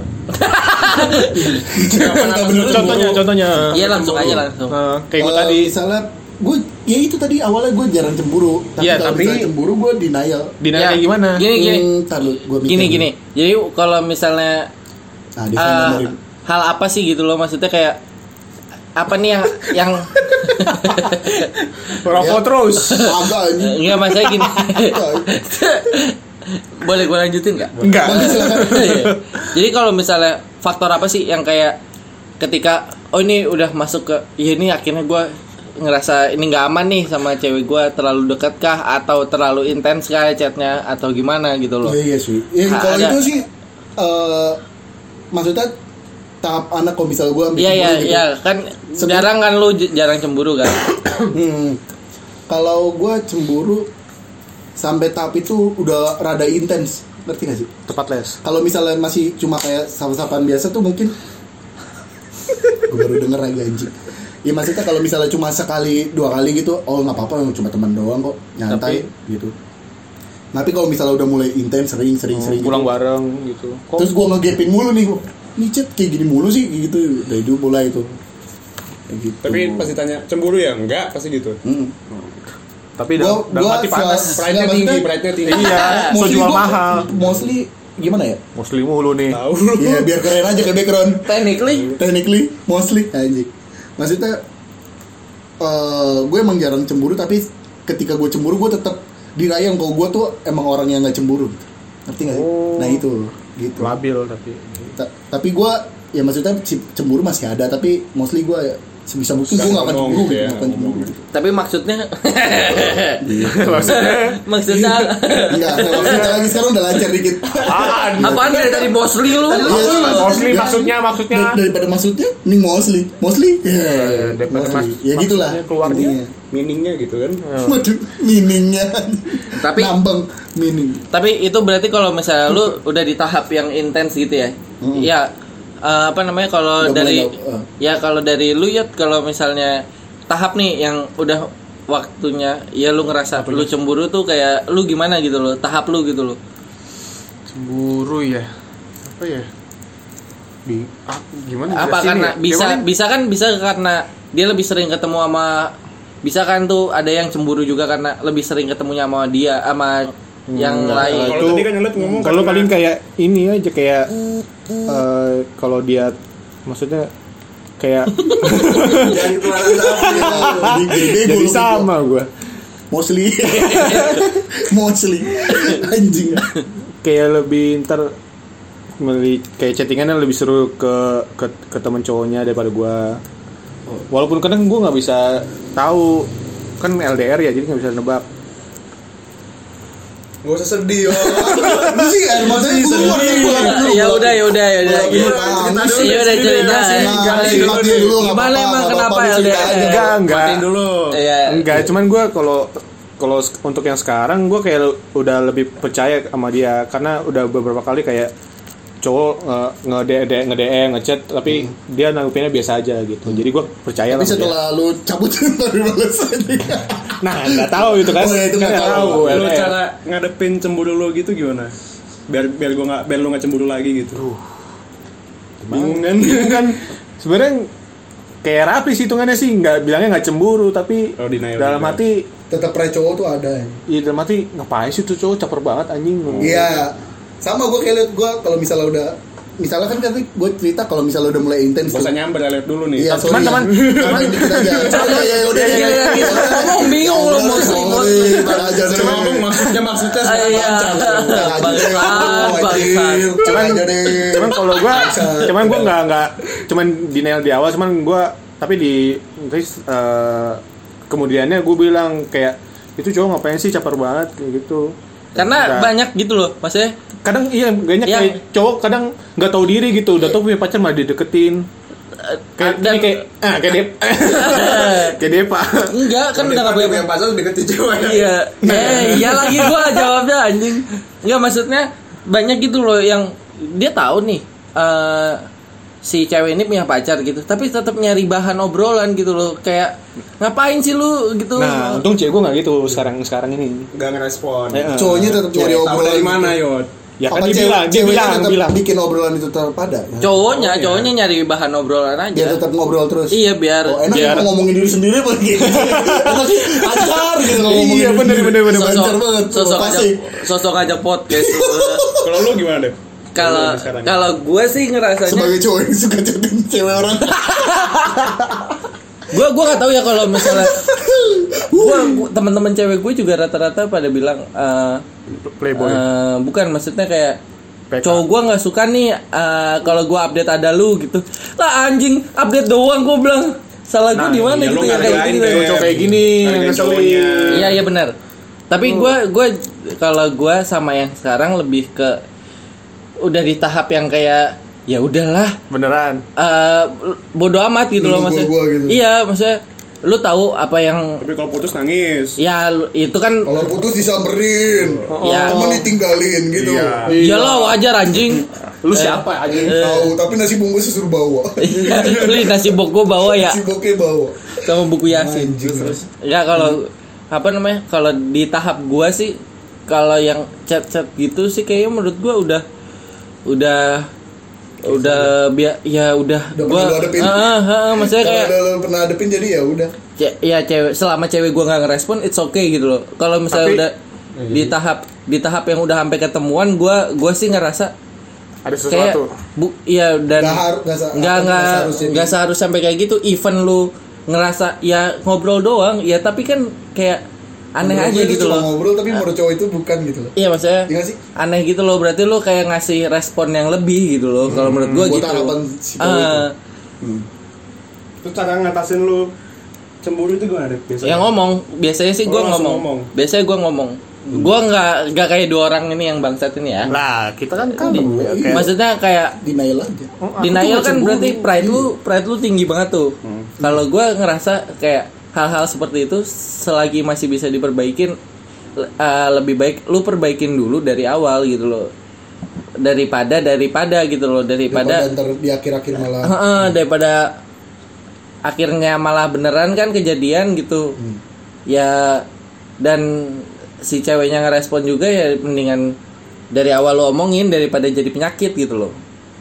Speaker 2: Kita bener
Speaker 1: Contohnya contohnya.
Speaker 4: Iya langsung aja langsung.
Speaker 1: Eh, kayak gue
Speaker 2: Kalau
Speaker 1: tadi
Speaker 2: misalnya gue ya itu tadi awalnya gue jarang cemburu tapi
Speaker 1: Iya,
Speaker 2: kalau
Speaker 1: tapi-
Speaker 2: misalnya cemburu gue denial
Speaker 1: dinanya kayak gimana?
Speaker 4: Ya, Gini gini.
Speaker 2: Hmm, ntar lu, gua mikir
Speaker 4: Gini
Speaker 2: dulu.
Speaker 4: gini. Jadi kalau misalnya
Speaker 2: Nah, dia
Speaker 4: eh,
Speaker 2: kan nomor-
Speaker 4: hal apa sih gitu loh maksudnya kayak apa nih yang yang
Speaker 1: Rokok terus.
Speaker 2: agak ini.
Speaker 4: enggak maksudnya gini. Boleh gue lanjutin nggak?
Speaker 1: Enggak.
Speaker 2: Bang, silakan.
Speaker 4: Iya. Jadi kalau misalnya faktor apa sih yang kayak ketika oh ini udah masuk ke ya ini akhirnya gue ngerasa ini nggak aman nih sama cewek gue terlalu dekat kah atau terlalu intens kah chatnya atau gimana gitu loh.
Speaker 2: Iya iya sih. Ya,
Speaker 4: Nah,
Speaker 2: kalau
Speaker 4: ada.
Speaker 2: itu sih eh maksudnya tahap anak kalau misal gue
Speaker 4: Iya iya iya kan
Speaker 2: Sebe-
Speaker 4: jarang kan lu j- jarang cemburu kan.
Speaker 2: Hmm. Kalau gue cemburu sampai tahap itu udah rada intens, ngerti gak sih?
Speaker 1: Tepat les.
Speaker 2: Kalau misalnya masih cuma kayak sapa-sapaan biasa tuh mungkin gue baru denger lagi anjing. Ya maksudnya kalau misalnya cuma sekali dua kali gitu, oh nggak apa-apa cuma teman doang kok, nyantai gitu. Tapi kalau misalnya udah mulai intens sering sering sering
Speaker 1: Hmm, Oh, Pulang
Speaker 2: gitu,
Speaker 1: bareng gitu. Kok
Speaker 2: terus gue ngegepin mulu nih, gua, nih chat kayak gini mulu sih gitu dari dulu mulai itu. Kayak Gitu.
Speaker 3: Tapi pasti tanya, cemburu ya? Enggak, pasti gitu.
Speaker 2: Mm.
Speaker 1: tapi dalam, dalam hati panas.
Speaker 2: se-
Speaker 3: Pride-nya
Speaker 2: nggak,
Speaker 3: tinggi,
Speaker 2: maksudnya-
Speaker 3: pride-nya tinggi.
Speaker 1: Iya, so
Speaker 2: mostly
Speaker 1: jual
Speaker 2: gua-
Speaker 1: mahal.
Speaker 2: Mostly gimana ya?
Speaker 1: Muslim mulu nih.
Speaker 3: Tahu.
Speaker 2: Iya biar keren aja ke background.
Speaker 4: Technically
Speaker 2: Technically mostly anjing. Maksudnya eh gue emang jarang cemburu tapi ketika gue cemburu gue tetap dirayang kalau gue tuh emang orang yang nggak cemburu. gitu. Ngerti nggak? sih?
Speaker 1: Oh.
Speaker 2: Nah itu gitu.
Speaker 1: Labil tapi.
Speaker 2: Ta- tapi gue ya maksudnya c- cemburu masih ada tapi mostly gue sebisa mungkin gue nggak akan
Speaker 3: Ngomong
Speaker 2: cemburu
Speaker 3: gitu
Speaker 2: gitu,
Speaker 3: ya,
Speaker 2: nggak akan cemburu.
Speaker 3: ngomong.
Speaker 4: tapi maksudnya
Speaker 1: gitu.
Speaker 4: maksudnya Iya,
Speaker 2: Enggak, maksudnya lagi sekarang udah lancar dikit.
Speaker 1: Apaan?
Speaker 4: apaan dari tadi bosli lu?
Speaker 2: Iya.
Speaker 1: Ah, Mostly
Speaker 2: Ya.
Speaker 1: maksudnya maksudnya.
Speaker 2: Dar- daripada maksudnya nih mostly mostly
Speaker 1: ya,
Speaker 2: ya
Speaker 1: daripada
Speaker 2: mostly
Speaker 1: mas-
Speaker 2: ya gitulah
Speaker 1: maksudnya keluarnya.
Speaker 2: intinya.
Speaker 3: Meaningnya gitu kan.
Speaker 2: waduh meaningnya
Speaker 4: Iya. Tapi-
Speaker 2: lambang meaning
Speaker 4: Tapi itu berarti kalau misalnya lu udah di tahap yang intens gitu ya. Ya eh, apa namanya kalau
Speaker 2: Nggak
Speaker 4: dari
Speaker 2: boleh, nggak- eh.
Speaker 4: ya kalau dari lu ya kalau misalnya tahap nih yang udah waktunya ya lu ngerasa lu cemburu tuh kayak lu gimana gitu loh, tahap lu gitu loh.
Speaker 1: Cemburu ya. Apa ya? Di ah, gimana?
Speaker 4: Apa
Speaker 1: jelasin
Speaker 4: karena
Speaker 1: ya?
Speaker 4: bisa
Speaker 1: Gimana?
Speaker 4: bisa kan bisa karena dia lebih sering ketemu sama bisa kan tuh ada yang cemburu juga karena lebih sering ketemunya sama dia sama
Speaker 1: Hmm,
Speaker 4: yang lain. Iya.
Speaker 3: Kalau
Speaker 1: Itu-
Speaker 3: tadi kan nyelet ngomong
Speaker 1: kalau
Speaker 3: karena-
Speaker 1: paling kayak ini aja kayak
Speaker 4: Hmm,
Speaker 1: eh, kalau dia maksudnya kayak
Speaker 4: Iya,
Speaker 5: yang kemarin sapi.
Speaker 4: Ah,
Speaker 1: jadi sama gua
Speaker 2: gitu. mostly mostly anjing
Speaker 1: kayak lebih ntar meli- kayak chattingannya lebih seru ke ke, ke temen cowoknya daripada gua
Speaker 3: Oh.
Speaker 1: walaupun kadang gua nggak bisa tahu kan LDR ya jadi nggak bisa nebak
Speaker 5: Gak usah sedih yo.
Speaker 2: lu sih air matanya kan? keluar nih pulang dulu
Speaker 4: Ya udah ya udah ya udah.
Speaker 2: Pulang dulu, pulang dulu.
Speaker 4: Iya udah cerita.
Speaker 2: Nah,
Speaker 3: Gali
Speaker 2: matiin
Speaker 3: dulu.
Speaker 2: dulu nggak
Speaker 4: Gimana
Speaker 2: apa-apa,
Speaker 4: emang
Speaker 2: nggak
Speaker 4: kenapa
Speaker 2: apa-apa, lu cerita
Speaker 4: LDR?
Speaker 2: aja.
Speaker 1: enggak enggak
Speaker 3: Matiin dulu.
Speaker 4: Iya.
Speaker 1: enggak cuman gua kalau kalau s- untuk yang sekarang gua kayak le- udah lebih percaya sama dia karena udah beberapa kali kayak cowok nge nge nge ngechat tapi dia nanggupinnya biasa aja gitu jadi gua percaya
Speaker 2: Hmm.
Speaker 1: lah
Speaker 4: Iya,
Speaker 2: tapi
Speaker 1: sama dia.
Speaker 2: setelah lu cabut baru balas aja
Speaker 1: nah nggak tahu itu kan
Speaker 2: Oh, ya, itu nggak
Speaker 1: Nggak
Speaker 4: Iya,
Speaker 2: tahu.
Speaker 1: gua,
Speaker 3: Lu
Speaker 1: LDR.
Speaker 3: cara ngadepin cemburu lo gitu gimana? Biar biar gua nggak biar lu nggak cemburu lagi gitu. Bingung kan?
Speaker 1: Bingung kan sebenarnya kayak rapi sih hitungannya sih nggak bilangnya nggak cemburu tapi
Speaker 3: Oh, denial
Speaker 1: dalam
Speaker 3: juga.
Speaker 1: hati
Speaker 6: tetap pride cowok tuh ada ya.
Speaker 1: Iya dalam hati ngapain sih tuh cowok caper banget anjing.
Speaker 6: Iya.
Speaker 2: sama gue kayak liat gue kalau misalnya udah misalnya kan tadi gue cerita kalau misalnya udah mulai intens
Speaker 3: Gak usah nyamber lihat dulu nih.
Speaker 2: Iya, sorry.
Speaker 4: Teman-teman. Iya,
Speaker 2: Cuman dikit aja. Ya, ya, ya, udah, ya, ya.
Speaker 4: Ngomong bingung lo mau selimut.
Speaker 2: Sorry, mana aja deh.
Speaker 3: Cuma bang maksudnya maksudnya
Speaker 4: Ah, iya.
Speaker 2: Udah aja deh,
Speaker 4: Bangsat,
Speaker 2: aduh, anjing.
Speaker 4: bangsat.
Speaker 2: Cuman aja
Speaker 4: kan
Speaker 2: deh.
Speaker 1: cuman kalau gua cuman gua nggak nggak cuman denial di awal cuman gua tapi di terus eh, kemudiannya gua bilang kayak itu cowok ngapain sih caper banget kayak gitu
Speaker 4: Karena
Speaker 1: Nggak-
Speaker 4: banyak gitu loh, maksudnya
Speaker 1: kadang iya banyak
Speaker 4: Iya.
Speaker 1: kayak cowok kadang nggak tahu diri gitu udah tau punya pacar malah dideketin kayak ini
Speaker 4: dan-
Speaker 1: kayak ah kayak dep kayak depa
Speaker 4: enggak kan udah nggak
Speaker 5: Tapi
Speaker 4: punya
Speaker 5: yang pasal deketin cewek.
Speaker 2: ya.
Speaker 4: Iya. Eh, iya lagi gua jawabnya anjing. Enggak maksudnya banyak gitu loh yang dia tahu nih eh si cewek ini punya pacar gitu, tapi tetap nyari bahan obrolan gitu loh. Kayak ngapain sih lu gitu.
Speaker 1: nah untung cewek gua nggak gitu sekarang sekarang ini
Speaker 3: Gak ngerespon.
Speaker 4: Iya.
Speaker 1: Eh, eh.
Speaker 2: Cowoknya tetap nyari
Speaker 3: Tahu
Speaker 2: obrolan.
Speaker 3: dari mana yod?
Speaker 1: ya kan dia
Speaker 2: Apa cewek-
Speaker 1: bilang dia
Speaker 2: ceweknya
Speaker 1: bilang
Speaker 2: tetap
Speaker 1: bilang
Speaker 2: bikin obrolan itu terpada.
Speaker 4: Iya. cowoknya, cowoknya nyari bahan obrolan
Speaker 2: Dia
Speaker 4: aja.
Speaker 2: tetap ngobrol terus.
Speaker 4: Iya, biar
Speaker 2: Oh, enak
Speaker 1: biar-
Speaker 2: ya, ngomongin diri sendiri pergi. Enak sih, pacar gitu kalau
Speaker 1: Iya,
Speaker 2: ngomongin. diri
Speaker 1: bener,
Speaker 2: sendiri.
Speaker 1: bener, bener, bener.
Speaker 2: Lancar banget.
Speaker 4: sosok ajak,
Speaker 2: Pasti.
Speaker 4: sosok ajak podcast.
Speaker 3: Kalau lu gimana deh?
Speaker 4: Kalau kalau gue sih ngerasanya
Speaker 2: Sebagai cowok yang suka chatting cewek orang.
Speaker 4: gue gua nggak tahu ya kalau misalnya gue teman-teman cewek gue juga rata-rata pada bilang eh,
Speaker 1: playboy
Speaker 4: eh, bukan maksudnya kayak
Speaker 1: PK.
Speaker 4: cowok gue nggak suka nih eh, kalau gue update ada lu gitu lah anjing update doang gue bilang salah gue di mana
Speaker 3: iya,
Speaker 4: gitu
Speaker 3: lu
Speaker 4: ya kayak
Speaker 3: ngargain
Speaker 4: gitu.
Speaker 3: deh.
Speaker 1: cowok kayak gini
Speaker 3: Ada yang
Speaker 1: ngeselin
Speaker 3: cowoknya.
Speaker 4: iya iya benar tapi gue gue kalau gue sama yang sekarang lebih ke udah di tahap yang kayak ya udahlah
Speaker 1: beneran
Speaker 4: eh bodo amat gitu loh
Speaker 6: Nunggu
Speaker 4: maksudnya.
Speaker 6: gua gitu.
Speaker 4: Iya, maksudnya lu tahu apa yang
Speaker 3: Tapi kalau putus nangis.
Speaker 4: ya lu- itu kan
Speaker 6: Kalau putus disamperin,
Speaker 4: Ya.
Speaker 6: temen ditinggalin gitu.
Speaker 3: Iya.
Speaker 4: iyalah wajar anjing.
Speaker 1: lu siapa aja
Speaker 4: Eh.
Speaker 6: Tahu, tapi nasi bungkus disuruh bawa.
Speaker 4: Iya. Beli nasi bok gua bawa ya
Speaker 6: Si bokeh bawa.
Speaker 4: sama buku Yasin.
Speaker 6: Anjing.
Speaker 4: Ya kalau apa namanya? Kalau di tahap gua sih kalau yang chat-chat gitu sih kayaknya menurut gua udah udah udah biar ya udah
Speaker 6: Udah
Speaker 4: gua
Speaker 6: pernah lu hadepin.
Speaker 4: Heeh, heeh, maksudnya
Speaker 6: Kalau
Speaker 4: kayak
Speaker 6: udah lo pernah hadepin jadi ya udah.
Speaker 4: Ce- ya cewek selama cewek gua nggak ngerespon it's okay gitu loh kalau misalnya
Speaker 1: Tapi- Iya,
Speaker 4: udah di tahap di tahap yang udah sampai ketemuan gua gua sih ngerasa
Speaker 1: ada
Speaker 4: kayak
Speaker 1: sesuatu
Speaker 4: bu iya dan
Speaker 6: Nggak har- nggak sa-
Speaker 4: nggak
Speaker 6: apa,
Speaker 4: nggak
Speaker 6: nggak seharusnya
Speaker 4: nggak
Speaker 6: di-
Speaker 4: seharus sampai kayak gitu even lu ngerasa ya ngobrol doang ya tapi kan kayak aneh
Speaker 6: Menurut
Speaker 4: aja
Speaker 6: gue itu
Speaker 4: gitu
Speaker 6: cuma
Speaker 4: loh
Speaker 6: Ngobrol tapi menurut cowok itu bukan gitu loh.
Speaker 4: iya maksudnya
Speaker 6: Iya nggak sih?
Speaker 4: aneh gitu loh berarti lu kayak ngasih respon yang lebih gitu loh
Speaker 1: Hmm,
Speaker 4: kalau menurut gua
Speaker 6: buat
Speaker 4: gitu
Speaker 6: harapan si cowok
Speaker 4: Eh,
Speaker 6: itu.
Speaker 3: Terus cara ngatasin lu cemburu itu gimana deh? Biasanya.
Speaker 4: yang ngomong biasanya sih gua
Speaker 3: Oh, langsung
Speaker 4: ngomong.
Speaker 3: ngomong. Hmm.
Speaker 4: biasanya gua ngomong gua nggak nggak kayak dua orang ini yang bangsat ini ya
Speaker 1: lah kita kan kan
Speaker 4: Di-
Speaker 6: iya.
Speaker 1: kayak
Speaker 4: maksudnya kayak
Speaker 2: Denial aja.
Speaker 4: denial kan berarti pride lu pride lu tinggi banget tuh
Speaker 3: Hmm.
Speaker 4: kalau gua ngerasa kayak hal-hal seperti itu selagi masih bisa diperbaikin le- eh, lebih baik lu perbaikin dulu dari awal gitu loh daripada daripada gitu loh daripada
Speaker 6: Daripada ntar di
Speaker 4: Iya.
Speaker 6: akhir-akhir malah
Speaker 4: Heeh, daripada akhirnya malah beneran kan kejadian gitu ya dan si ceweknya ngerespon juga ya mendingan dari awal lo omongin daripada jadi penyakit gitu loh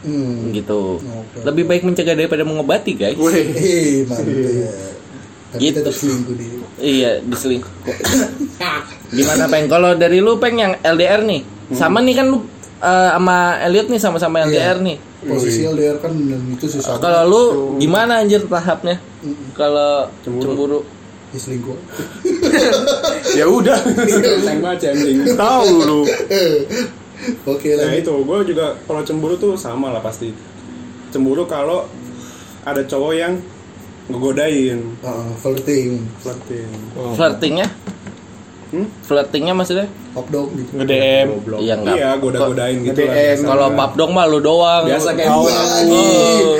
Speaker 6: hmm.
Speaker 4: gitu lebih baik mencegah daripada mengobati guys
Speaker 6: Eh, mantep. Tapi
Speaker 4: Gitu.
Speaker 6: tetap selingkuh di
Speaker 4: iya diselingkuh gimana peng kalau dari lu peng yang LDR nih sama nih kan lu eh, sama Elliot nih sama-sama LDR nih
Speaker 6: posisi LDR kan dan itu susah banget
Speaker 4: Kalau lu gimana anjir tahapnya? Kalau cemburu.
Speaker 6: di selingkuh.
Speaker 1: ya udah
Speaker 3: Sayang banget ya, anjing.
Speaker 1: tahu lu
Speaker 6: Oke
Speaker 2: Iya.
Speaker 6: lah.
Speaker 3: Nah itu, gue juga kalau cemburu tuh sama lah pasti. Cemburu kalau ada cowok yang ngegodain,
Speaker 6: Heeh, flirting,
Speaker 3: flirting.
Speaker 4: Flirtingnya?
Speaker 3: Hmm?
Speaker 4: Flirtingnya maksudnya?
Speaker 6: pop dog gitu.
Speaker 1: nge DM
Speaker 3: Goblok.
Speaker 4: Iya, enggak. Eh,
Speaker 3: Iya, goda-godain gitu lah.
Speaker 1: Nge-DM.
Speaker 3: biasa.
Speaker 4: Kalau pap dong mah lu doang. Oh.
Speaker 3: biasa kayak
Speaker 6: Gua lagi,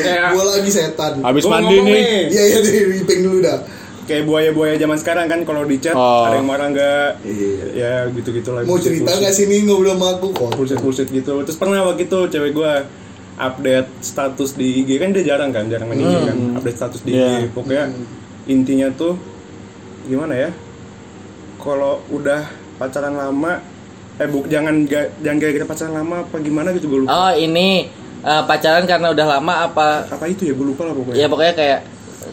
Speaker 3: kayak
Speaker 6: gua lagi setan.
Speaker 1: Oh, iya. habis
Speaker 3: Gua
Speaker 1: mandi
Speaker 3: ngomong
Speaker 1: nih
Speaker 6: Iya iya di ripeng dulu dah.
Speaker 3: kayak buaya-buaya zaman sekarang kan kalau di chat
Speaker 1: Oh.
Speaker 3: ada yang marah nggak ya gitu-gitu lah
Speaker 6: Iya. Mau cerita nggak sih nih ngobrol sama aku kok?
Speaker 3: bullshit-bullshit gitu terus pernah waktu itu cewek gua update status di IG kan dia jarang kan jarang main IG kan update status di
Speaker 1: Iya.
Speaker 3: IG pokoknya intinya tuh gimana ya kalau udah pacaran lama eh buk jangan ga- jangan gara-gara pacaran lama apa gimana gitu gue lupa
Speaker 4: Oh, ini eh, pacaran karena udah lama apa?
Speaker 3: apa itu ya gue lupa lah pokoknya
Speaker 4: Ya pokoknya kayak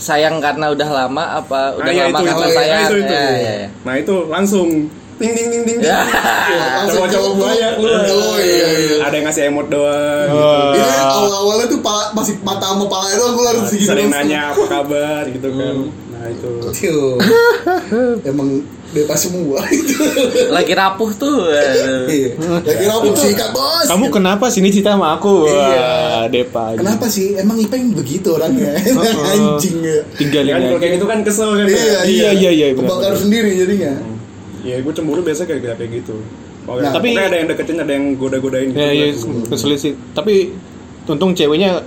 Speaker 4: sayang karena udah lama apa udah
Speaker 3: Ah, ya,
Speaker 4: lama kan
Speaker 3: itu,
Speaker 4: karena
Speaker 3: itu, itu,
Speaker 4: sayang
Speaker 3: itu, itu.
Speaker 4: Ya, ya, ya.
Speaker 3: Nah itu langsung ting ting ting ting. ting.
Speaker 4: Ya.
Speaker 3: Ah, Cowok-cowok banyak lu.
Speaker 2: Oh iya iya.
Speaker 3: Ada yang ngasih emot doang. gitu.
Speaker 1: Eh.
Speaker 2: Ini awal-awalnya tuh pala- masih mata sama pala itu aku harus
Speaker 3: gitu.
Speaker 2: segitu.
Speaker 3: Sering
Speaker 2: terus.
Speaker 3: nanya apa kabar gitu kan.
Speaker 2: Hmm.
Speaker 3: Nah itu.
Speaker 2: Cium. Emang bebas semua itu.
Speaker 4: lagi rapuh tuh aduh.
Speaker 2: Iya. Lagi rapuh sih Kak Bos.
Speaker 1: Kamu kenapa sini cerita sama
Speaker 2: Iya.
Speaker 1: aku? Wah, Depa aja.
Speaker 7: Kenapa sih? Emang Ipeng begitu orangnya. Anjing ya.
Speaker 1: Tinggalin
Speaker 3: Ya, kalau
Speaker 1: aja.
Speaker 3: kayak gitu kan kesel kan.
Speaker 2: Iya,
Speaker 1: Iya, iya, iya. benar,
Speaker 2: Kebakar
Speaker 1: benar.
Speaker 2: sendiri jadinya.
Speaker 3: Ya gue cemburu biasa kayak kayak gitu. Oh,
Speaker 2: Nah,
Speaker 1: tapi-
Speaker 3: tapi ada yang deketin, ada yang goda-godain gitu.
Speaker 1: Ya, ya,
Speaker 3: Gua-
Speaker 1: kesulit sih. Tapi untung ceweknya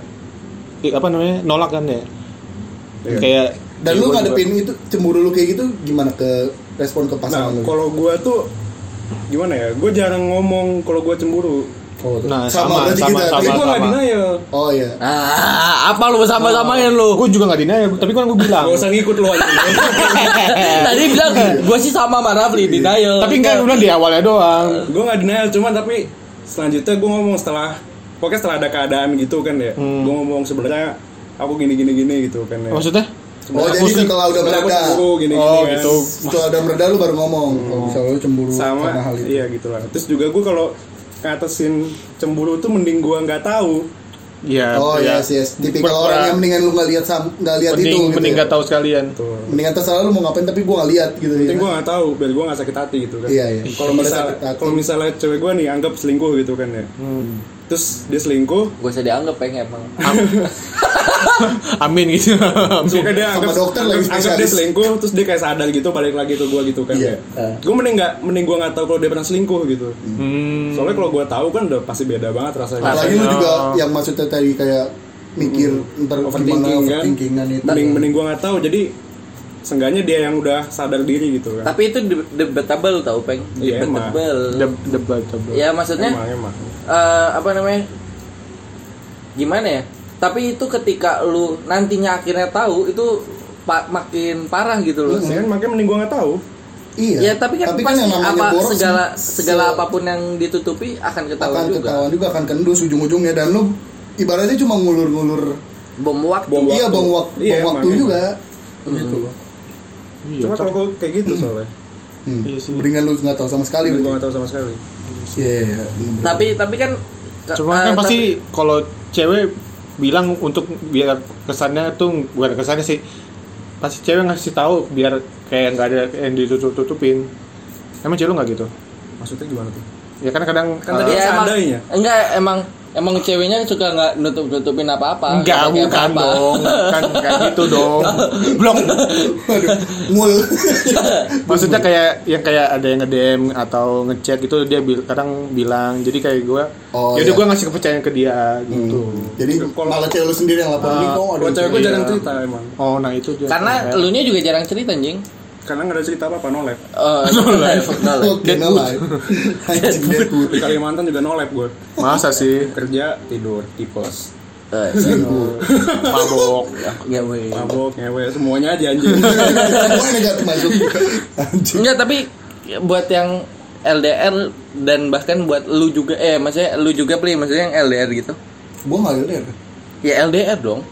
Speaker 1: i- apa namanya? nolak kan ya.
Speaker 3: Iya.
Speaker 1: Kayak
Speaker 2: Dan lu
Speaker 1: cewek
Speaker 2: ngadepin itu cemburu lu kayak gitu gimana ke respon ke
Speaker 3: Nah,
Speaker 2: pasangan lu?
Speaker 3: kalau gue tuh gimana ya? Gue jarang ngomong kalau gue cemburu.
Speaker 2: Oh, tuh.
Speaker 1: Nah, sama,
Speaker 2: berarti
Speaker 1: sama,
Speaker 2: kita-
Speaker 3: Tapi
Speaker 1: sama.
Speaker 3: gue nggak denial.
Speaker 2: Oh iya.
Speaker 4: Ah, apa lu sama samain lu
Speaker 1: Gue juga nggak denial, tapi kan gue bilang.
Speaker 3: Gak usah ngikut lu aja.
Speaker 4: tadi bilang gua sih sama sama Rafli denial
Speaker 1: tapi enggak udah di awalnya doang.
Speaker 3: gue nggak denial, cuman tapi selanjutnya gue ngomong setelah pokoknya setelah ada keadaan gitu kan ya.
Speaker 2: Hmm.
Speaker 3: Gue ngomong sebenarnya aku gini gini gini gitu kan ya.
Speaker 1: Maksudnya?
Speaker 2: Oh jadi
Speaker 1: Maksud-
Speaker 2: setelah udah
Speaker 3: Sebenarnya
Speaker 2: mereda,
Speaker 3: aku
Speaker 2: iya.
Speaker 3: cemburu gini gini.
Speaker 1: Oh, gitu.
Speaker 2: setelah udah mereda lu baru ngomong. Kalau misalnya lu cemburu
Speaker 3: Sama
Speaker 2: karena hal itu.
Speaker 3: iya gitu lah. Terus juga gue kalau ngatasin cemburu tuh mending gue nggak tahu.
Speaker 1: Iya.
Speaker 2: Oh
Speaker 1: iya.
Speaker 2: yes yes. Tipikal
Speaker 1: Berpera-
Speaker 2: orang yang mendingan lu nggak lihat sam- nggak lihat itu.
Speaker 1: Mending
Speaker 2: gitu
Speaker 1: mending
Speaker 2: ya.
Speaker 1: nggak tahu sekalian.
Speaker 3: Tuh.
Speaker 2: Mendingan terserah lu mau ngapain tapi gua nggak lihat gitu.
Speaker 3: Penting
Speaker 2: ya.
Speaker 3: gue nggak tahu, biar gue nggak sakit hati gitu kan.
Speaker 2: Iya, iya.
Speaker 3: Kalau
Speaker 2: Daripada
Speaker 3: misalnya
Speaker 2: sakit hati. Hmm.
Speaker 3: kalau misalnya cewek gue nih anggap selingkuh gitu kan ya. Terus dia selingkuh,
Speaker 4: gua usah dianggap pengen emang
Speaker 1: Amin gitu. Amin.
Speaker 3: Suka dia
Speaker 2: Sama
Speaker 3: anggap,
Speaker 2: dokter lagi
Speaker 3: anggap, anggap dia
Speaker 2: spesialis.
Speaker 3: selingkuh terus dia kayak sadar gitu balik lagi ke gua gitu kan.
Speaker 2: Iya. Eh.
Speaker 3: Gua mending nggak mending gua nggak tahu kalau dia pernah selingkuh gitu. Soalnya kalau gua tahu kan udah pasti beda banget rasanya.
Speaker 2: Apalagi lu juga yang maksudnya tadi kayak mikir ntar gimana
Speaker 3: Overthinking kan.
Speaker 2: overthinkingan itu.
Speaker 3: Mending mending gua nggak tahu jadi seenggaknya dia yang udah sadar diri gitu kan.
Speaker 4: tapi itu de- debatable tau peng
Speaker 3: Iya, emang.
Speaker 4: debatable
Speaker 1: Deb- Debat debat.
Speaker 4: ya
Speaker 3: Iya.
Speaker 4: maksudnya
Speaker 3: Emang emang.
Speaker 4: eh, apa namanya gimana ya tapi itu ketika lu nantinya akhirnya tahu itu pa- makin parah gitu loh
Speaker 3: Saya kan makanya mending gua nggak tahu.
Speaker 2: Iya.
Speaker 4: Ya tapi kan pasti
Speaker 2: yang namanya
Speaker 4: apa
Speaker 2: boros
Speaker 4: segala
Speaker 2: se-
Speaker 4: segala apapun yang ditutupi akan ketahuan
Speaker 2: akan
Speaker 4: juga.
Speaker 2: ketahuan juga akan kendus ujung-ujungnya dan lu ibaratnya cuma ngulur-ngulur
Speaker 4: Bom waktu.
Speaker 3: Bom
Speaker 2: iya
Speaker 3: waktu.
Speaker 2: bang waktu
Speaker 3: Iya,
Speaker 2: bang
Speaker 3: emang,
Speaker 2: waktu
Speaker 3: emang.
Speaker 2: juga gitu loh
Speaker 1: Iya.
Speaker 3: Cuma kalau gua kayak gitu soalnya.
Speaker 2: hmm.
Speaker 1: Iya sih.
Speaker 2: mendingan lu nggak tahu sama sekali
Speaker 3: Mending gua
Speaker 2: berarti.
Speaker 3: nggak tahu sama sekali.
Speaker 2: iya iya, iya.
Speaker 4: Tapi tapi kan ke-
Speaker 1: Cuma
Speaker 4: eh,
Speaker 1: kan
Speaker 4: tapi-
Speaker 1: pasti kalau cewek bilang untuk biar kesannya tuh bukan kesannya sih pasti cewek ngasih tahu biar kayak nggak ada yang ditutup-tutupin. Emang cewek lu nggak gitu?
Speaker 3: Maksudnya gimana tuh?
Speaker 1: Ya kan kadang
Speaker 3: Kan
Speaker 1: eh,
Speaker 3: tadi-
Speaker 4: ya, emang,
Speaker 3: seandainya.
Speaker 4: enggak emang emang ceweknya suka nggak nutup nutupin apa apa.
Speaker 1: enggak bukan dong, kan kan gitu dong. Blok.
Speaker 2: Waduh, ngul
Speaker 1: Maksudnya kayak yang kayak ada yang nge-DM atau ngechat gitu dia bil- kadang bilang jadi kayak gua
Speaker 2: Oh,
Speaker 1: jadi
Speaker 2: iya. Hmm.
Speaker 1: gua ngasih kepercayaan ke dia gitu.
Speaker 2: jadi
Speaker 3: Kalau-
Speaker 2: malah cewek lu sendiri yang lapor nih kok Oh, ada
Speaker 3: Kalau Ah, cewek gua
Speaker 1: iya.
Speaker 3: jarang cerita emang.
Speaker 1: Oh, nah itu dia.
Speaker 4: Karena
Speaker 1: Kayak-
Speaker 4: lu juga jarang cerita anjing.
Speaker 3: Karena nggak ada cerita apa-apa no lab.
Speaker 4: Eh, no life.
Speaker 2: oke no life anjing Deadwood
Speaker 3: Di Kalimantan juga no lab gua.
Speaker 1: masa sih
Speaker 3: Kerja, tidur, tipes.
Speaker 4: Eh,
Speaker 1: mabok.
Speaker 4: ya weh.
Speaker 3: mabok ngewe semuanya aja anjing
Speaker 2: semua negatif masuk anjing
Speaker 4: Enggak tapi buat yang LDR dan bahkan buat lu juga eh maksudnya lu juga play maksudnya yang LDR gitu.
Speaker 2: gua nggak lihat
Speaker 4: Ya LDR dong.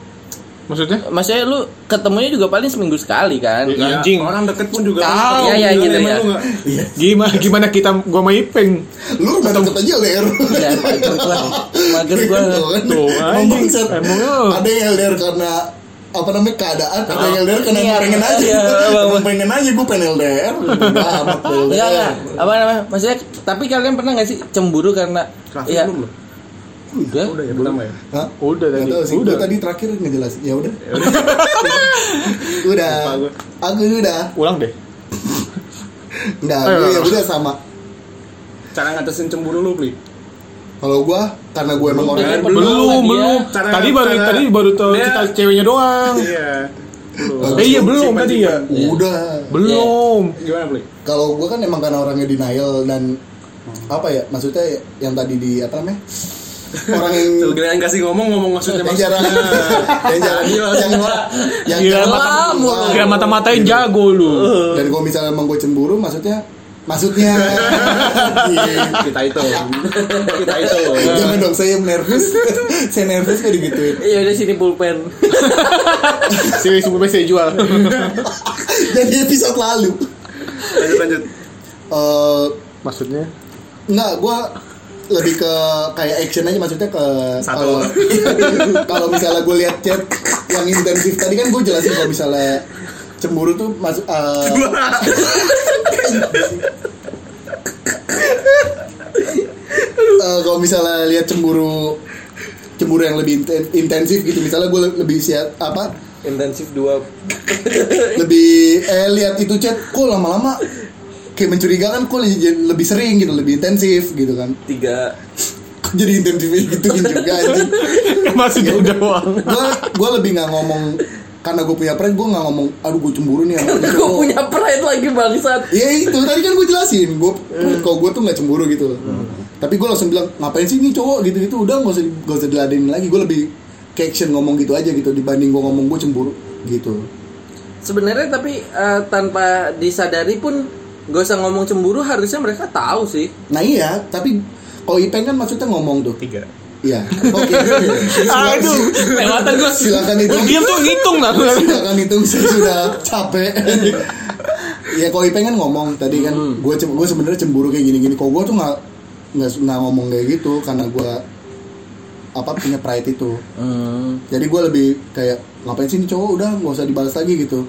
Speaker 1: Maksudnya?
Speaker 4: Maksudnya lu ketemunya juga paling seminggu sekali kan?
Speaker 1: Iya. Anjing.
Speaker 3: Ya, orang deket pun juga
Speaker 4: Tahu.
Speaker 3: Iya
Speaker 4: Iya, iya, gitu ya.
Speaker 1: Gimana gimana kita gua sama Ipeng?
Speaker 2: lu udah deket aja LDR
Speaker 4: Ya, mager gua. Mager gua.
Speaker 2: Gitu
Speaker 1: Tuh, anjing.
Speaker 2: Membangsat.
Speaker 1: Emang lu.
Speaker 2: kan. Ada yang LDR karena apa namanya keadaan, ada yang LDR karena
Speaker 4: Iya,
Speaker 2: emang pengen aja.
Speaker 4: iya, bang.
Speaker 2: Emang pengen aja gue pengen LDR. Udah amat
Speaker 1: Iya,
Speaker 4: Enggak
Speaker 2: gua LDR.
Speaker 4: enggak. Iya, Apa namanya? Maksudnya tapi kalian pernah gak sih cemburu karena
Speaker 3: Raffi
Speaker 4: Iya.
Speaker 3: belum loh?
Speaker 4: Udah.
Speaker 3: udah ya pertama ya
Speaker 2: Hah?
Speaker 1: Udah
Speaker 2: Nggak
Speaker 1: tadi.
Speaker 2: tahu sih,
Speaker 1: Udah.
Speaker 2: udah tadi terakhir ngejelas. Ya udah. udah. Aku udah.
Speaker 1: Ulang deh.
Speaker 2: Enggak,
Speaker 1: Ayo,
Speaker 2: gue ya
Speaker 1: ayo.
Speaker 2: udah sama.
Speaker 3: cara ngatasin cemburu lu pli
Speaker 2: Kalau gue karena gue emang orang
Speaker 1: Belum,
Speaker 4: Belum.
Speaker 1: ya.
Speaker 4: Belum,
Speaker 1: belum.
Speaker 4: dia.
Speaker 3: Cara-
Speaker 1: Tadi baru
Speaker 3: cara-
Speaker 1: tadi baru tahu
Speaker 3: Dia-
Speaker 1: cerita ceweknya doang.
Speaker 3: iya
Speaker 1: Eh iya belum
Speaker 3: Simpan,
Speaker 1: tadi
Speaker 3: simpan.
Speaker 1: ya.
Speaker 2: udah.
Speaker 1: Belum.
Speaker 3: gimana pli
Speaker 2: Kalau gue kan emang karena orangnya denial dan
Speaker 1: Hmm.
Speaker 2: apa ya maksudnya yang tadi di apa namanya orang yang
Speaker 3: Tuh, kalian kasih ngomong ngomong maksudnya
Speaker 2: yang
Speaker 3: maksudnya
Speaker 2: jarang yang jarang
Speaker 3: Iya,
Speaker 2: yang yang
Speaker 1: Kira
Speaker 2: jarang
Speaker 1: mata
Speaker 4: mulu.
Speaker 1: kira mata-matain jago lu.
Speaker 2: dan kalau misalnya emang gue cemburu maksudnya maksudnya gitu.
Speaker 1: Kita itu.
Speaker 3: kita itu
Speaker 2: jangan dong saya nervous saya nervous kayak digituin
Speaker 4: Iya udah sini pulpen.
Speaker 1: Si Wismu saya jual.
Speaker 2: dari episode lalu
Speaker 3: lanjut lanjut
Speaker 2: Eh,
Speaker 1: Maksudnya?
Speaker 2: Enggak, gue lebih ke kayak action aja maksudnya ke
Speaker 3: Satu.
Speaker 2: kalau kalau misalnya gue lihat chat yang intensif tadi kan gue jelasin kalau misalnya cemburu tuh masuk eh, eh, kalau misalnya lihat cemburu cemburu yang lebih inten- intensif gitu misalnya gue lebih siap apa
Speaker 4: Intensif dua.
Speaker 2: lebih eh lihat itu chat kok lama-lama kayak mencurigakan kok li- jadi lebih sering gitu lebih intensif gitu kan
Speaker 4: tiga.
Speaker 2: Kok jadi intensifnya gituin juga anjing
Speaker 1: Maksudnya udah doang.
Speaker 2: gue gue lebih nggak ngomong karena gue punya pride gue nggak ngomong aduh gue cemburu nih sama dia."
Speaker 4: Gue punya pride lagi bangsat.
Speaker 2: ya itu tadi kan gue jelasin gue kalau gue tuh nggak cemburu gitu tapi gue langsung bilang ngapain sih ini cowok gitu gitu udah nggak usah nggak usah diladenin lagi gue lebih ke action ngomong gitu aja gitu dibanding gue ngomong gue cemburu gitu
Speaker 4: Sebenarnya tapi eh, tanpa disadari pun gak usah ngomong cemburu harusnya mereka tahu sih.
Speaker 2: nah iya tapi kalau Ipeng kan maksudnya ngomong tuh
Speaker 3: tiga
Speaker 2: iya oke
Speaker 1: Aduh, lewatan gue.
Speaker 2: silakan itu
Speaker 1: Gue diam tuh Ya, ngitung lah.
Speaker 2: silakan hitung saya sudah capek ya kalau Ipeng kan ngomong tadi kan gue cem- gue sebenarnya cemburu kayak gini-gini kok gue tuh nggak nggak su- nggak ngomong kayak gitu karena gue apa punya pride itu
Speaker 4: Hmm.
Speaker 2: jadi gue lebih kayak ngapain sih ini cowok udah nggak usah dibalas lagi gitu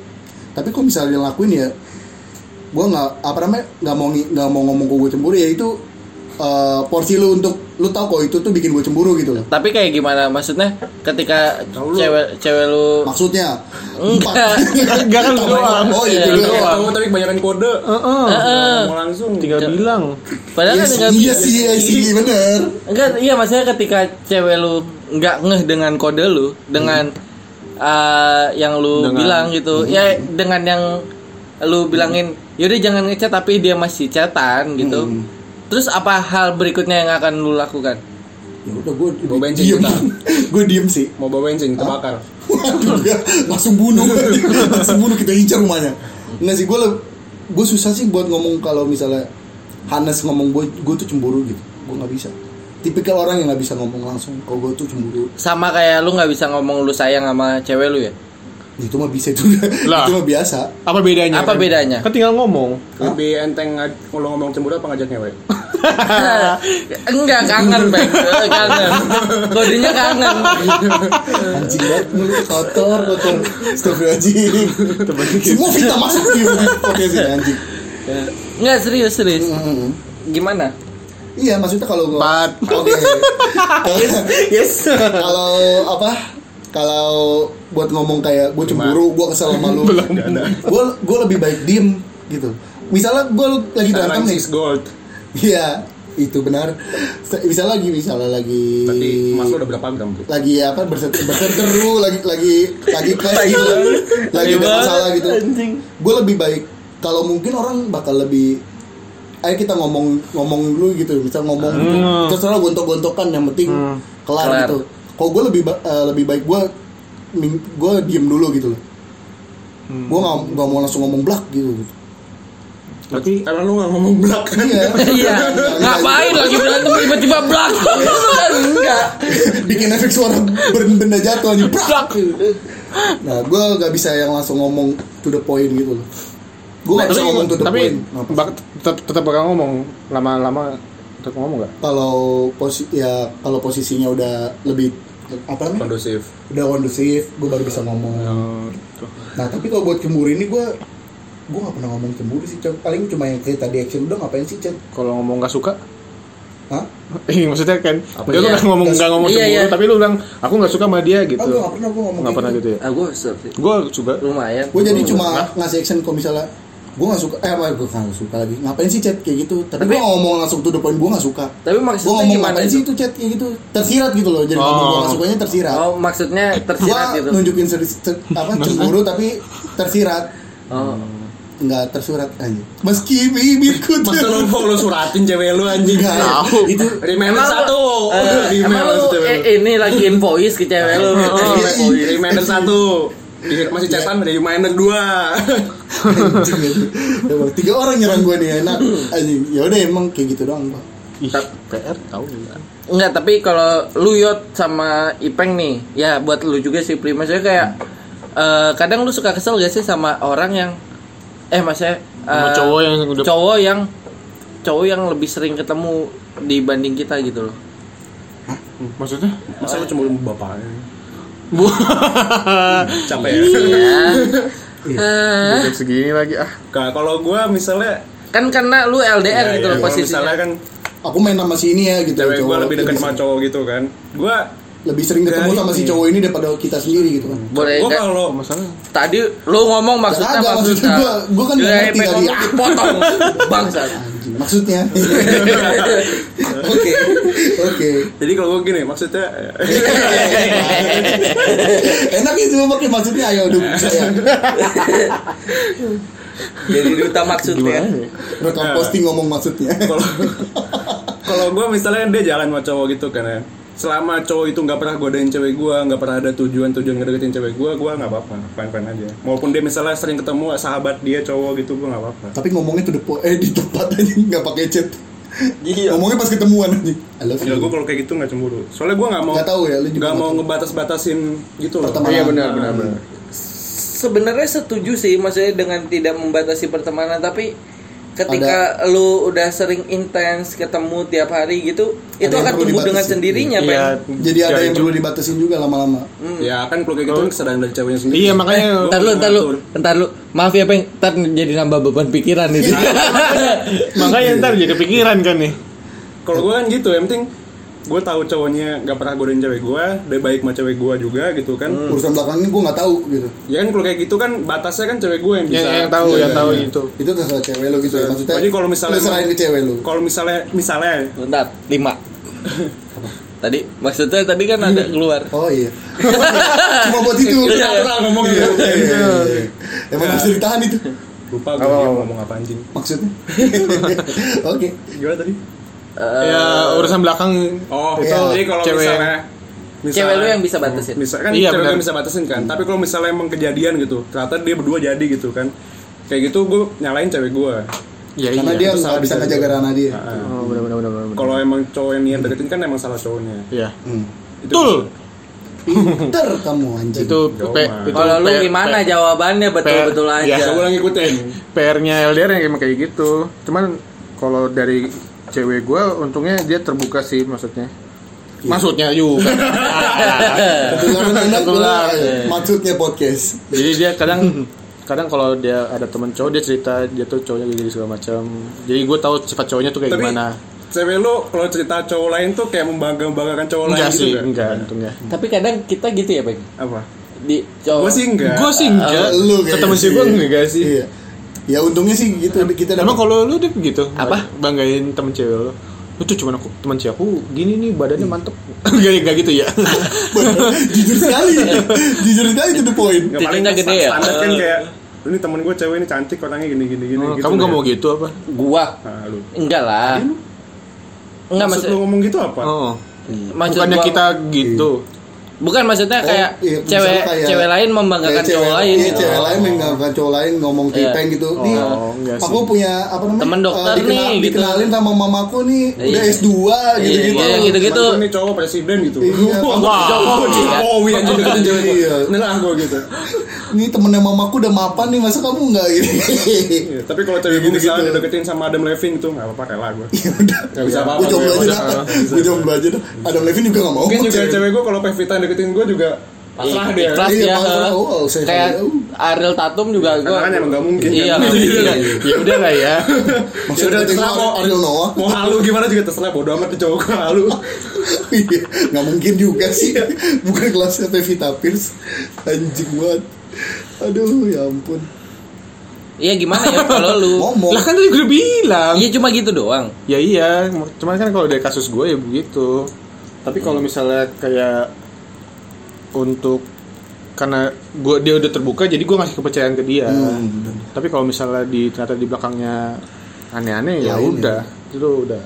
Speaker 2: tapi kok misalnya dia lakuin ya gue nggak apa namanya nggak mau ngi- nggak mau ngomong kok gue cemburu ya itu eh, porsi lu untuk lu tau kok itu tuh bikin gue cemburu gitu loh
Speaker 4: Tapi kayak gimana maksudnya ketika cewek cewek lu
Speaker 2: maksudnya
Speaker 4: Enggak.
Speaker 1: Enggak kan lu doang.
Speaker 2: oh iya
Speaker 4: Iya,
Speaker 2: gue doang
Speaker 3: tahu tapi kebanyakan kode
Speaker 4: Heeh.
Speaker 3: mau langsung
Speaker 1: Tinggal
Speaker 4: Iya.
Speaker 1: bilang.
Speaker 4: Padahal
Speaker 2: Iya
Speaker 4: kan
Speaker 2: sih,
Speaker 4: nggak
Speaker 2: iya sih, iya sih, bener.
Speaker 4: Enggak, iya maksudnya ketika cewek lu nggak ngeh dengan kode lu, dengan eh, yang lu
Speaker 1: Dengan-
Speaker 4: bilang gitu, ya dengan yang lu bilangin, yaudah jangan ngechat tapi dia masih chatan gitu. Terus apa hal berikutnya yang akan lu lakukan?
Speaker 2: Ya udah gue
Speaker 3: Bawa bensin
Speaker 2: diem,
Speaker 3: kita.
Speaker 2: gue diem sih.
Speaker 3: mau bawa bensin terbakar
Speaker 2: Waduh, dia langsung bunuh, langsung bunuh kita incer rumahnya. Nggak sih, gue gue susah sih buat ngomong kalau misalnya Hanes ngomong gue, gue tuh cemburu gitu. Gue nggak bisa. Tipikal orang yang nggak bisa ngomong langsung kalau gue tuh cemburu.
Speaker 4: Sama kayak lu nggak bisa ngomong lu sayang sama cewek lu ya?
Speaker 2: Itu mah bisa juga.
Speaker 1: Lah.
Speaker 2: Itu mah biasa.
Speaker 1: Apa bedanya?
Speaker 4: Apa bedanya?
Speaker 1: Kan tinggal ngomong.
Speaker 3: lebih enteng ngaj- kalau ngomong cemburu apa ngajak ngewe
Speaker 4: Enggak kangen, Bang. Eh, Kangen. Kodenya kangen.
Speaker 2: Anjing banget mulut kotor, kotor. Astagfirullahaladzim. Semua fitnah masuk di Oke sih anjing. Hmm.
Speaker 4: Enggak serius, serius.
Speaker 2: Mm-mm.
Speaker 4: Gimana?
Speaker 2: Iya, maksudnya kalau gue
Speaker 1: Empat.
Speaker 2: Oke.
Speaker 4: Yes.
Speaker 2: kalau apa kalau buat ngomong kayak gue cemburu gue kesel sama lu gue gue lebih baik diem gitu misalnya gue lagi berantem
Speaker 3: sekarang
Speaker 2: nih
Speaker 3: six gold
Speaker 2: iya itu benar Se- misalnya lagi misalnya lagi
Speaker 3: tapi mas lu udah berapa gram bro
Speaker 2: lagi apa berset- berseteru lagi lagi lagi clash gitu lagi ada masalah gitu gue lebih baik kalau mungkin orang bakal lebih ayo kita ngomong ngomong dulu gitu misal ngomong gitu. terserah gontok-gontokan yang penting kelar,
Speaker 4: Kelar.
Speaker 2: gitu kalau gue lebih ba- eh, lebih baik gue gue diem dulu gitu loh gue nggak nggak mau langsung ngomong blak gitu
Speaker 1: Tapi
Speaker 3: karena lu nggak ngomong belak kan
Speaker 2: iya
Speaker 4: Iya. Ngapain lagi berantem tiba-tiba blak? Enggak.
Speaker 2: bikin efek suara ben- benda jatuh aja brak nah gue gak bisa yang langsung ngomong to the point gitu loh gue gak bisa ngomong to the
Speaker 1: Nah, tapi
Speaker 2: point Kenapa?
Speaker 1: bak- tetap tetap bakal ngomong lama-lama tetap ngomong nggak?
Speaker 2: kalau posi ya kalau posisinya udah lebih apa namanya
Speaker 3: kondusif
Speaker 2: udah kondusif gue baru bisa
Speaker 1: Iya.
Speaker 2: ngomong
Speaker 1: Oh,
Speaker 2: nah tapi kalau buat cemburu ini gue gue gak pernah ngomong cemburu sih Cok. paling cuma yang kayak tadi action udah ngapain sih chat
Speaker 1: Kalau ngomong nggak suka?
Speaker 2: Hah?
Speaker 1: Iya maksudnya kan dia tuh
Speaker 4: iya?
Speaker 1: nggak ngomong nggak ngomong
Speaker 4: Iya,
Speaker 1: cemburu
Speaker 4: iya.
Speaker 1: tapi lu bilang aku nggak suka sama dia
Speaker 2: ah
Speaker 1: gitu.
Speaker 2: gue gak pernah gue ngomong
Speaker 1: Nggak
Speaker 2: kayak
Speaker 1: pernah gitu ya.
Speaker 4: Aku seperti
Speaker 1: Gue juga
Speaker 4: Ah, lumayan.
Speaker 2: gue jadi cuma ngasih action kalau misalnya gue gak suka eh gue gak suka lagi ngapain sih chat kayak gitu tapi,
Speaker 4: Tapi-
Speaker 2: gue ngomong langsung to the point gue gak suka
Speaker 4: Tapi
Speaker 2: gue
Speaker 4: maksudnya
Speaker 2: ngomong
Speaker 4: gimana
Speaker 2: ngapain
Speaker 4: itu?
Speaker 2: sih Nah. itu chat kayak gitu tersirat gitu loh jadi ngomong gue gak sukanya tersirat
Speaker 4: Oh, maksudnya
Speaker 2: gue
Speaker 4: tersirat gitu.
Speaker 2: nunjukin seri- ter- apa cemburu tapi tersirat
Speaker 4: Oh.
Speaker 2: nggak tersurat aja meski bibirku
Speaker 3: Masa lu mau lu suratin cewek lu anjing
Speaker 2: Nggak,
Speaker 3: Itu Remember
Speaker 4: Emang lu-
Speaker 3: satu
Speaker 4: Eh, emang
Speaker 3: Remember
Speaker 4: lu
Speaker 3: cewek
Speaker 4: eh, ini lagi invoice ke cewek lu. gitu?
Speaker 3: lu Remember satu Di- Masih cetan ada reminder dua
Speaker 2: Anjing, anjing. Emang tiga orang nyerang gue nih enak. Anjing. Ya udah emang kayak gitu doang, Pak.
Speaker 1: Ih,
Speaker 4: Tap-
Speaker 1: PR tahu ya.
Speaker 4: Enggak, tapi kalau lu Yot sama Ipeng nih, ya buat lu juga sih Prima. Saya kayak eh, kadang lu suka kesel gak sih sama orang yang eh maksudnya
Speaker 1: Sama
Speaker 4: eh,
Speaker 1: cowok yang udah-
Speaker 4: cowok yang cowok yang lebih sering ketemu dibanding kita gitu loh.
Speaker 1: Maksudnya?
Speaker 3: Masa lu cemburu sama bapaknya?
Speaker 1: Bu.
Speaker 3: Capek ya?
Speaker 4: Iya. Eh,
Speaker 1: Jam segini lagi ah.
Speaker 3: Nah, kalau gua misalnya
Speaker 4: kan karena lu LDR
Speaker 3: Ya,
Speaker 4: gitu
Speaker 3: ya,
Speaker 4: loh
Speaker 3: kalau
Speaker 4: posisinya.
Speaker 3: Misalnya kan
Speaker 2: Aku main sama si ini ya gitu.
Speaker 3: cewek
Speaker 2: cowok.
Speaker 3: gua lebih dekat sama cowok gitu kan. Gua
Speaker 2: Lebih sering ketemu sama si cowok ini daripada kita sendiri gitu kan.
Speaker 4: Boleh
Speaker 3: gua
Speaker 4: nggak?
Speaker 3: kalau
Speaker 1: Masalah.
Speaker 4: tadi lu ngomong maksudnya
Speaker 2: Kagak, maksudnya
Speaker 4: maksudnya.
Speaker 2: gua- gua kan nggak
Speaker 4: Gila,
Speaker 2: ngerti
Speaker 4: Ipeng
Speaker 2: tadi.
Speaker 4: ngomong dipotong. Bangsat.
Speaker 2: Anjing. Maksudnya. Oke. Oke.
Speaker 3: jadi kalau gua gini maksudnya eh,
Speaker 2: Enak itu pakai maksudnya ayo dong saya.
Speaker 4: Jadi duta maksudnya.
Speaker 2: Rekam posting ngomong maksudnya.
Speaker 3: kalau kalau gua misalnya kan dia jalan sama cowok gitu kan ya. Selama cowok itu nggak pernah godain cewek gua, nggak pernah ada tujuan-tujuan ngedeketin cewek gua, gua nggak apa-apa, fine-fine aja. Maupun dia misalnya sering ketemu sahabat dia cowok gitu, gua nggak apa-apa.
Speaker 2: Tapi ngomongnya tuh depo eh di tempat aja nggak pakai chat. Ngomongnya pas ketemuan aja. I love
Speaker 3: Ya
Speaker 2: you.
Speaker 3: gue kalau kayak gitu nggak cemburu. Soalnya gue nggak mau
Speaker 2: Nggak tahu ya, lu juga
Speaker 3: nggak
Speaker 2: nggak
Speaker 3: mau
Speaker 2: tahu.
Speaker 3: ngebatas-batasin gitu loh.
Speaker 2: Pertemanan. Iya, benar, benar, benar.
Speaker 4: sebenarnya setuju sih maksudnya dengan tidak membatasi pertemanan tapi ketika lu udah sering intens ketemu tiap hari gitu
Speaker 2: Ada
Speaker 4: itu
Speaker 2: yang
Speaker 4: akan
Speaker 2: perlu
Speaker 4: tumbuh dengan
Speaker 2: dibatasi.
Speaker 4: sendirinya
Speaker 3: Iya.
Speaker 1: Iya.
Speaker 4: Pen.
Speaker 2: Jadi ada yang perlu dibatasin juga lama-lama.
Speaker 3: Ya kan kalau kayak gitu kan kesadaran dari ceweknya sendiri.
Speaker 1: Iya makanya
Speaker 4: Ntar lu, ntar lu, ntar lu. Maaf ya, Peng. Ntar jadi nambah beban pikiran Iya. itu.
Speaker 1: makanya ntar jadi kepikiran kan nih.
Speaker 3: Kalau gue kan gitu, yang penting gue tahu cowoknya nggak pernah godain cewek gue, dia baik sama cewek gue juga gitu kan.
Speaker 2: Urusan belakangnya gue nggak tahu gitu.
Speaker 3: Ya kan kalau kayak gitu kan batasnya kan cewek gue yang bisa.
Speaker 1: Yang, yang tahu, yang tahu itu.
Speaker 2: Iya, Itu terserah cewek lo gitu ya maksudnya.
Speaker 3: Jadi kalau misalnya-
Speaker 2: lu serahin ke cewek lo.
Speaker 3: Kalau misalnya misalnya
Speaker 4: Bentar, lima. Tadi maksudnya tadi kan ada keluar.
Speaker 2: Oh iya. Cuma buat itu.
Speaker 3: Natural ngomongnya.
Speaker 2: Iya, iya, iya, iya. Emang harus ditahan itu.
Speaker 3: lupa gue dia ngomong apa anjing.
Speaker 2: Maksudnya. Oke.
Speaker 3: Gimana tadi?
Speaker 1: ya urusan belakang
Speaker 3: Oh,
Speaker 1: itu
Speaker 3: jadi kalau
Speaker 1: cewek.
Speaker 3: misalnya
Speaker 4: Cewek lu yang bisa batasin.
Speaker 3: Misalkan
Speaker 1: Iya,
Speaker 3: cewek
Speaker 1: benar.
Speaker 3: kan bisa batasin kan. Tapi kalau misalnya emang kejadian gitu, ternyata dia berdua jadi gitu kan. Kayak gitu gue nyalain cewek gue.
Speaker 1: Ya
Speaker 2: Karena
Speaker 1: iya.
Speaker 2: dia nggak bisa ngejaga ranah dia.
Speaker 1: Oh, benar benar benar benar.
Speaker 3: Kalau emang cowok yang niat deketin kan emang salah cowoknya.
Speaker 1: Iya.
Speaker 2: Hmm.
Speaker 3: Itu
Speaker 1: Betul.
Speaker 2: Pinter kamu anjing.
Speaker 1: Itu
Speaker 3: Jauh,
Speaker 1: P-
Speaker 3: mah.
Speaker 1: itu
Speaker 4: Kalau lu
Speaker 1: P-
Speaker 4: gimana jawabannya betul-betul
Speaker 1: Pe-
Speaker 4: aja.
Speaker 1: Ya,
Speaker 3: Gak boleh ngikutin.
Speaker 1: PR-nya LDR yang emang kayak gitu. Cuman kalau dari cewek gue untungnya dia terbuka sih maksudnya. Maksudnya juga.
Speaker 2: Ketularan enak
Speaker 1: Ketularan,
Speaker 2: ketularan.
Speaker 4: ya.
Speaker 2: Maksudnya podcast.
Speaker 1: Jadi dia kadang kadang kalau dia ada teman cowok dia cerita dia tuh cowoknya gini segala macam. Jadi gue tahu sifat cowoknya tuh kayak
Speaker 3: Tapi
Speaker 1: gimana.
Speaker 3: cewek lu kalau cerita cowok lain tuh kayak membangga-banggakan cowok
Speaker 1: Enggak
Speaker 3: lain
Speaker 1: sih,
Speaker 3: gitu kan?
Speaker 1: enggak untungnya.
Speaker 4: Tapi kadang kita gitu ya, Peng.
Speaker 3: Apa?
Speaker 4: Di
Speaker 1: Oh,
Speaker 4: cowok.
Speaker 3: Gue sih enggak.
Speaker 1: Gue sih enggak.
Speaker 2: Ah, lu kayaknya
Speaker 1: Ketemu sih
Speaker 2: sih.
Speaker 1: gue enggak sih.
Speaker 2: Iya. Ya untungnya sih gitu kita
Speaker 1: Emang
Speaker 2: dapat.
Speaker 1: kalau lu deh gitu apa banggain temen cewek lu itu cuma aku temen cewek aku gini nih badannya mantep gak, gak gitu ya
Speaker 2: Jujur sekali. Jujur sekali itu the point.
Speaker 3: Nggak, paling
Speaker 4: Titiknya gede ya?
Speaker 3: Standar kan kayak ini temen gue cewek ini cantik orangnya gini gini gini.
Speaker 1: Eh. Oh,
Speaker 3: gitu
Speaker 1: kamu gak
Speaker 3: ya.
Speaker 1: mau gitu apa
Speaker 4: gua
Speaker 3: Nah, lu.
Speaker 4: enggak lah. Enggak
Speaker 3: Maksud
Speaker 4: maksud,
Speaker 3: lu ngomong gitu apa?
Speaker 1: oh
Speaker 4: maksud
Speaker 1: bukannya
Speaker 4: gua-
Speaker 1: kita gitu
Speaker 4: Bukan maksudnya
Speaker 2: Oh,
Speaker 4: kayak
Speaker 2: iya,
Speaker 4: cewek
Speaker 2: misalnya kayak-
Speaker 4: cewek lain membanggakan
Speaker 2: Kayak
Speaker 4: cowok lain
Speaker 2: iya,
Speaker 4: gitu.
Speaker 2: cewek lain membanggakan cowok lain ngomong
Speaker 4: Iya.
Speaker 2: tipeng gitu nih
Speaker 1: Oh, enggak sih.
Speaker 2: aku punya apa namanya
Speaker 4: Temen dokter
Speaker 2: eh, dikenal-
Speaker 4: nih, gitu.
Speaker 2: dikenalin sama mamaku nih udah
Speaker 4: Iya.
Speaker 2: S2 gitu-gitu
Speaker 4: Iya,
Speaker 2: Iya,
Speaker 4: gitu-gitu. Iya.
Speaker 3: Mantan nih cowok presiden gitu. Oh,
Speaker 2: Iya,
Speaker 1: Wah.
Speaker 3: Jokowi, Jokowi aja deketin cewek gue.
Speaker 2: Iya.
Speaker 3: Nah, gue gitu.
Speaker 2: nih temennya mamaku udah mapan nih masa kamu enggak gitu
Speaker 3: Iya, tapi kalau cewek gue misalnya deketin sama Adam Levine gitu nggak apa-apa rela gue. Ya, Nggak bisa apa-apa.
Speaker 2: gue Ya jomblo
Speaker 3: gue.
Speaker 2: aja dah gue jomblo aja dah Adam Levine juga gak mau
Speaker 3: Mungkin juga cewek gue kalau Pevita deketin gue juga pasrah dia.
Speaker 4: Ikhlas
Speaker 2: Iya,
Speaker 4: ya.
Speaker 2: pasrah. Oh, oh, saya
Speaker 4: kayak
Speaker 2: tahu.
Speaker 4: Ariel Tatum juga
Speaker 3: Karena
Speaker 4: gua.
Speaker 3: kan emang nggak mungkin.
Speaker 4: Iya,
Speaker 3: kan?
Speaker 4: nggak mungkin.
Speaker 1: ya, ya udah lah ya
Speaker 2: maksudnya
Speaker 3: Yaudah,
Speaker 2: tengok
Speaker 3: terserah,
Speaker 2: Ariel Noah
Speaker 3: Iya, Mau halu gimana juga terserah bodo amat tuh cowok gue halu.
Speaker 2: Iya, nggak mungkin juga sih
Speaker 3: Iya.
Speaker 2: bukan kelasnya Pevita Pierce anjing banget aduh ya ampun
Speaker 4: Iya gimana ya kalau lu?
Speaker 2: ngomong
Speaker 1: lah kan tadi gue bilang
Speaker 4: Iya cuma gitu doang.
Speaker 1: ya iya cuman kan kalau dari kasus gue ya begitu tapi kalau misalnya kayak untuk karena gue dia udah terbuka jadi gue ngasih kepercayaan ke dia
Speaker 3: Ya.
Speaker 2: Hmm,
Speaker 1: tapi kalau misalnya di ternyata di belakangnya aneh-aneh ya
Speaker 2: Lain
Speaker 1: udah itu udah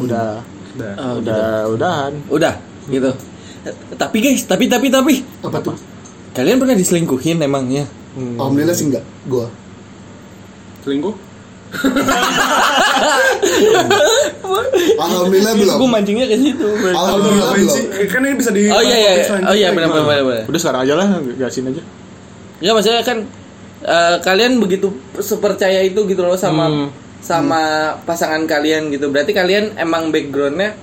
Speaker 1: udah
Speaker 3: Udah.
Speaker 1: udah udahan
Speaker 4: Udah gitu. Eh, Tapi guys, tapi tapi tapi
Speaker 2: apa tuh
Speaker 4: kalian pernah diselingkuhin emangnya?
Speaker 3: Hmm.
Speaker 2: alhamdulillah sih enggak gua
Speaker 3: selingkuh
Speaker 2: Alhamdulillah belum.
Speaker 8: Gue mancingnya ke situ.
Speaker 2: Alhamdulillah
Speaker 3: Ngapain
Speaker 2: belum.
Speaker 3: sih? kan ini bisa di
Speaker 4: Oh iya iya.
Speaker 3: podcast lanjut
Speaker 4: Oh iya
Speaker 3: lagi.
Speaker 4: benar benar benar. benar.
Speaker 1: Udah sekarang aja lah, gasin aja.
Speaker 4: Enggak maksudnya kan eh, kalian begitu sepercaya itu gitu loh sama
Speaker 1: Hmm.
Speaker 4: sama pasangan kalian gitu. Berarti kalian emang backgroundnya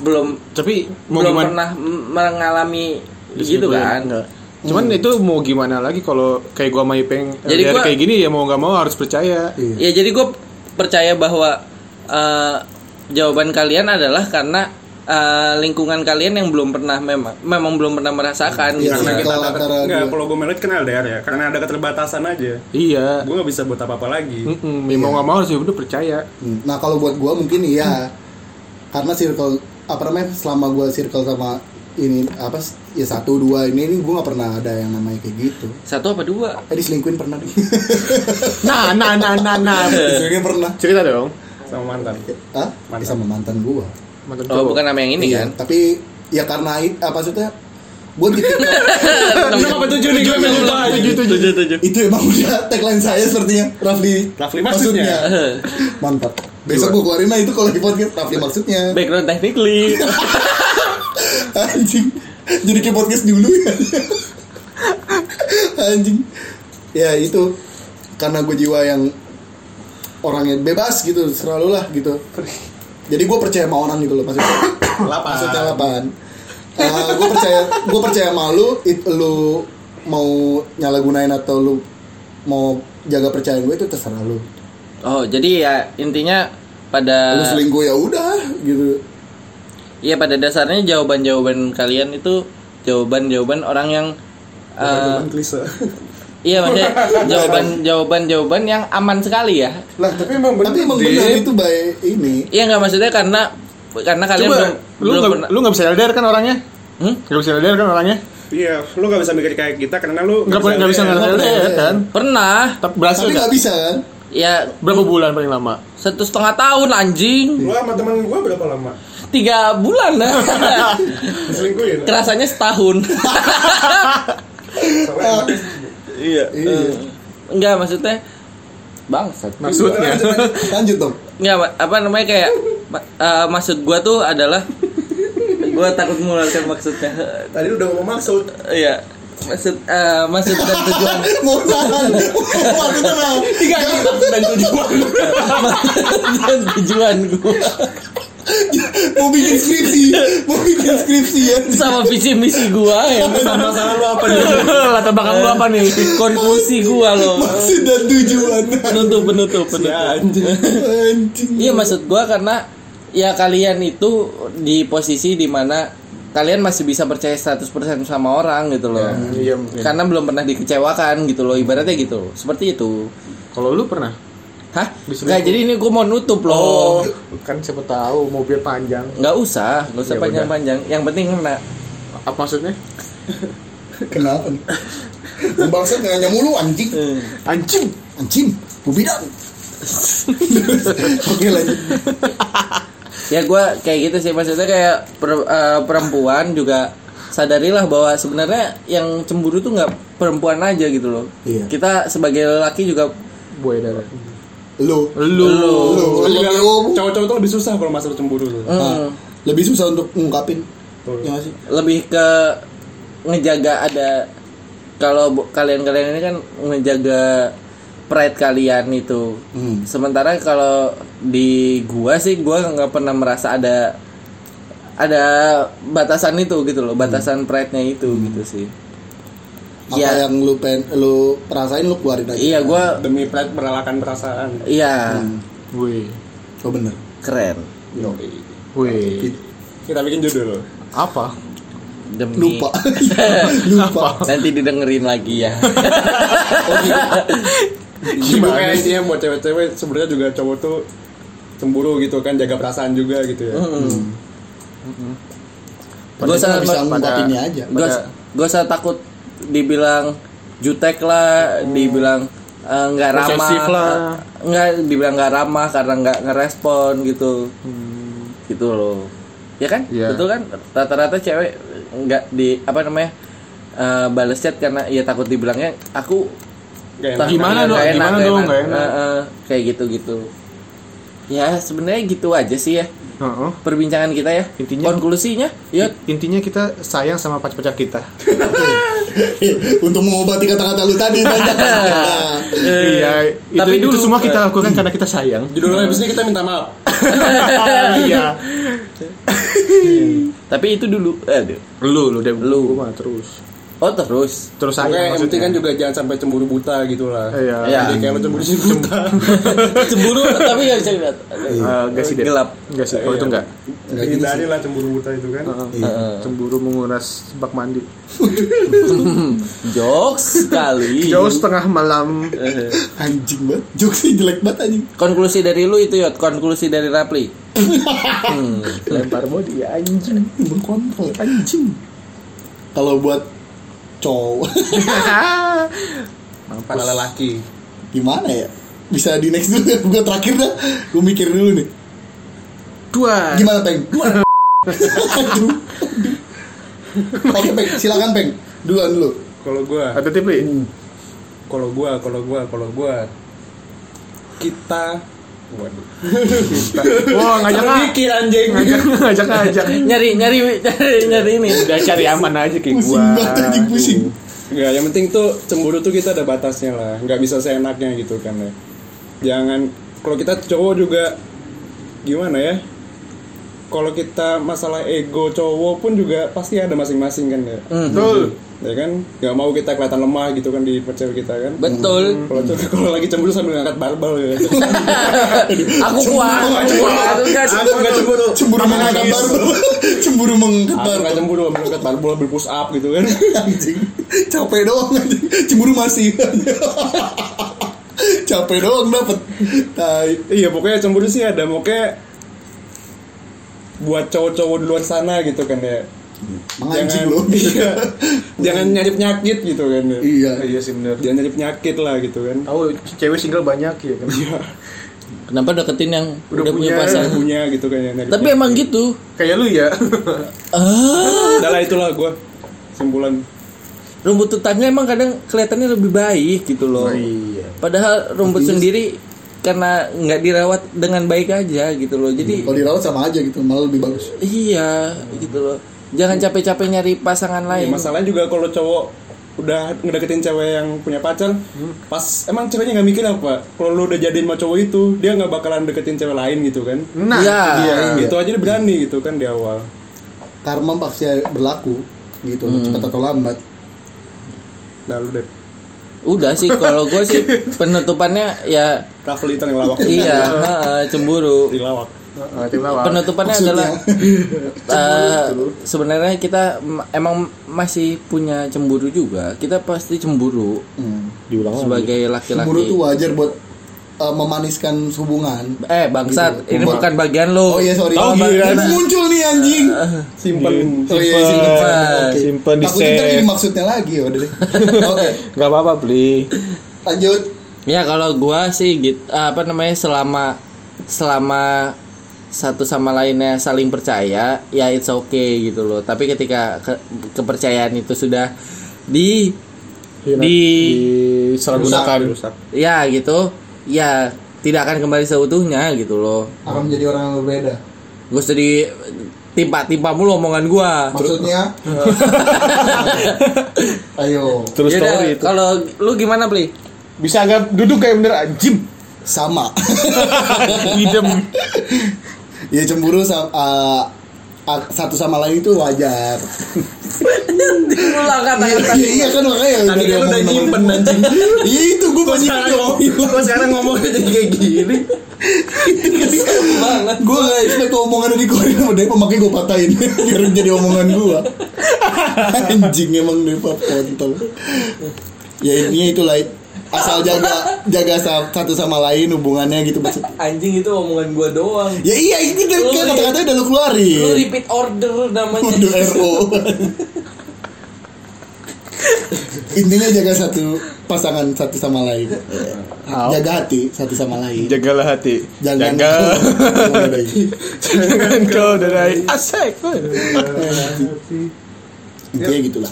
Speaker 4: belum
Speaker 1: Tapi mau gimana?
Speaker 4: belum
Speaker 1: ya?
Speaker 4: pernah m- mengalami gitu
Speaker 1: Diselingkuhin,
Speaker 4: kan.
Speaker 1: enggak. Cuman itu mau gimana lagi kalau kayak Hmm. gua sama Ipeng
Speaker 4: Jadi
Speaker 1: LDR
Speaker 4: gua-
Speaker 1: kayak gini ya mau nggak mau harus percaya.
Speaker 2: Iya.
Speaker 3: Iya,
Speaker 4: Ya jadi gue percaya bahwa eh, jawaban kalian adalah karena eh, lingkungan kalian yang belum pernah memang memang belum pernah merasakan
Speaker 2: Iya
Speaker 4: gitu.
Speaker 3: karena
Speaker 2: sih,
Speaker 3: kita
Speaker 2: kalau antara
Speaker 3: enggak
Speaker 2: dua-
Speaker 3: kalau gue melihat kan LDR ya karena ada keterbatasan aja
Speaker 1: Iya.
Speaker 3: gue nggak bisa buat apa apa lagi
Speaker 1: Mm-mm, ya mau nggak mau harus ya udah percaya.
Speaker 2: Hmm, Nah kalau buat gua mungkin
Speaker 3: Hmm.
Speaker 2: iya karena circle apa namanya selama gua circle sama ini apa ya satu dua ini ini gua nggak pernah ada yang namanya kayak gitu.
Speaker 4: Satu apa dua?
Speaker 2: Eh diselingkuin pernah deh.
Speaker 1: Nah, nah, nah, nah, nah.
Speaker 2: diselingkuin pernah.
Speaker 1: Cerita dong.
Speaker 3: sama mantan
Speaker 2: Hah?
Speaker 3: Mantan.
Speaker 2: Sama mantan gua.
Speaker 1: Mantan
Speaker 4: Oh
Speaker 1: cowok.
Speaker 4: bukan nama yang ini
Speaker 2: Iya,
Speaker 4: kan?
Speaker 2: Tapi ya karena it- apa maksudnya gua di titik-
Speaker 1: Kenapa tujuh nih? Tujuh, tujuh, tujuh, tujuh, tujuh.
Speaker 2: itu emang udah tagline saya sepertinya Rafli
Speaker 3: Rafli maksudnya.
Speaker 2: mantap besok gua keluarin lah itu kalau di podcast Rafli maksudnya
Speaker 4: Background technically.
Speaker 2: anjing jadi kayak podcast dulu ya anjing ya itu karena gue jiwa yang orangnya bebas gitu selalu lah gitu jadi gue percaya sama orang gitu loh maksudnya lapan maksudnya lapan gue percaya gue percaya sama lu it, lu mau nyalagunain atau lu mau jaga percayaan gue itu terserah lu
Speaker 4: Oh, jadi ya intinya pada
Speaker 2: lu selingkuh ya udah gitu
Speaker 4: ya pada dasarnya jawaban-jawaban kalian itu jawaban-jawaban orang yang eh,
Speaker 3: klise
Speaker 4: iya maksudnya jawaban-jawaban jawaban yang aman sekali ya.
Speaker 1: Lah, tapi emang
Speaker 2: tapi emang benar itu baik ini
Speaker 4: Iya nggak maksudnya karena karena kalian
Speaker 1: Coba, lu
Speaker 4: belum belum
Speaker 1: nggak
Speaker 4: pernah-
Speaker 1: lu nggak bisa LDR kan orangnya?
Speaker 4: Hmm?
Speaker 1: Nggak bisa LDR kan orangnya?
Speaker 3: iya lu nggak bisa mikir kayak kita karena lu
Speaker 1: Nggak pernah nggak bisa
Speaker 3: LDR.
Speaker 1: LDR, LDR kan?
Speaker 4: pernah
Speaker 1: Tapi berhasil
Speaker 2: tapi
Speaker 1: nggak?
Speaker 2: nggak bisa kan
Speaker 4: ya
Speaker 1: Berapa bulan paling lama?
Speaker 4: satu setengah tahun anjing
Speaker 3: lu sama temen gue berapa lama
Speaker 4: tiga bulan lah
Speaker 3: selingkuhin
Speaker 4: kerasanya setahun
Speaker 3: iya
Speaker 2: eh,
Speaker 4: nggak maksudnya bangsat
Speaker 1: Maksudnya?
Speaker 2: lanjut dong
Speaker 4: Nggak, Ma- apa namanya kayak ma- eh, maksud gua tuh adalah gua takut mengeluarkan maksudnya.
Speaker 9: Tadi udah ngomong maksud
Speaker 4: Iya. Maksud eh, maksud dan tujuan.
Speaker 2: mau tahan mau aku tenang
Speaker 4: dan tujuan. dan tujuan gua
Speaker 2: mau bikin skripsi mau bikin skripsi ya
Speaker 4: sama visi misi gua ya.
Speaker 3: masalah lu apa nih
Speaker 1: Latar belakang lu apa nih?
Speaker 4: Konklusi gua loh.
Speaker 2: maksud dan tujuan
Speaker 4: Penutup penutup penutup.
Speaker 2: anjing
Speaker 4: Iya maksud gua karena ya kalian itu di posisi dimana kalian masih bisa percaya 100% sama orang gitu loh.
Speaker 1: Iya.
Speaker 2: Ya.
Speaker 4: Karena belum pernah dikecewakan gitu loh ibaratnya gitu. Seperti itu.
Speaker 1: Kalau lu pernah?
Speaker 4: Hah?
Speaker 1: Disuruh
Speaker 4: Nggak, jadi ini gue mau nutup loh.
Speaker 2: Oh.
Speaker 1: kan siapa tahu mau biar panjang.
Speaker 4: Nggak usah, nggak
Speaker 2: Iya,
Speaker 4: usah
Speaker 1: Ya
Speaker 4: panjang-panjang. Yang penting kena.
Speaker 1: Apa maksudnya?
Speaker 2: kenapa nih bangsa nanya mulu anjing
Speaker 1: Anjing.
Speaker 2: anjing mau bidan oke lanjut
Speaker 4: Ya gue kayak gitu sih maksudnya kayak per- eh, perempuan juga sadarilah bahwa sebenarnya yang cemburu tuh nggak perempuan aja gitu loh.
Speaker 2: Iya.
Speaker 4: Kita sebagai lelaki juga
Speaker 1: Boy darah.
Speaker 2: lu
Speaker 1: Lu.
Speaker 2: lu
Speaker 3: Juga
Speaker 2: lagi om.
Speaker 3: cowok-cowok tuh lebih susah kalau masalah cemburu tuh.
Speaker 4: mm,
Speaker 2: Ah, lebih susah untuk ngungkapin ya nggak sih
Speaker 4: lebih ke ngejaga ada kalau bu- kalian-kalian ini kan ngejaga pride kalian itu.
Speaker 2: Hmm.
Speaker 4: Sementara kalau di gua sih gua nggak pernah merasa ada ada batasan itu gitu loh, batasan pride-nya itu gitu sih.
Speaker 2: Hmm. apa
Speaker 4: Iya.
Speaker 2: yang lu pengen lu rasain lu keluarin aja
Speaker 4: Iya, gua
Speaker 3: Demi pride merelakan perasaan.
Speaker 4: iya,
Speaker 2: Hmm.
Speaker 1: Wih.
Speaker 2: oh bener
Speaker 4: keren.
Speaker 1: Wih.
Speaker 3: Kita bikin judul.
Speaker 1: Apa?
Speaker 4: Demi
Speaker 2: lupa lupa
Speaker 4: Nanti didengerin lagi ya.
Speaker 3: Gimana kayak intinya buat cewek-cewek sebenarnya juga cowok tuh cemburu gitu kan jaga perasaan juga gitu ya.
Speaker 4: gua sangat
Speaker 2: bisa
Speaker 4: ber-
Speaker 2: ngungkapinnya aja
Speaker 4: gue gue saya takut dibilang jutek lah dibilang eh, nggak ramah
Speaker 1: Posesif Oh. lah.
Speaker 4: eh, nggak dibilang nggak ramah karena nggak ngerespon gitu gitu loh ya kan
Speaker 1: Hmm. Iya.
Speaker 4: betul kan rata-rata cewek nggak di apa namanya eh, balas chat karena ya takut dibilangnya aku
Speaker 3: Gak
Speaker 1: Tapi
Speaker 3: enak.
Speaker 1: Gimana dong?
Speaker 4: Nggak
Speaker 1: Gimana
Speaker 4: nggak
Speaker 1: dong? Nggak enak.
Speaker 4: Eh, eh, kayak gitu-gitu. Ya, sebenarnya gitu aja sih ya
Speaker 1: Heeh.
Speaker 4: perbincangan kita ya.
Speaker 1: Intinya-
Speaker 4: konklusinya, ya
Speaker 1: Intinya kita sayang sama pacar-pacar kita.
Speaker 2: Untuk mengobati kata-kata lu tadi banyak kan. Nah,
Speaker 1: iya. Itu,
Speaker 4: tapi
Speaker 1: itu
Speaker 4: dulu-
Speaker 1: semua kita lakukan karena kita sayang.
Speaker 3: Judul episode kita minta maaf.
Speaker 1: iya.
Speaker 4: tapi itu dulu.
Speaker 1: Eh,
Speaker 4: Aduh.
Speaker 1: Lu lu deh
Speaker 4: Lu.
Speaker 1: gua mah terus.
Speaker 4: Oh, terus.
Speaker 1: Terus sayang
Speaker 3: Oke, yang penting
Speaker 1: maksudnya.
Speaker 3: kan juga jangan sampai cemburu buta gitu lah.
Speaker 1: Iya.
Speaker 4: Iya.
Speaker 3: Jadi kayak lu cemburu buta.
Speaker 4: Cemburu tapi nggak bisa dilihat.
Speaker 1: Eh, Enggak sih deh.
Speaker 4: Iya. Gelap.
Speaker 1: Enggak sih. Kalau itu enggak.
Speaker 5: Hindari lah cemburu buta itu kan.
Speaker 2: Iya.
Speaker 1: Cemburu menguras bak mandi.
Speaker 4: Jokes sekali.
Speaker 1: Jauh setengah malam.
Speaker 2: anjing banget. Jokesnya jelek banget anjing.
Speaker 4: Konklusi dari lu itu yot. Konklusi dari Rapli.
Speaker 1: lempar body ya anjing.
Speaker 2: Berkontrol.
Speaker 1: Anjing.
Speaker 2: Kalau buat cowok
Speaker 3: Para lelaki.
Speaker 2: gimana ya? Bisa di next dulu ya. Gue terakhir dah. Gue mikir dulu nih.
Speaker 1: Dua.
Speaker 2: Gimana peng? Aduh. Oke peng, silakan peng. Duluan dulu.
Speaker 3: Kalau gua,
Speaker 1: Ada tip Li?
Speaker 3: kalau gua, kalau gua, kalau gua kita waduh.
Speaker 1: Wah, ngajak
Speaker 3: Mikir anjing.
Speaker 1: ngajak ngajak ngajak.
Speaker 4: Nyari nyari nyari, nyari ini.
Speaker 1: Udah cari aman aja kayak
Speaker 2: Pusing banget anjing pusing.
Speaker 3: Enggak, Ya, yang penting tuh cemburu tuh kita ada batasnya lah. Nggak bisa seenaknya gitu kan ya. Jangan kalau kita cowok juga gimana ya? Kalau kita masalah ego cowok pun juga pasti ada masing-masing kan ya.
Speaker 1: Betul.
Speaker 3: Ya kan, nggak mau kita kelihatan lemah gitu kan di percaya kita kan.
Speaker 4: Betul.
Speaker 3: Kalau cowok kalau lagi cemburu sambil ngangkat barbel ya.
Speaker 4: Aku kuat. Aku kuat. Aku kuat.
Speaker 3: Aku nggak cemburu.
Speaker 2: Cemburu mengangkat barbel. Cemburu mengangkat
Speaker 3: Aku
Speaker 2: barbel.
Speaker 3: nggak cemburu ambil ngangkat barbel ambil push up gitu kan.
Speaker 2: anjing capek doang anjing cemburu masih capek doang dapet tai
Speaker 3: Iya pokoknya cemburu sih ada pokoknya buat cowok-cowok di luar sana gitu kan ya.
Speaker 2: menganjing
Speaker 3: Jangan-
Speaker 2: lo
Speaker 3: Iya. Jangan nyari penyakit gitu kan ya.
Speaker 2: iya
Speaker 1: Iya sih bener.
Speaker 3: Jangan nyari penyakit lah gitu kan.
Speaker 1: Tahu cewek single banyak ya kan.
Speaker 4: Kenapa deketin yang udah,
Speaker 1: Udah
Speaker 4: punya
Speaker 1: punya.
Speaker 4: pasangan?
Speaker 3: Jangan punya gitu kan ya. nyari
Speaker 4: Iya. Tapi
Speaker 3: penyakit.
Speaker 4: emang gitu.
Speaker 1: Kayak lu ya.
Speaker 4: Ah,
Speaker 3: Udah lah itulah gue simpulan.
Speaker 4: rumput tetangga emang kadang kelihatannya lebih baik gitu loh.
Speaker 1: iya.
Speaker 4: Padahal rumput sendiri karena nggak dirawat dengan baik aja gitu loh.
Speaker 1: Hmm.
Speaker 4: Jadi
Speaker 2: kalau dirawat sama aja gitu malah lebih bagus
Speaker 4: iya gitu loh. Jangan capek-capek nyari pasangan
Speaker 3: Ya,
Speaker 4: lain.
Speaker 3: masalahnya juga kalau cowok udah ngedeketin cewek yang punya pacar,
Speaker 4: Hmm.
Speaker 3: pas emang ceweknya nggak mikir apa? Kalau lu udah jadiin sama cowok itu, dia nggak bakalan deketin cewek lain gitu kan?
Speaker 1: Nah,
Speaker 4: Iya.
Speaker 1: itu dia.
Speaker 3: Gitu aja dia berani gitu kan di awal.
Speaker 2: karma pasti berlaku gitu
Speaker 3: Hmm.
Speaker 2: loh, cepat atau lambat
Speaker 3: Nah lu deh,
Speaker 4: Udah sih kalau gue sih penutupannya ya
Speaker 3: Rafli itu yang lawak.
Speaker 4: iya ha, cemburu.
Speaker 3: Di lawak.
Speaker 1: Heeh, tim lawan.
Speaker 4: Penutupannya adalah eh, sebenarnya kita em- emang masih punya cemburu juga. Kita pasti cemburu
Speaker 1: Diulang lagi.
Speaker 4: sebagai
Speaker 2: Hmm. Oh, iya. cemburu
Speaker 4: laki-laki.
Speaker 2: tuh wajar buat eh, memaniskan hubungan
Speaker 4: Eh bangsat, ini bukan bagian lo.
Speaker 2: Gitu. oh iya sorry
Speaker 1: Tahu giliran.
Speaker 2: Itu muncul nih anjing
Speaker 3: Simpen.
Speaker 2: oh iya
Speaker 4: Simpen.
Speaker 2: oke.
Speaker 1: Simpen di
Speaker 2: Takutnya ntar
Speaker 1: safe.
Speaker 2: ini maksudnya lagi ya, udah deh oke
Speaker 1: Gak apa-apa, beli.
Speaker 2: lanjut
Speaker 4: Ya kalau gua sih gitu apa namanya selama selama satu sama lainnya saling percaya ya it's okay gitu loh. Tapi ketika ke- kepercayaan itu sudah di di
Speaker 1: disalahgunakan.
Speaker 4: ya gitu ya tidak akan kembali seutuhnya gitu loh.
Speaker 2: akan menjadi orang yang berbeda
Speaker 4: Gue jadi timpa-timpa mulu omongan gua.
Speaker 2: maksudnya ayo
Speaker 1: Terus
Speaker 4: Yaudah,
Speaker 1: story itu.
Speaker 4: Kalau lu gimana, Pli?
Speaker 1: Bisa agak duduk kayak bener anjing.
Speaker 2: sama
Speaker 1: Idem.
Speaker 2: ya cemburu sama eh, ak- satu sama lain itu wajar
Speaker 4: Ulang
Speaker 2: iya
Speaker 4: kata-kata.
Speaker 2: iya, iya kan makanya
Speaker 3: Tadi kan udah
Speaker 2: ngomong-
Speaker 3: nyimpen anjing.
Speaker 2: iya itu gue
Speaker 3: Gua
Speaker 2: masih
Speaker 3: sekarang ngomong, gua sekarang ngomongnya jadi kayak gini.
Speaker 2: gue gak expect tuh omongan dari gue sama Depa makanya gue patahin biar jadi omongan gue anjing emang Depa kontol ya intinya itulah asal jaga jaga sa- satu sama lain hubungannya gitu maksud
Speaker 4: Anjing itu omongan gua doang.
Speaker 2: ya iya ini kan
Speaker 4: Lu-
Speaker 2: kata-katanya udah lu
Speaker 4: Lu
Speaker 2: keluarin
Speaker 4: repeat order namanya.
Speaker 2: Waduh RO Intinya jaga satu pasangan satu sama lain Jaga hati satu sama lain
Speaker 1: Jagalah hati.
Speaker 2: Jangan
Speaker 1: Jaga.
Speaker 2: Jangan.
Speaker 1: Jangan Kan, kau dari asik.
Speaker 6: Iya.
Speaker 2: Intinya gitulah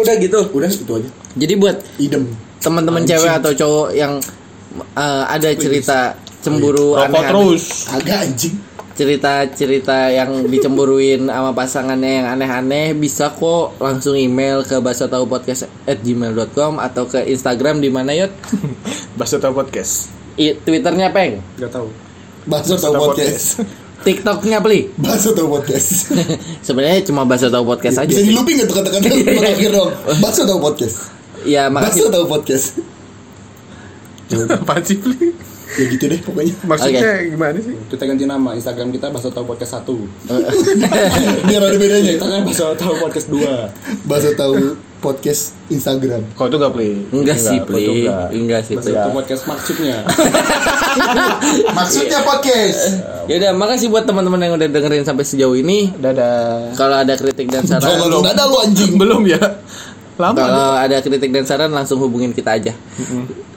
Speaker 4: Udah gitu.
Speaker 2: Udah itu aja
Speaker 4: Jadi buat
Speaker 2: Idem
Speaker 4: teman-teman cewek atau cowok yang eh, ada cerita cemburu
Speaker 1: Rokok
Speaker 4: aneh-aneh
Speaker 1: terus.
Speaker 2: Agak anjing.
Speaker 4: cerita-cerita yang dicemburuin sama pasangannya yang aneh-aneh bisa kok langsung email ke bahasa tahu podcast at gmail.com atau ke Instagram di mana yot
Speaker 1: Bahasa Tahu Podcast.
Speaker 4: I- Twitternya peng
Speaker 3: Gak tahu.
Speaker 2: Bahasa
Speaker 1: Tahu
Speaker 2: tahu podcast.
Speaker 4: TikToknya pli
Speaker 2: Bahasa tahu podcast.
Speaker 4: sebenarnya cuma bahasa tahu podcast aja
Speaker 2: Bisa di
Speaker 4: sih.
Speaker 2: looping nggak tuh kata-kata terakhir dong. Bakso tahu podcast.
Speaker 4: ya makasih
Speaker 2: Bakso tahu podcast.
Speaker 1: Apa sih, Pli?
Speaker 2: Ya gitu deh pokoknya.
Speaker 1: Maksudnya gimana sih?
Speaker 3: Kita ganti nama Instagram kita Bahasa Tahu Podcast
Speaker 4: Eh,
Speaker 3: 1.
Speaker 2: Biar ada bedanya.
Speaker 3: Kita kan Bahasa Tahu Podcast 2.
Speaker 2: Bakso tahu podcast Instagram.
Speaker 1: Kau itu gak, Pli?
Speaker 4: enggak sih
Speaker 1: kau itu
Speaker 4: pli
Speaker 1: enggak.
Speaker 4: enggak sih
Speaker 3: Bahasa
Speaker 4: pli
Speaker 3: Tahu Podcast maksudnya.
Speaker 6: Maksudnya podcast.
Speaker 4: Yaudah, makasih buat teman-teman yang udah dengerin sampai sejauh ini.
Speaker 1: Dadah.
Speaker 4: Kalau ada kritik dan
Speaker 2: Jangan
Speaker 4: saran,
Speaker 2: langsung dadah lu anjing.
Speaker 1: Belum ya? Lama.
Speaker 4: kalau ada kritik dan saran langsung hubungin kita aja.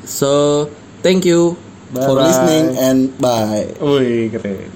Speaker 4: So, thank you.
Speaker 2: For listening and bye.
Speaker 1: Wih, keren.